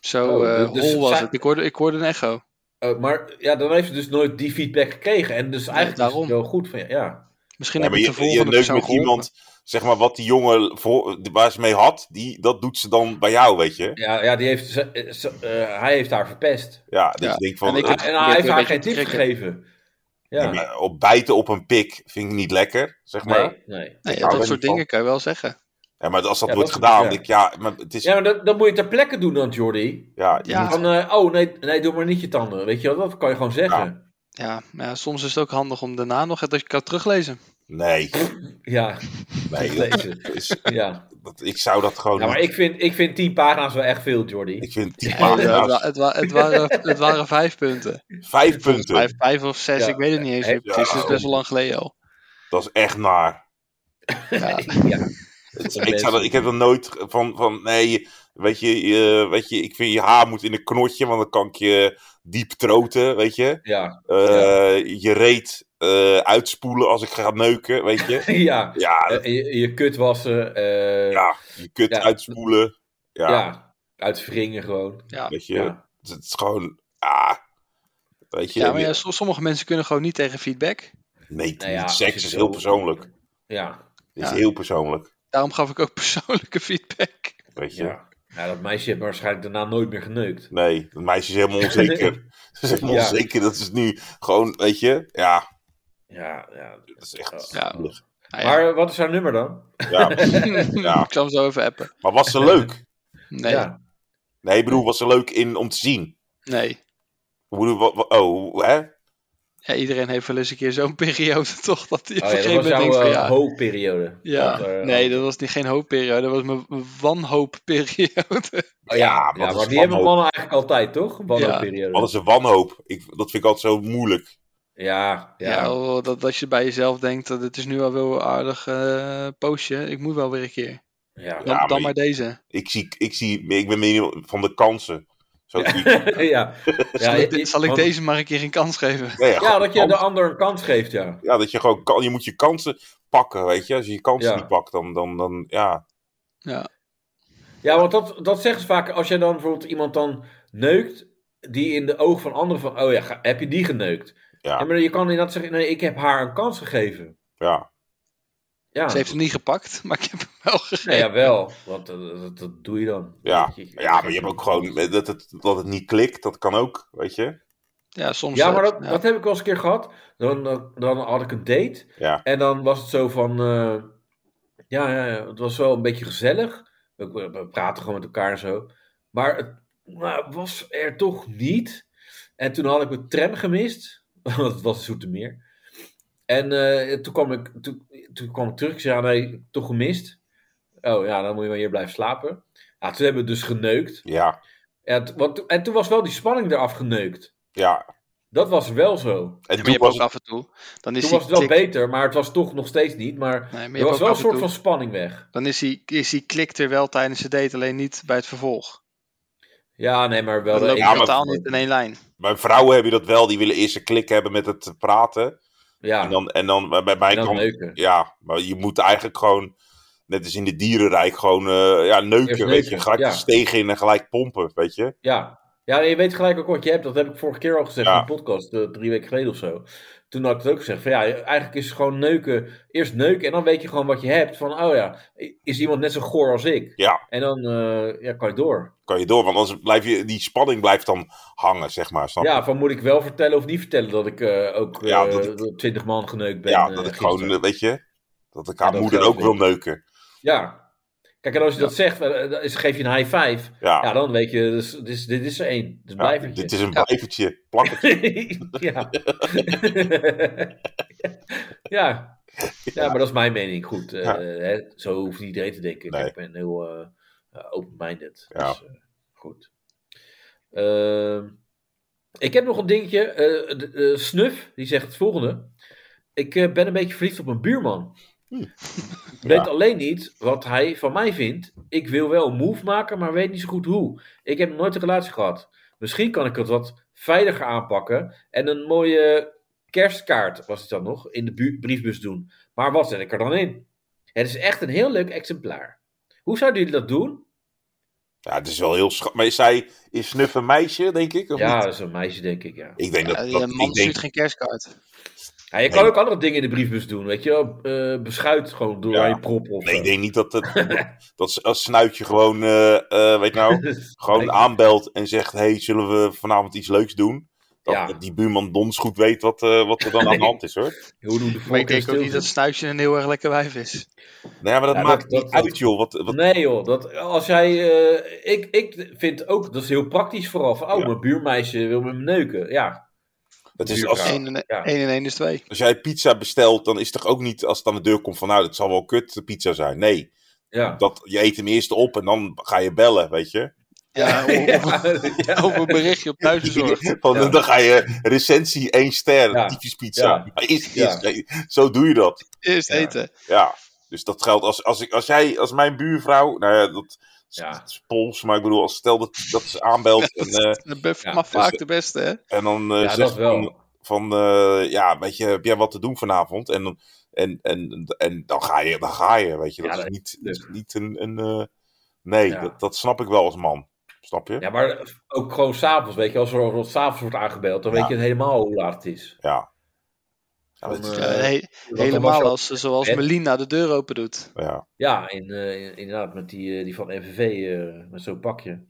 Speaker 4: Zo
Speaker 2: Oh,
Speaker 4: eh,
Speaker 2: dus- dus
Speaker 4: hol was
Speaker 2: zij-
Speaker 4: het. Ik hoorde, ik hoorde een echo.
Speaker 2: Oh, maar ja, dan heeft ze dus nooit die feedback gekregen. En dus eigenlijk is
Speaker 4: daarom.
Speaker 2: het wel goed van je. Ja.
Speaker 4: Misschien
Speaker 3: Ja,
Speaker 4: heb
Speaker 3: maar
Speaker 4: ik
Speaker 3: je,
Speaker 4: de
Speaker 3: je neukt
Speaker 4: volgende persoon
Speaker 3: met
Speaker 4: geholpen.
Speaker 3: iemand, zeg maar, wat die jongen voor, waar ze mee had, die, dat doet ze dan bij jou, weet je.
Speaker 2: Ja, ja die heeft, ze- eh, ze- eh, hij heeft haar verpest.
Speaker 3: Ja, dat
Speaker 4: Ja,
Speaker 3: je denkt van,
Speaker 4: en ik
Speaker 2: En
Speaker 4: heb-
Speaker 2: hij
Speaker 4: probeert
Speaker 2: heeft
Speaker 4: een
Speaker 2: haar
Speaker 4: beetje
Speaker 2: geen
Speaker 4: te
Speaker 2: tip
Speaker 4: trekken.
Speaker 2: gegeven.
Speaker 3: ja,
Speaker 2: Ja,
Speaker 3: maar op bijten op een pik vind ik niet lekker, zeg maar.
Speaker 2: nee, nee.
Speaker 4: Nee,
Speaker 3: Ik
Speaker 4: ja,
Speaker 3: hou
Speaker 4: dat
Speaker 3: er niet
Speaker 4: soort
Speaker 3: van.
Speaker 4: dingen kan je wel zeggen.
Speaker 3: Ja, maar als dat
Speaker 2: Ja,
Speaker 3: wordt
Speaker 2: dat is-
Speaker 3: gedaan,
Speaker 2: ja.
Speaker 3: denk ik, ja, maar het is,
Speaker 2: Ja,
Speaker 3: ja,
Speaker 2: maar dat, dat moet je ter plekke doen dan, Jordi.
Speaker 3: je
Speaker 4: Ja.
Speaker 3: moet-
Speaker 2: Van, eh, oh, nee, nee, doe maar niet je tanden. Weet je wel, dat kan je gewoon zeggen.
Speaker 4: Ja, maar ja, soms is het ook handig om daarna nog het dat je kan teruglezen.
Speaker 3: nee,
Speaker 2: Ja,
Speaker 3: nee, Oh, dat
Speaker 2: lezen.
Speaker 3: is,
Speaker 2: Ja.
Speaker 3: dat, ik zou dat gewoon,
Speaker 2: ja, maar
Speaker 3: niet-
Speaker 2: ik vind, ik vind tien pagina's wel echt veel, Jordi.
Speaker 3: ik vind tien
Speaker 4: Ja, het, wa-
Speaker 3: pagina's,
Speaker 4: het, wa- het waren, het waren vijf punten.
Speaker 3: vijf
Speaker 4: Vijf,
Speaker 3: punten,
Speaker 4: vijf of zes,
Speaker 2: Ja.
Speaker 4: ik weet het niet eens meer
Speaker 2: Ja.
Speaker 4: precies. Het is dus best wel lang geleden al.
Speaker 3: dat is echt naar.
Speaker 4: Ja.
Speaker 2: Ja.
Speaker 3: Het-
Speaker 2: Dat
Speaker 3: ik, zou dat,
Speaker 2: mensen-
Speaker 3: ik heb er nooit ge- van, van nee, weet je, je, weet je, ik vind je haar moet in een knotje, want dan kan ik je diep troten, weet je.
Speaker 2: Ja,
Speaker 3: Eh, Je reet eh, uitspoelen als ik ga neuken, weet je.
Speaker 2: ja.
Speaker 3: Ja, dat-
Speaker 2: Eh, je, je kut wassen. eh, ja.
Speaker 3: ja je kunt
Speaker 2: ja.
Speaker 3: uitspoelen. Ja,
Speaker 2: Uit wringen gewoon.
Speaker 4: Ja.
Speaker 3: weet je.
Speaker 2: Ja.
Speaker 3: Het, het is gewoon, ah, weet je.
Speaker 4: Ja, maar ja, so- sommige mensen kunnen gewoon niet tegen feedback.
Speaker 3: nee,
Speaker 2: Nou ja, als
Speaker 3: seks
Speaker 2: je
Speaker 3: is
Speaker 2: het
Speaker 3: heel
Speaker 2: zo-
Speaker 3: persoonlijk. Het
Speaker 2: Ja.
Speaker 3: is
Speaker 4: Ja.
Speaker 3: heel persoonlijk,
Speaker 4: Daarom gaf ik ook persoonlijke feedback.
Speaker 3: weet je.
Speaker 2: Ja. ja, dat meisje heeft waarschijnlijk daarna nooit meer geneukt.
Speaker 3: Nee, dat meisje is helemaal onzeker. Ze is helemaal
Speaker 2: Ja.
Speaker 3: onzeker. Dat is nu gewoon, weet je, ja,
Speaker 2: Ja, ja.
Speaker 3: dat is echt
Speaker 4: Ja.
Speaker 3: zielig.
Speaker 4: Nou ja.
Speaker 2: Maar eh, wat is haar nummer dan?
Speaker 3: Ja, ja.
Speaker 4: Ik zal hem zo even appen.
Speaker 3: maar was ze leuk?
Speaker 4: Nee.
Speaker 2: Ja. Oh
Speaker 3: Nee, ik bedoel, was ze leuk in, om te zien?
Speaker 4: nee.
Speaker 3: Ik bedoel, wat, wat- oh, hè?
Speaker 4: Ja, iedereen heeft wel eens een keer zo'n periode, toch? Dat hij op
Speaker 2: Oh,
Speaker 4: een
Speaker 2: ja, dat
Speaker 4: gegeven
Speaker 2: was
Speaker 4: moment denkt
Speaker 2: jouw
Speaker 4: van
Speaker 2: eh,
Speaker 4: ja.
Speaker 2: hoopperiode.
Speaker 4: ja.
Speaker 2: Want, eh,
Speaker 4: nee, dat was niet, geen hoopperiode. Dat was mijn mijn wanhoopperiode.
Speaker 2: oh, ja,
Speaker 3: Ja,
Speaker 2: ja,
Speaker 3: wat
Speaker 2: maar
Speaker 3: is
Speaker 2: die
Speaker 3: wanhoop?
Speaker 2: hebben mannen eigenlijk altijd, toch? Wanhoopperiode.
Speaker 3: Wat is een wanhoop? Ik, dat vind ik altijd zo moeilijk.
Speaker 2: Ja, ja.
Speaker 4: Ja, oh, dat, dat je bij jezelf denkt, dat het is nu al wel een aardig eh, postje. Ik moet wel weer een keer.
Speaker 2: ja.
Speaker 4: Dan,
Speaker 3: maar
Speaker 4: dan
Speaker 3: je-
Speaker 4: maar deze.
Speaker 3: Ik, zie, ik, zie, ik ben meer van de kansen. Zo zie ik-
Speaker 2: ja. ja.
Speaker 4: Zal ik,
Speaker 2: je-
Speaker 4: de- zal ik
Speaker 2: want-
Speaker 4: deze maar een keer een kans geven?
Speaker 3: Nee, ja,
Speaker 2: Ja, dat je
Speaker 3: kans-
Speaker 2: de ander een kans geeft, ja.
Speaker 3: ja, dat je gewoon kan, je moet je kansen pakken, weet je. Als je je kansen
Speaker 2: Ja.
Speaker 3: niet pakt, dan, dan, dan ja.
Speaker 4: Ja.
Speaker 2: Ja, want dat, dat zeggen ze vaak. Als je dan bijvoorbeeld iemand dan neukt, die in de oog van anderen van, oh ja, ga- heb je die geneukt?
Speaker 3: Ja.
Speaker 2: Ja, maar je kan inderdaad zeggen, nee, ik heb haar een kans gegeven.
Speaker 3: ja.
Speaker 2: Ja,
Speaker 4: Ze heeft hem niet gepakt, maar ik heb hem wel gegeven.
Speaker 2: nee, jawel. Want dat, dat, dat doe je dan.
Speaker 3: Ja.
Speaker 2: Je- je-
Speaker 3: Ja, maar je hebt ook gewoon dat het, dat het niet klikt, dat kan ook, weet je.
Speaker 4: Ja, soms.
Speaker 2: Ja,
Speaker 4: eh,
Speaker 2: maar dat,
Speaker 4: ja.
Speaker 2: dat heb ik wel eens een keer gehad. Dan, dan, dan had ik een date.
Speaker 3: Ja.
Speaker 2: En dan was het zo van... eh, ja, ja, ja, het was wel een beetje gezellig. We, we- we praten gewoon met elkaar en zo. Maar het maar was er toch niet. En toen had ik mijn tram gemist. Want het was Zoetermeer. En eh, toen, kwam ik, toen, toen kwam ik terug. Ik zei, ja, nee, toch gemist. Oh ja, dan moet je maar hier blijven slapen. Ja, toen hebben we dus geneukt.
Speaker 3: Ja,
Speaker 2: En, t- want, en toen was wel die spanning eraf geneukt.
Speaker 3: ja.
Speaker 2: Dat was wel zo.
Speaker 3: En
Speaker 4: Ja,
Speaker 3: toen
Speaker 4: maar je hebt
Speaker 3: was
Speaker 4: ook af en toe. Dan is
Speaker 2: Toen
Speaker 4: die
Speaker 2: was het wel
Speaker 4: klik-
Speaker 2: beter, maar het was toch nog steeds niet. Maar
Speaker 4: Nee, Dus maar je
Speaker 2: er
Speaker 4: hebt
Speaker 2: was
Speaker 4: ook
Speaker 2: wel een
Speaker 4: af en
Speaker 2: soort
Speaker 4: toe-
Speaker 2: van spanning weg.
Speaker 4: Dan is die, is die klik er wel tijdens de date, alleen niet bij het vervolg.
Speaker 2: Ja, nee, maar wel.
Speaker 4: Dan loopt
Speaker 2: één
Speaker 4: je
Speaker 3: maar-
Speaker 4: totaal niet in één lijn.
Speaker 3: bij vrouwen heb je dat wel, die willen eerst een klik hebben met het praten.
Speaker 2: Ja,
Speaker 3: En dan, en dan bij mij
Speaker 2: en dan
Speaker 3: kan,
Speaker 2: neuken.
Speaker 3: ja, maar je moet eigenlijk gewoon, net als in de dierenrijk, gewoon eh, ja, neuken,
Speaker 2: Eerst
Speaker 3: weet je.
Speaker 2: neuken,
Speaker 3: Gelijk
Speaker 2: ja.
Speaker 3: de steeg in en gelijk pompen, weet je.
Speaker 2: Ja. ja, en je weet gelijk ook wat je hebt. Dat heb ik vorige keer al gezegd
Speaker 3: Ja.
Speaker 2: in de podcast, eh, drie weken geleden of zo. Toen had ik het ook gezegd. Van, ja, eigenlijk is het gewoon neuken. Eerst neuken en dan weet je gewoon wat je hebt. Van, oh ja, is iemand net zo goor als ik?
Speaker 3: Ja.
Speaker 2: En dan eh, ja, kan je door.
Speaker 3: Kan je door, want anders blijf je, die spanning blijft dan hangen, zeg maar, snap je?
Speaker 2: Ja, van moet ik wel vertellen of niet vertellen dat ik eh, ook
Speaker 3: Ja, dat
Speaker 2: eh, 20 man geneukt ben?
Speaker 3: ja,
Speaker 2: eh,
Speaker 3: dat ik
Speaker 2: gisteren.
Speaker 3: gewoon, eh, weet je, dat ik
Speaker 2: Ja,
Speaker 3: haar
Speaker 2: dat
Speaker 3: moeder
Speaker 2: geloof
Speaker 3: ook
Speaker 2: ik.
Speaker 3: wil neuken.
Speaker 2: Ja. Kijk, en als je dat zegt, eh, dan is- geef je een high five.
Speaker 3: Ja,
Speaker 2: Ja, dan weet je, dus, dit, is, dit is er één. Dus
Speaker 3: Ja,
Speaker 2: blijf
Speaker 3: dit
Speaker 2: het.
Speaker 3: is een
Speaker 4: Ja.
Speaker 3: blijvertje. Plakken.
Speaker 2: ja. ja. Ja, maar dat is mijn mening. Goed, eh,
Speaker 3: Ja.
Speaker 2: hè, zo hoeft niet iedereen te denken.
Speaker 3: Nee.
Speaker 2: Ik ben heel eh, eh, open-minded.
Speaker 3: Ja.
Speaker 2: Dus, eh, goed. Ehm, ik heb nog een dingetje. Eh, de- eh, Snuf, die zegt het volgende. Ik eh, ben een beetje verliefd op een buurman.
Speaker 3: Hm.
Speaker 2: Weet
Speaker 3: Ja.
Speaker 2: alleen niet wat hij van mij vindt. Ik wil wel een move maken, maar weet niet zo goed hoe. Ik heb nog nooit een relatie gehad. Misschien kan ik het wat veiliger aanpakken en een mooie kerstkaart, was het dan nog, in de bu- briefbus doen. Maar wat zet ik er dan in? Het is echt een heel leuk exemplaar. Hoe zouden jullie dat doen?
Speaker 3: Ja, het is wel heel schattig. Maar is zij is snuf een meisje, denk ik? Of
Speaker 2: Ja,
Speaker 3: niet?
Speaker 2: dat is een meisje, denk ik, ja.
Speaker 3: Ik denk dat,
Speaker 4: Ja, die eh,
Speaker 3: dat-
Speaker 4: man
Speaker 3: ik
Speaker 4: stuurt
Speaker 3: denk,
Speaker 4: geen kerstkaart.
Speaker 2: ja je kan
Speaker 3: Nee.
Speaker 2: ook andere dingen in de briefbus doen, weet je wel. Eh, beschuit gewoon door
Speaker 3: Ja.
Speaker 2: aan je prop of...
Speaker 3: nee, ik
Speaker 2: eh,
Speaker 3: denk niet dat het, dat ze- als snuitje gewoon, eh, eh, weet nou, gewoon
Speaker 2: Dus Nee.
Speaker 3: aanbelt en zegt, hey, zullen we vanavond iets leuks doen? Dat,
Speaker 2: Ja.
Speaker 3: dat die buurman dons goed weet wat, eh, wat er dan aan de hand is, hoor.
Speaker 2: Hoe doen de
Speaker 4: Maar ik
Speaker 2: volken
Speaker 4: denk ook niet
Speaker 2: stil?
Speaker 4: dat Snuitje een heel erg lekker wijf is.
Speaker 3: Nou ja, maar dat
Speaker 2: Ja,
Speaker 3: maakt
Speaker 2: dat-
Speaker 3: niet
Speaker 2: dat-
Speaker 3: uit,
Speaker 2: dat-
Speaker 3: joh. Wat, wat,
Speaker 2: Nee joh, dat, als jij, eh, ik, ik vind ook, dat is heel praktisch vooral, van oh,
Speaker 3: Ja.
Speaker 2: mijn buurmeisje wil met me neuken. Ja,
Speaker 3: het is,
Speaker 2: duur
Speaker 3: als,
Speaker 2: Ja,
Speaker 4: Eén en één
Speaker 2: ja.
Speaker 4: en één is twee.
Speaker 3: als jij pizza bestelt, dan is het toch ook niet als het aan de deur komt van, nou, dat zal wel kut pizza zijn. Nee,
Speaker 2: ja.
Speaker 3: dat, je eet hem eerst op en dan ga je bellen, weet je.
Speaker 4: Ja, of, of-
Speaker 2: ja.
Speaker 4: of een berichtje op thuisbezorgd.
Speaker 3: Van,
Speaker 2: Ja.
Speaker 3: Dan ga je recensie 1 ster,
Speaker 2: Ja.
Speaker 3: typisch pizza.
Speaker 2: Ja.
Speaker 3: Maar eerst,
Speaker 2: Ja.
Speaker 3: eerst- zo doe je dat.
Speaker 4: Eerst
Speaker 2: Ja.
Speaker 4: eten.
Speaker 3: Ja, dus dat geldt als, als, ik, als jij, als mijn buurvrouw, nou ja, dat is,
Speaker 2: Ja.
Speaker 3: dat is Pools, maar ik bedoel, als stel dat, dat ze aanbelt en, eh,
Speaker 4: De buff
Speaker 2: Ja, eh,
Speaker 4: mag vaak
Speaker 3: dus-
Speaker 4: de beste, hè?
Speaker 3: en dan eh
Speaker 2: Ja,
Speaker 3: zegt
Speaker 2: dat
Speaker 3: van,
Speaker 2: wel.
Speaker 3: van eh, ja, weet je, heb jij wat te doen vanavond? En, dan- en, en, en dan ga je, dan ga je, weet je. Dat
Speaker 2: Ja,
Speaker 3: is
Speaker 2: dat-
Speaker 3: niet,
Speaker 2: dus.
Speaker 3: niet een, een eh, nee,
Speaker 2: Ja.
Speaker 3: dat, dat snap ik wel als man. Snap je?
Speaker 2: Ja, maar ook gewoon s'avonds, weet je, als er al s'avonds wordt aangebeld, dan
Speaker 3: Ja.
Speaker 2: weet je het helemaal hoe laat het is.
Speaker 3: Ja. Ja, dat
Speaker 2: Van,
Speaker 3: is-
Speaker 4: Ja,
Speaker 2: eh,
Speaker 4: he-
Speaker 2: Want dan was
Speaker 4: helemaal
Speaker 2: je al-
Speaker 4: als, ze- zoals
Speaker 2: bed.
Speaker 4: Melina de deur open doet.
Speaker 3: ja.
Speaker 2: Ja, in, eh, in- inderdaad, met die, eh, die van MVV, eh, met zo'n pakje.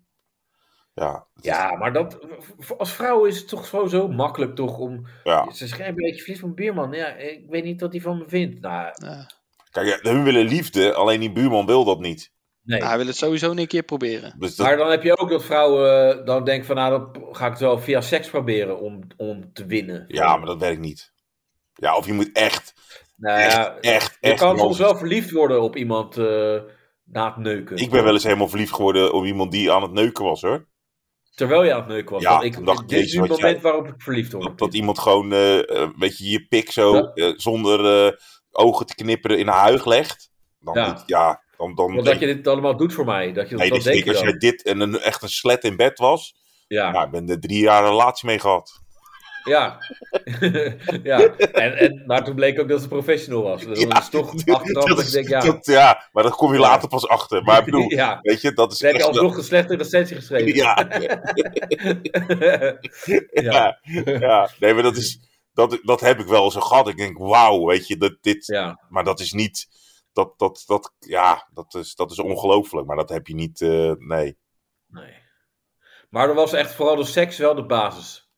Speaker 3: Ja, het is-
Speaker 2: Ja, maar dat, v- als vrouw is het toch zo, zo makkelijk toch om...
Speaker 3: ja.
Speaker 2: Ze schrijven een beetje vlies van Bierman. Ja, ik weet niet wat hij van me vindt. Nou,
Speaker 4: Ja.
Speaker 3: Kijk, ja, hun willen liefde, alleen die buurman wil dat niet.
Speaker 2: Nee.
Speaker 4: Nou, hij wil het sowieso een keer proberen.
Speaker 3: Dus dat,
Speaker 2: Maar dan heb je ook dat vrouwen eh, dan denken van nou, dan p- ga ik het wel via seks proberen om, om te winnen.
Speaker 3: ja, maar dat werkt niet. Ja, of je moet echt,
Speaker 2: Nou
Speaker 3: echt,
Speaker 2: ja,
Speaker 3: echt,
Speaker 2: je
Speaker 3: echt.
Speaker 2: kan
Speaker 3: man-
Speaker 2: soms wel verliefd worden op iemand eh, na het neuken.
Speaker 3: Ik ben wel eens helemaal verliefd geworden op iemand die aan het neuken was, hoor.
Speaker 2: Terwijl je aan het neuken was.
Speaker 3: Ja,
Speaker 2: want ik,
Speaker 3: toen dacht ik,
Speaker 2: dit is
Speaker 3: jezus,
Speaker 2: nu het
Speaker 3: wat
Speaker 2: moment waarop ik verliefd word.
Speaker 3: Dat, dat iemand gewoon, eh, eh, weet je, je pik zo
Speaker 2: Ja.
Speaker 3: eh, zonder eh, ogen te knipperen in haar huig legt. Dan
Speaker 2: Ja.
Speaker 3: moet- ja, dan, dan
Speaker 2: Want dat je dit allemaal doet voor mij. Dat je
Speaker 3: nee,
Speaker 2: dat
Speaker 3: dat
Speaker 2: denk je
Speaker 3: als
Speaker 2: dan.
Speaker 3: jij dit en een, echt een slet in bed was,
Speaker 2: Ja.
Speaker 3: nou, ik ben er drie jaar een relatie mee gehad.
Speaker 2: Ja. ja. En, en, maar toen bleek ook dat ze professional was. Dus
Speaker 3: Ja,
Speaker 2: dat is toch achteraf dat
Speaker 3: is-
Speaker 2: je denkt, ja.
Speaker 3: dat- ja, maar daar kom je
Speaker 2: Ja.
Speaker 3: later pas achter. Maar ik bedoel,
Speaker 2: ja.
Speaker 3: weet je, dat is
Speaker 2: Dan heb
Speaker 3: echt
Speaker 2: je
Speaker 3: wel-
Speaker 2: alsnog een slechte recensie geschreven.
Speaker 3: Ja,
Speaker 2: ja.
Speaker 3: ja, ja. Nee, maar dat is... Dat, dat heb ik wel zo gehad. Ik denk, wauw, weet je, dat, dit,
Speaker 2: ja.
Speaker 3: Maar dat is niet. Dat, dat, dat, ja, dat is, dat is ongelooflijk. Maar dat heb je niet. eh, nee.
Speaker 2: Nee. Maar er was echt vooral de seks wel de basis.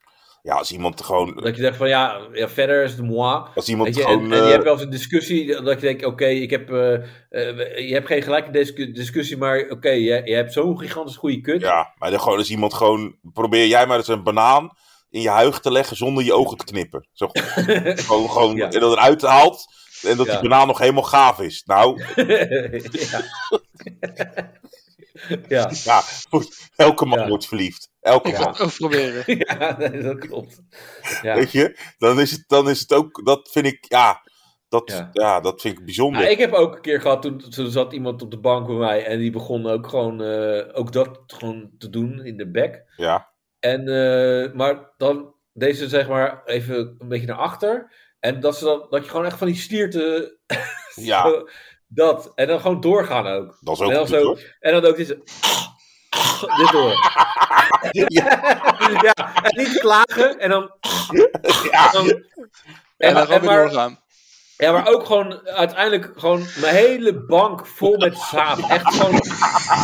Speaker 3: Ja, als iemand gewoon.
Speaker 2: Dat je dacht van ja, ja verder is het moi.
Speaker 3: Als iemand
Speaker 2: Weet je,
Speaker 3: gewoon.
Speaker 2: en, en je
Speaker 3: eh,
Speaker 2: hebt wel eens een discussie dat je denkt, oké, ik heb, eh, eh, je hebt geen gelijke discu- discussie, maar oké, je, je hebt zo'n gigantisch goede kut.
Speaker 3: ja, maar dan gewoon als iemand gewoon. Probeer jij maar eens een banaan in je huig te leggen zonder je ogen te knippen. Zo, gewoon, gewoon,
Speaker 2: Ja.
Speaker 3: En dat eruit haalt. En dat
Speaker 2: Ja.
Speaker 3: die banaan nog helemaal gaaf is. Nou,
Speaker 2: ja. ja.
Speaker 3: ja, goed, elke man
Speaker 2: Ja.
Speaker 3: wordt verliefd. Elke man.
Speaker 4: Of proberen.
Speaker 2: Ja, nee, dat klopt. Ja.
Speaker 3: Weet je? Dan is, het, dan is het ook. Dat vind ik. Ja, dat, ja.
Speaker 2: Ja.
Speaker 3: dat vind ik bijzonder.
Speaker 2: Nou, ik heb ook een keer gehad, toen, toen zat iemand op de bank bij mij en die begon ook gewoon eh, ook dat gewoon te doen in de bek.
Speaker 3: Ja,
Speaker 2: En, eh, maar dan deze zeg maar even een beetje naar achter. En dat, ze dan, dat je gewoon echt van die stierten...
Speaker 3: ja,
Speaker 2: dat. En dan gewoon doorgaan ook.
Speaker 3: dat is
Speaker 2: En dan,
Speaker 3: ook. Goed,
Speaker 2: zo,
Speaker 3: hoor.
Speaker 2: en dan ook dit. zo- Dit door. ja, en niet klagen en dan.
Speaker 3: Ja.
Speaker 2: dan-
Speaker 4: En dan
Speaker 2: maar-
Speaker 4: gewoon weer
Speaker 2: maar,
Speaker 4: doorgaan.
Speaker 2: ja, maar ook gewoon uiteindelijk gewoon mijn hele bank vol met saap. Echt gewoon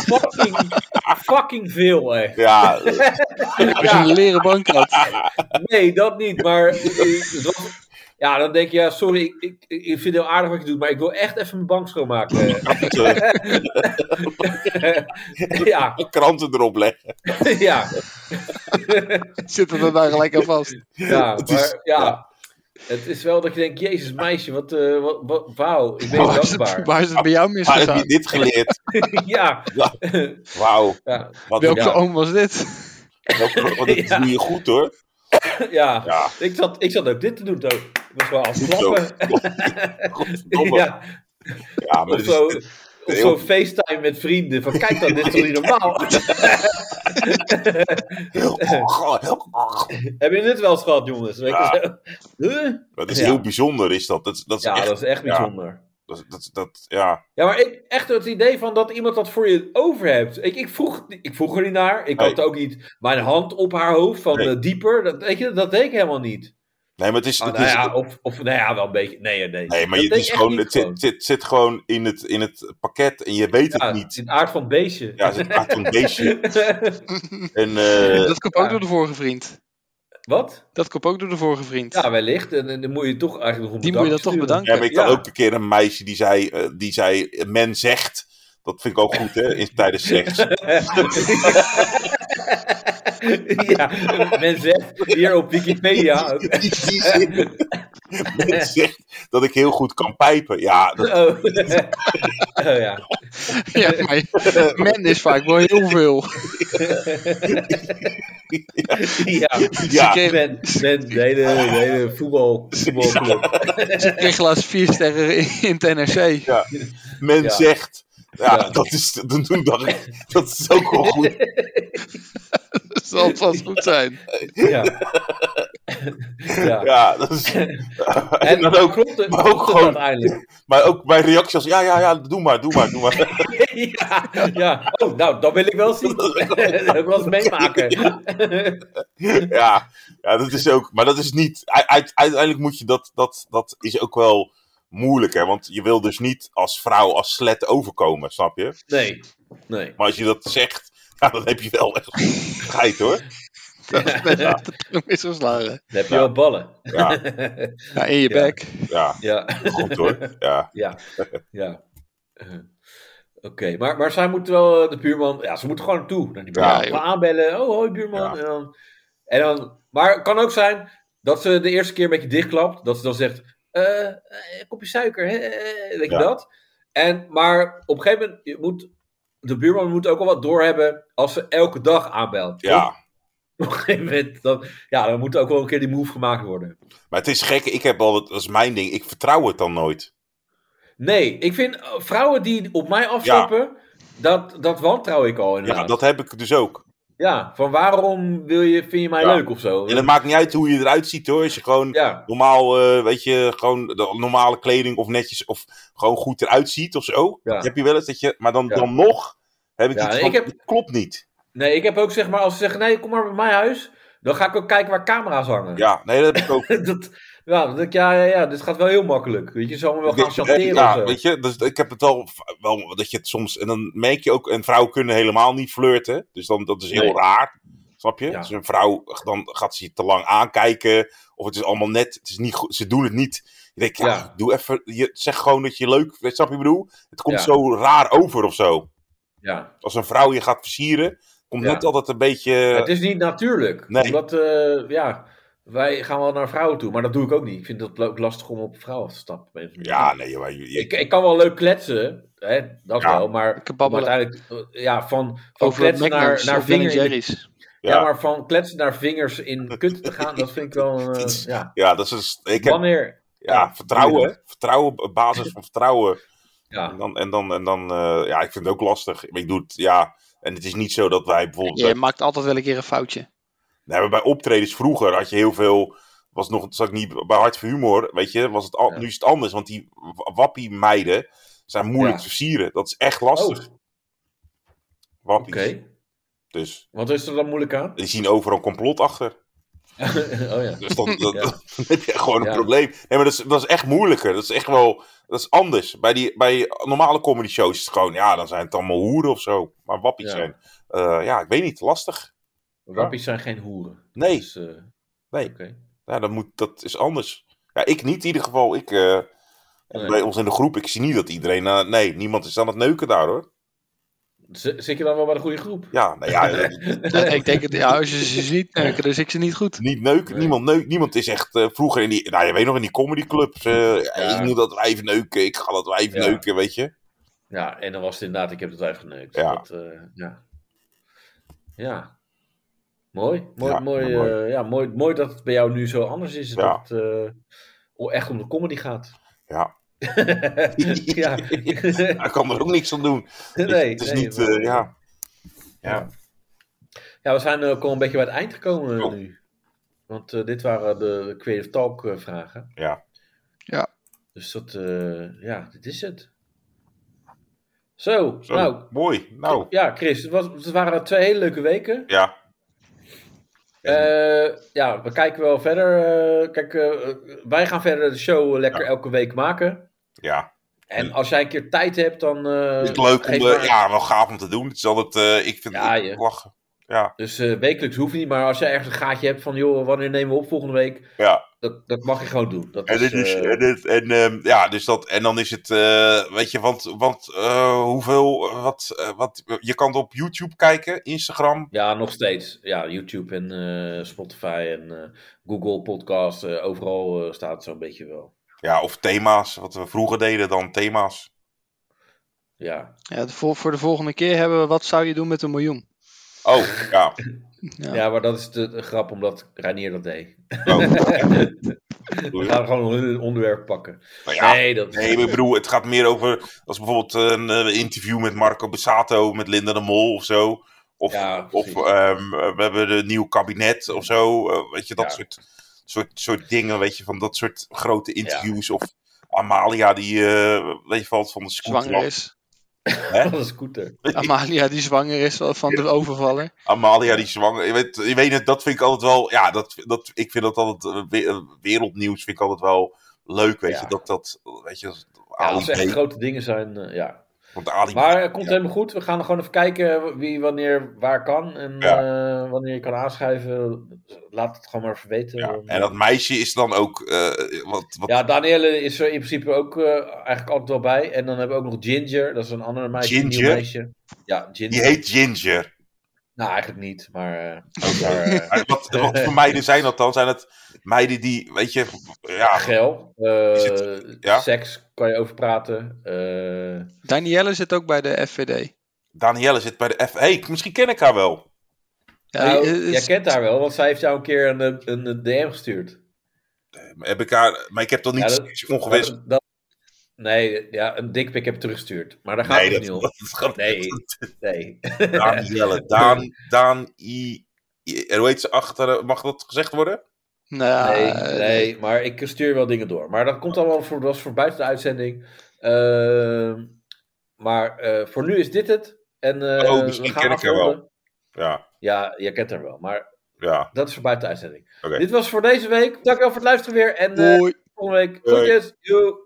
Speaker 2: fucking, fucking veel, echt.
Speaker 3: Ja, eh,
Speaker 4: Als je een leren bank had.
Speaker 2: Nee, dat niet, maar eh, het was- ja, dan denk je, ja, sorry, ik, ik, ik vind het heel aardig wat je doet, maar ik wil echt even mijn bank schoonmaken.
Speaker 3: kranten,
Speaker 2: ja,
Speaker 3: kranten erop leggen.
Speaker 2: ja.
Speaker 4: Zitten we daar gelijk aan vast.
Speaker 2: Ja,
Speaker 3: Het
Speaker 2: maar
Speaker 3: is-
Speaker 2: ja.
Speaker 3: ja.
Speaker 2: Het is wel dat je denkt, jezus meisje, wat, eh, wat, wat- wauw, ik ben
Speaker 3: Oh,
Speaker 4: Waar is, het,
Speaker 2: dankbaar.
Speaker 4: waar is het bij jou
Speaker 3: Waar heb je
Speaker 4: misgegaan?
Speaker 3: dit geleerd?
Speaker 2: ja,
Speaker 3: Wauw.
Speaker 2: ja,
Speaker 3: Wat
Speaker 4: Welke
Speaker 2: Ja.
Speaker 4: oom was dit?
Speaker 3: welke- wat dit
Speaker 2: Ja.
Speaker 3: doe je goed hoor.
Speaker 2: ja.
Speaker 3: Ja.
Speaker 2: Ik, zat, ik zat ook dit te doen, toch? Ik was wel aan het
Speaker 3: Zo.
Speaker 2: klappen.
Speaker 3: Godverdomme. Ja,
Speaker 2: Ja,
Speaker 3: maar
Speaker 2: of
Speaker 3: dit
Speaker 2: zo,
Speaker 3: is,
Speaker 2: of zo
Speaker 3: heel-
Speaker 2: FaceTime met vrienden. Van kijk dan, dit is toch niet normaal?
Speaker 3: oh,
Speaker 2: Hebben jullie dit wel eens gehad, jongens? Weet je zo? Huh?
Speaker 3: dat is
Speaker 2: Ja.
Speaker 3: heel bijzonder, is dat? Dat, is- dat is
Speaker 2: Ja,
Speaker 3: echt.
Speaker 2: dat is echt
Speaker 3: ja.
Speaker 2: bijzonder.
Speaker 3: Dat, is- dat, is- dat, ja.
Speaker 2: Ja, maar ik, echt het idee van dat iemand dat voor je over hebt. Ik, ik, vroeg, ik vroeg er niet naar. Ik had
Speaker 3: Nee.
Speaker 2: ook niet mijn hand op haar hoofd van
Speaker 3: Nee.
Speaker 2: eh, dieper. Dat, weet je, dat deed ik helemaal niet.
Speaker 3: Nee, maar het is.
Speaker 2: Ah,
Speaker 3: het
Speaker 2: nou
Speaker 3: is-
Speaker 2: ja, of, of nou ja, wel een beetje. Nee, nee.
Speaker 3: nee, maar
Speaker 2: Dat
Speaker 3: je, het,
Speaker 2: deed
Speaker 3: is
Speaker 2: ik echt
Speaker 3: gewoon,
Speaker 2: niet
Speaker 3: het, zit, het zit, zit gewoon in het, in het pakket en je weet
Speaker 2: Ja,
Speaker 3: het niet.
Speaker 2: in aard van het beestje.
Speaker 3: Ja, het maakt een beetje. En, eh,
Speaker 4: Dat komt ook
Speaker 2: Ja.
Speaker 4: door de vorige vriend.
Speaker 2: Wat?
Speaker 4: Dat komt ook door de vorige vriend.
Speaker 2: Ja, wellicht. En, en dan moet je toch eigenlijk nog een
Speaker 4: Die moet je dan
Speaker 2: bedankje
Speaker 4: toch
Speaker 2: sturen.
Speaker 4: bedanken.
Speaker 3: ja, maar ik had
Speaker 2: Ja.
Speaker 3: ook een keer een meisje die zei, eh, die zei eh, men zegt. Dat vind ik ook goed, hè? In, tijdens seks.
Speaker 2: ja, men zegt hier op Wikipedia. ook.
Speaker 3: Die zin. Men zegt dat ik heel goed kan pijpen. Ja, dat,
Speaker 2: Oh. oh ja.
Speaker 4: Ja, maar men is vaak wel heel veel.
Speaker 2: Ja.
Speaker 3: ja,
Speaker 4: Ze, kreeg,
Speaker 2: Ben, ben de hele, de hele voetbal, voetbalclub.
Speaker 4: ze kreeg laatst vier sterren in het NRC.
Speaker 3: men
Speaker 2: Ja.
Speaker 3: zegt. Ja,
Speaker 2: Ja.
Speaker 3: dat is. Dan toen dacht ik, dat is ook wel goed.
Speaker 4: Dat zal vast goed zijn.
Speaker 2: Ja. ja.
Speaker 3: Ja, dat is.
Speaker 2: En
Speaker 3: En dan ook,
Speaker 2: klopt het,
Speaker 3: maar ook
Speaker 2: klopt het
Speaker 3: gewoon-
Speaker 2: uiteindelijk?
Speaker 3: maar ook mijn reactie was: ja, ja, ja, doe maar, doe maar, doe maar.
Speaker 2: ja, ja. Oh, nou, dat wil ik wel zien. dat wil ik wel eens meemaken.
Speaker 3: Ja, ja, dat is ook. Maar dat is niet. u- uit- Uiteindelijk moet je dat. Dat, dat is ook wel moeilijk, hè? Want je wil dus niet als vrouw, als slet overkomen, snap je?
Speaker 2: nee, nee.
Speaker 3: Maar als je dat zegt, ja, dan heb je wel echt geit hoor.
Speaker 4: ja. de tong is geslagen.
Speaker 2: Dan heb je wel ballen.
Speaker 3: Ja,
Speaker 4: Ja, in je
Speaker 2: Ja.
Speaker 4: bek.
Speaker 3: ja,
Speaker 2: Ja,
Speaker 3: goed hoor. Ja,
Speaker 2: ja, ja. Eh, Oké, maar, maar zij moeten wel eh, de buurman... Ja, ze moeten gewoon naartoe. Naar die buurman.
Speaker 4: Ja, joh.
Speaker 2: Gewoon aanbellen. Oh, hoi buurman.
Speaker 3: Ja.
Speaker 2: En dan, en dan, maar het kan ook zijn dat ze de eerste keer een beetje dichtklapt. Dat ze dan zegt... eh, eh, een kopje suiker, hè? eh, Weet je
Speaker 3: Ja.
Speaker 2: dat? En, maar op een gegeven moment je moet... De buurman moet ook al wat doorhebben als ze elke dag aanbelt. toch?
Speaker 3: ja.
Speaker 2: Op een gegeven moment, dan, ja, dan moet ook wel een keer die move gemaakt worden.
Speaker 3: Maar het is gek, ik heb al, dat is mijn ding, ik vertrouw het dan nooit.
Speaker 2: Nee, ik vind eh, vrouwen die op mij afstappen, dat, dat wantrouw ik al
Speaker 3: Ja,
Speaker 2: inderdaad. Ja,
Speaker 3: dat heb ik dus ook.
Speaker 2: van waarom wil je, vind je mij
Speaker 3: Ja.
Speaker 2: leuk of zo?
Speaker 3: En het maakt niet uit hoe je eruit ziet hoor. Als je gewoon
Speaker 2: Ja,
Speaker 3: normaal, eh, weet je, gewoon de normale kleding of netjes of gewoon goed eruit ziet of zo.
Speaker 2: Ja.
Speaker 3: Dat Heb je wel eens dat je, maar dan,
Speaker 2: Ja.
Speaker 3: dan nog heb ik
Speaker 2: Ja,
Speaker 3: iets
Speaker 2: ik
Speaker 3: van,
Speaker 2: heb-
Speaker 3: dit klopt niet.
Speaker 2: nee, ik heb ook zeg maar, als ze zeggen, nee, kom maar bij mijn huis, dan ga ik ook kijken waar camera's hangen.
Speaker 3: Ja, nee, dat heb ik ook.
Speaker 2: dat, ja, dan denk ik, ja, ja, ja, dit gaat wel heel makkelijk. Weet je, zal me wel gaan chanteren of
Speaker 3: ja,
Speaker 2: zo.
Speaker 3: weet je, dus ik heb het al wel dat je het soms en dan merk je ook en vrouwen kunnen helemaal niet flirten, dus dan dat is heel
Speaker 2: Nee.
Speaker 3: raar, snap je?
Speaker 2: Ja.
Speaker 3: Dus een vrouw dan gaat ze je te lang aankijken of het is allemaal net, het is niet goed, ze doen het niet. Je denkt, ja,
Speaker 2: Ja.
Speaker 3: doe even, je zeg gewoon dat je leuk, weet, snap je wat ik bedoel? Het komt
Speaker 2: Ja.
Speaker 3: zo raar over of zo.
Speaker 2: Ja.
Speaker 3: Als een vrouw je gaat versieren, komt
Speaker 2: Ja.
Speaker 3: net altijd een beetje,
Speaker 2: het is niet natuurlijk.
Speaker 3: eh, nee.
Speaker 2: Omdat, eh, ja, wij gaan wel naar vrouwen toe, maar dat doe ik ook niet. Ik vind het ook lastig om op vrouwen af te stappen. op een of andere manier.
Speaker 3: ja, nee, maar je- je-
Speaker 2: Ik, ik kan wel leuk kletsen, hè, dat
Speaker 3: Ja.
Speaker 2: wel, maar
Speaker 4: Lekker babbelen.
Speaker 2: om uiteindelijk eh, ja, van, van
Speaker 4: Over
Speaker 2: kletsen
Speaker 4: McDonald's
Speaker 2: naar,
Speaker 4: naar,
Speaker 2: naar
Speaker 4: of Ben
Speaker 2: vingers. in-
Speaker 4: Jerry's.
Speaker 2: ja.
Speaker 3: ja,
Speaker 2: maar van kletsen naar vingers in kutten te gaan, dat vind ik wel. eh,
Speaker 3: Dat is-
Speaker 2: ja.
Speaker 3: ja, dat is, ik heb,
Speaker 2: Wanneer?
Speaker 3: ja, vertrouwen, hè. vertrouwen, op basis van vertrouwen.
Speaker 2: Ja,
Speaker 3: En dan, en dan, en dan eh, ja, ik vind het ook lastig. Ik doe het, ja. En het is niet zo dat wij bijvoorbeeld.
Speaker 4: Je maakt altijd wel een keer een foutje.
Speaker 3: Nee, maar bij optredens vroeger had je heel veel. Was nog, zat ik niet bij Hart voor Humor, weet je. Was het al,
Speaker 2: Ja.
Speaker 3: Nu is het anders, want die wa- wappie meiden zijn moeilijk
Speaker 2: Ja.
Speaker 3: te versieren. Dat is echt
Speaker 2: oh,
Speaker 3: lastig.
Speaker 2: oké.
Speaker 3: Wappies. Dus
Speaker 2: Wat is er dan moeilijk aan?
Speaker 3: die zien overal een complot achter.
Speaker 2: oh ja.
Speaker 3: Dus dan,
Speaker 2: Ja.
Speaker 3: dan heb je gewoon een
Speaker 2: Ja.
Speaker 3: probleem. Nee, maar dat is, dat is echt moeilijker. Dat is echt wel. Dat is anders. Bij, die, bij normale comedy shows is het gewoon. Ja, dan zijn het allemaal hoeren of zo. Maar wappies
Speaker 2: Ja.
Speaker 3: zijn. eh, ja, ik weet niet. Lastig.
Speaker 2: Wappies zijn geen hoeren.
Speaker 3: Nee.
Speaker 2: Dus, eh,
Speaker 3: Nee.
Speaker 2: oké.
Speaker 3: Ja, dat, moet, dat is anders. Ja, ik niet in ieder geval. Ik, eh,
Speaker 2: Nee.
Speaker 3: Bij ons in de groep, ik zie niet dat iedereen... eh, nee, niemand is aan het neuken daar, hoor.
Speaker 2: Z- Zit je dan wel bij de goede groep?
Speaker 3: Ja, nou ja, eh,
Speaker 4: Ja, ik denk, het, ja, als je ze ziet neuken, dan zie ik ze niet goed.
Speaker 3: niet neuken,
Speaker 2: Nee.
Speaker 3: niemand neukt. Niemand is echt eh, vroeger in die... Nou, je weet nog, in die comedyclubs. eh
Speaker 2: Ja.
Speaker 3: Ik moet dat wijf neuken, ik ga dat wijf
Speaker 2: Ja.
Speaker 3: neuken, weet je.
Speaker 2: Ja, en dan was het inderdaad, ik heb het wijf geneukt.
Speaker 3: Ja.
Speaker 2: Dat, eh, ja. ja. Mooi. Mooi,
Speaker 3: Ja,
Speaker 2: mooi,
Speaker 3: mooi.
Speaker 2: eh, ja, mooi, mooi dat het bij jou nu zo anders is. en
Speaker 3: Ja.
Speaker 2: Dat het eh, o- echt om de comedy gaat.
Speaker 3: Ja.
Speaker 2: ja.
Speaker 3: Daar kan er ook niks aan doen.
Speaker 2: nee,
Speaker 3: het is
Speaker 2: nee,
Speaker 3: niet...
Speaker 2: maar-
Speaker 3: eh, ja. Ja.
Speaker 2: ja, we zijn ook al een beetje bij het eind gekomen eh,
Speaker 3: Oh.
Speaker 2: nu. Want eh, dit waren de Creative Talk eh, vragen.
Speaker 3: Ja.
Speaker 4: Ja.
Speaker 2: Dus dat, eh, ja, dit is het. Zo,
Speaker 3: Zo,
Speaker 2: nou.
Speaker 3: mooi. Nou,
Speaker 2: Ja, Chris, het, was, het waren twee hele leuke weken.
Speaker 3: ja.
Speaker 2: Eh, ja, we kijken wel verder. eh, kijk, eh, wij gaan verder de show eh, lekker
Speaker 3: Ja.
Speaker 2: elke week maken.
Speaker 3: Ja.
Speaker 2: En als jij een keer tijd hebt, dan. eh,
Speaker 3: Het is leuk om...
Speaker 2: geef
Speaker 3: eh,
Speaker 2: maar-
Speaker 3: ja, wel gaaf om te doen. Het is altijd... eh, ik vind
Speaker 2: Ja,
Speaker 3: het
Speaker 2: je-
Speaker 3: lachen. Ja,
Speaker 2: Dus eh, wekelijks hoeft niet, maar als jij ergens een gaatje hebt van, joh, wanneer nemen we op volgende week?
Speaker 3: ja.
Speaker 2: Dat, dat mag je gewoon doen. Dat
Speaker 3: En,
Speaker 2: is,
Speaker 3: dit is,
Speaker 2: eh,
Speaker 3: en, dit- en, ehm, ja, dus dat, en dan is het, eh, weet je, want, want eh, hoeveel, eh, wat, eh, wat, je kan het op YouTube kijken, Instagram.
Speaker 2: Ja, nog steeds. Ja, YouTube en eh, Spotify en eh, Google Podcast. eh, overal eh, staat het zo'n beetje wel.
Speaker 3: Ja, of thema's, wat we vroeger deden dan thema's.
Speaker 2: Ja.
Speaker 4: Ja, de vol- voor de volgende keer hebben we wat zou je doen met een miljoen?
Speaker 3: Oh, ja.
Speaker 4: Ja.
Speaker 2: Ja. maar dat is de, de grap omdat Reinier dat deed.
Speaker 3: Oh,
Speaker 2: We gaan gewoon een onderwerp pakken.
Speaker 3: nou ja.
Speaker 2: Nee, dat...
Speaker 3: Nee, maar ik bedoel, het gaat meer over, als bijvoorbeeld een eh, interview met Marco Bussato, met Linda de Mol of zo. Of,
Speaker 2: Ja,
Speaker 3: of
Speaker 2: precies.
Speaker 3: ehm, we hebben een nieuw kabinet of zo. eh, weet je, dat
Speaker 2: Ja.
Speaker 3: soort, soort, soort dingen, weet je, van dat soort grote interviews. Of Amalia die, eh, weet je, valt van de scooter
Speaker 4: Zwanger
Speaker 3: af.
Speaker 4: is.
Speaker 2: Dat is een scooter.
Speaker 4: Amalia die zwanger is wel van de overvaller.
Speaker 3: Amalia die zwanger. Je weet, je weet het, dat vind ik altijd wel. Ja, dat, dat, ik vind dat altijd. eh, we- eh, Wereldnieuws vind ik altijd wel leuk. Weet
Speaker 2: Ja.
Speaker 3: je, dat dat. Weet je,
Speaker 2: Ja, als er
Speaker 3: Ali
Speaker 2: echt
Speaker 3: B.
Speaker 2: grote dingen zijn, eh, ja.
Speaker 3: Want Ali...
Speaker 2: Maar het komt helemaal goed. We gaan gewoon even kijken eh, wie wanneer waar kan. En eh, wanneer je kan aanschuiven. Laat het gewoon maar even weten.
Speaker 3: ja.
Speaker 2: Want- eh,
Speaker 3: En dat meisje is dan ook... eh, wat, wat
Speaker 2: Ja, Danielle is er in principe ook eh, eigenlijk altijd wel bij. En dan hebben we ook nog Ginger. Dat is een andere meisje. een nieuw
Speaker 3: Ginger?
Speaker 2: meisje. Ja, Ginger.
Speaker 3: Die heet Ginger.
Speaker 2: Nou, eigenlijk niet. Maar, eh,
Speaker 3: Oké.
Speaker 2: maar eh,
Speaker 3: Maar wat, wat voor meiden zijn dat dan? Zijn het meiden die, weet je, ja,
Speaker 2: geil. Eh,
Speaker 3: Is het- ja?
Speaker 2: Seks kan je over praten. Eh,
Speaker 4: Danielle zit ook bij de FVD.
Speaker 3: Danielle zit bij de FE. Misschien ken ik haar wel.
Speaker 4: Ja,
Speaker 2: nou,
Speaker 4: eh, eh,
Speaker 2: jij kent haar wel, want zij heeft jou een keer een, eh, een, eh, DM gestuurd.
Speaker 3: Heb ik haar, maar ik heb dat
Speaker 2: Ja,
Speaker 3: niet
Speaker 2: dat-
Speaker 3: ongewenst.
Speaker 2: Dat- dat- nee, ja, een dikpik heb ik teruggestuurd. Maar daar gaat
Speaker 3: Nee,
Speaker 2: het
Speaker 3: dat,
Speaker 2: niet
Speaker 3: dat,
Speaker 2: om.
Speaker 3: dat gaat
Speaker 2: Nee, nee.
Speaker 3: Danielle. Daan, Daan, I, I- en hoe heet ze achter? Mag dat gezegd worden?
Speaker 4: nou,
Speaker 2: Nee,
Speaker 4: eh,
Speaker 2: nee, maar ik stuur wel dingen door. Maar dat komt allemaal voor, dat is voor buiten de uitzending. Ehm, maar eh, voor nu is dit het. En, eh,
Speaker 3: Oh, misschien ken ik haar wel.
Speaker 2: afronden.
Speaker 3: Ja,
Speaker 2: Ja, jij kent haar wel. Maar
Speaker 3: ja.
Speaker 2: dat is voor buiten de uitzending.
Speaker 3: Oké.
Speaker 2: Dit was voor deze week. Dankjewel voor het luisteren weer. En eh
Speaker 4: Hoi.
Speaker 2: volgende week.
Speaker 3: Hoi.
Speaker 2: Groetjes. Joe.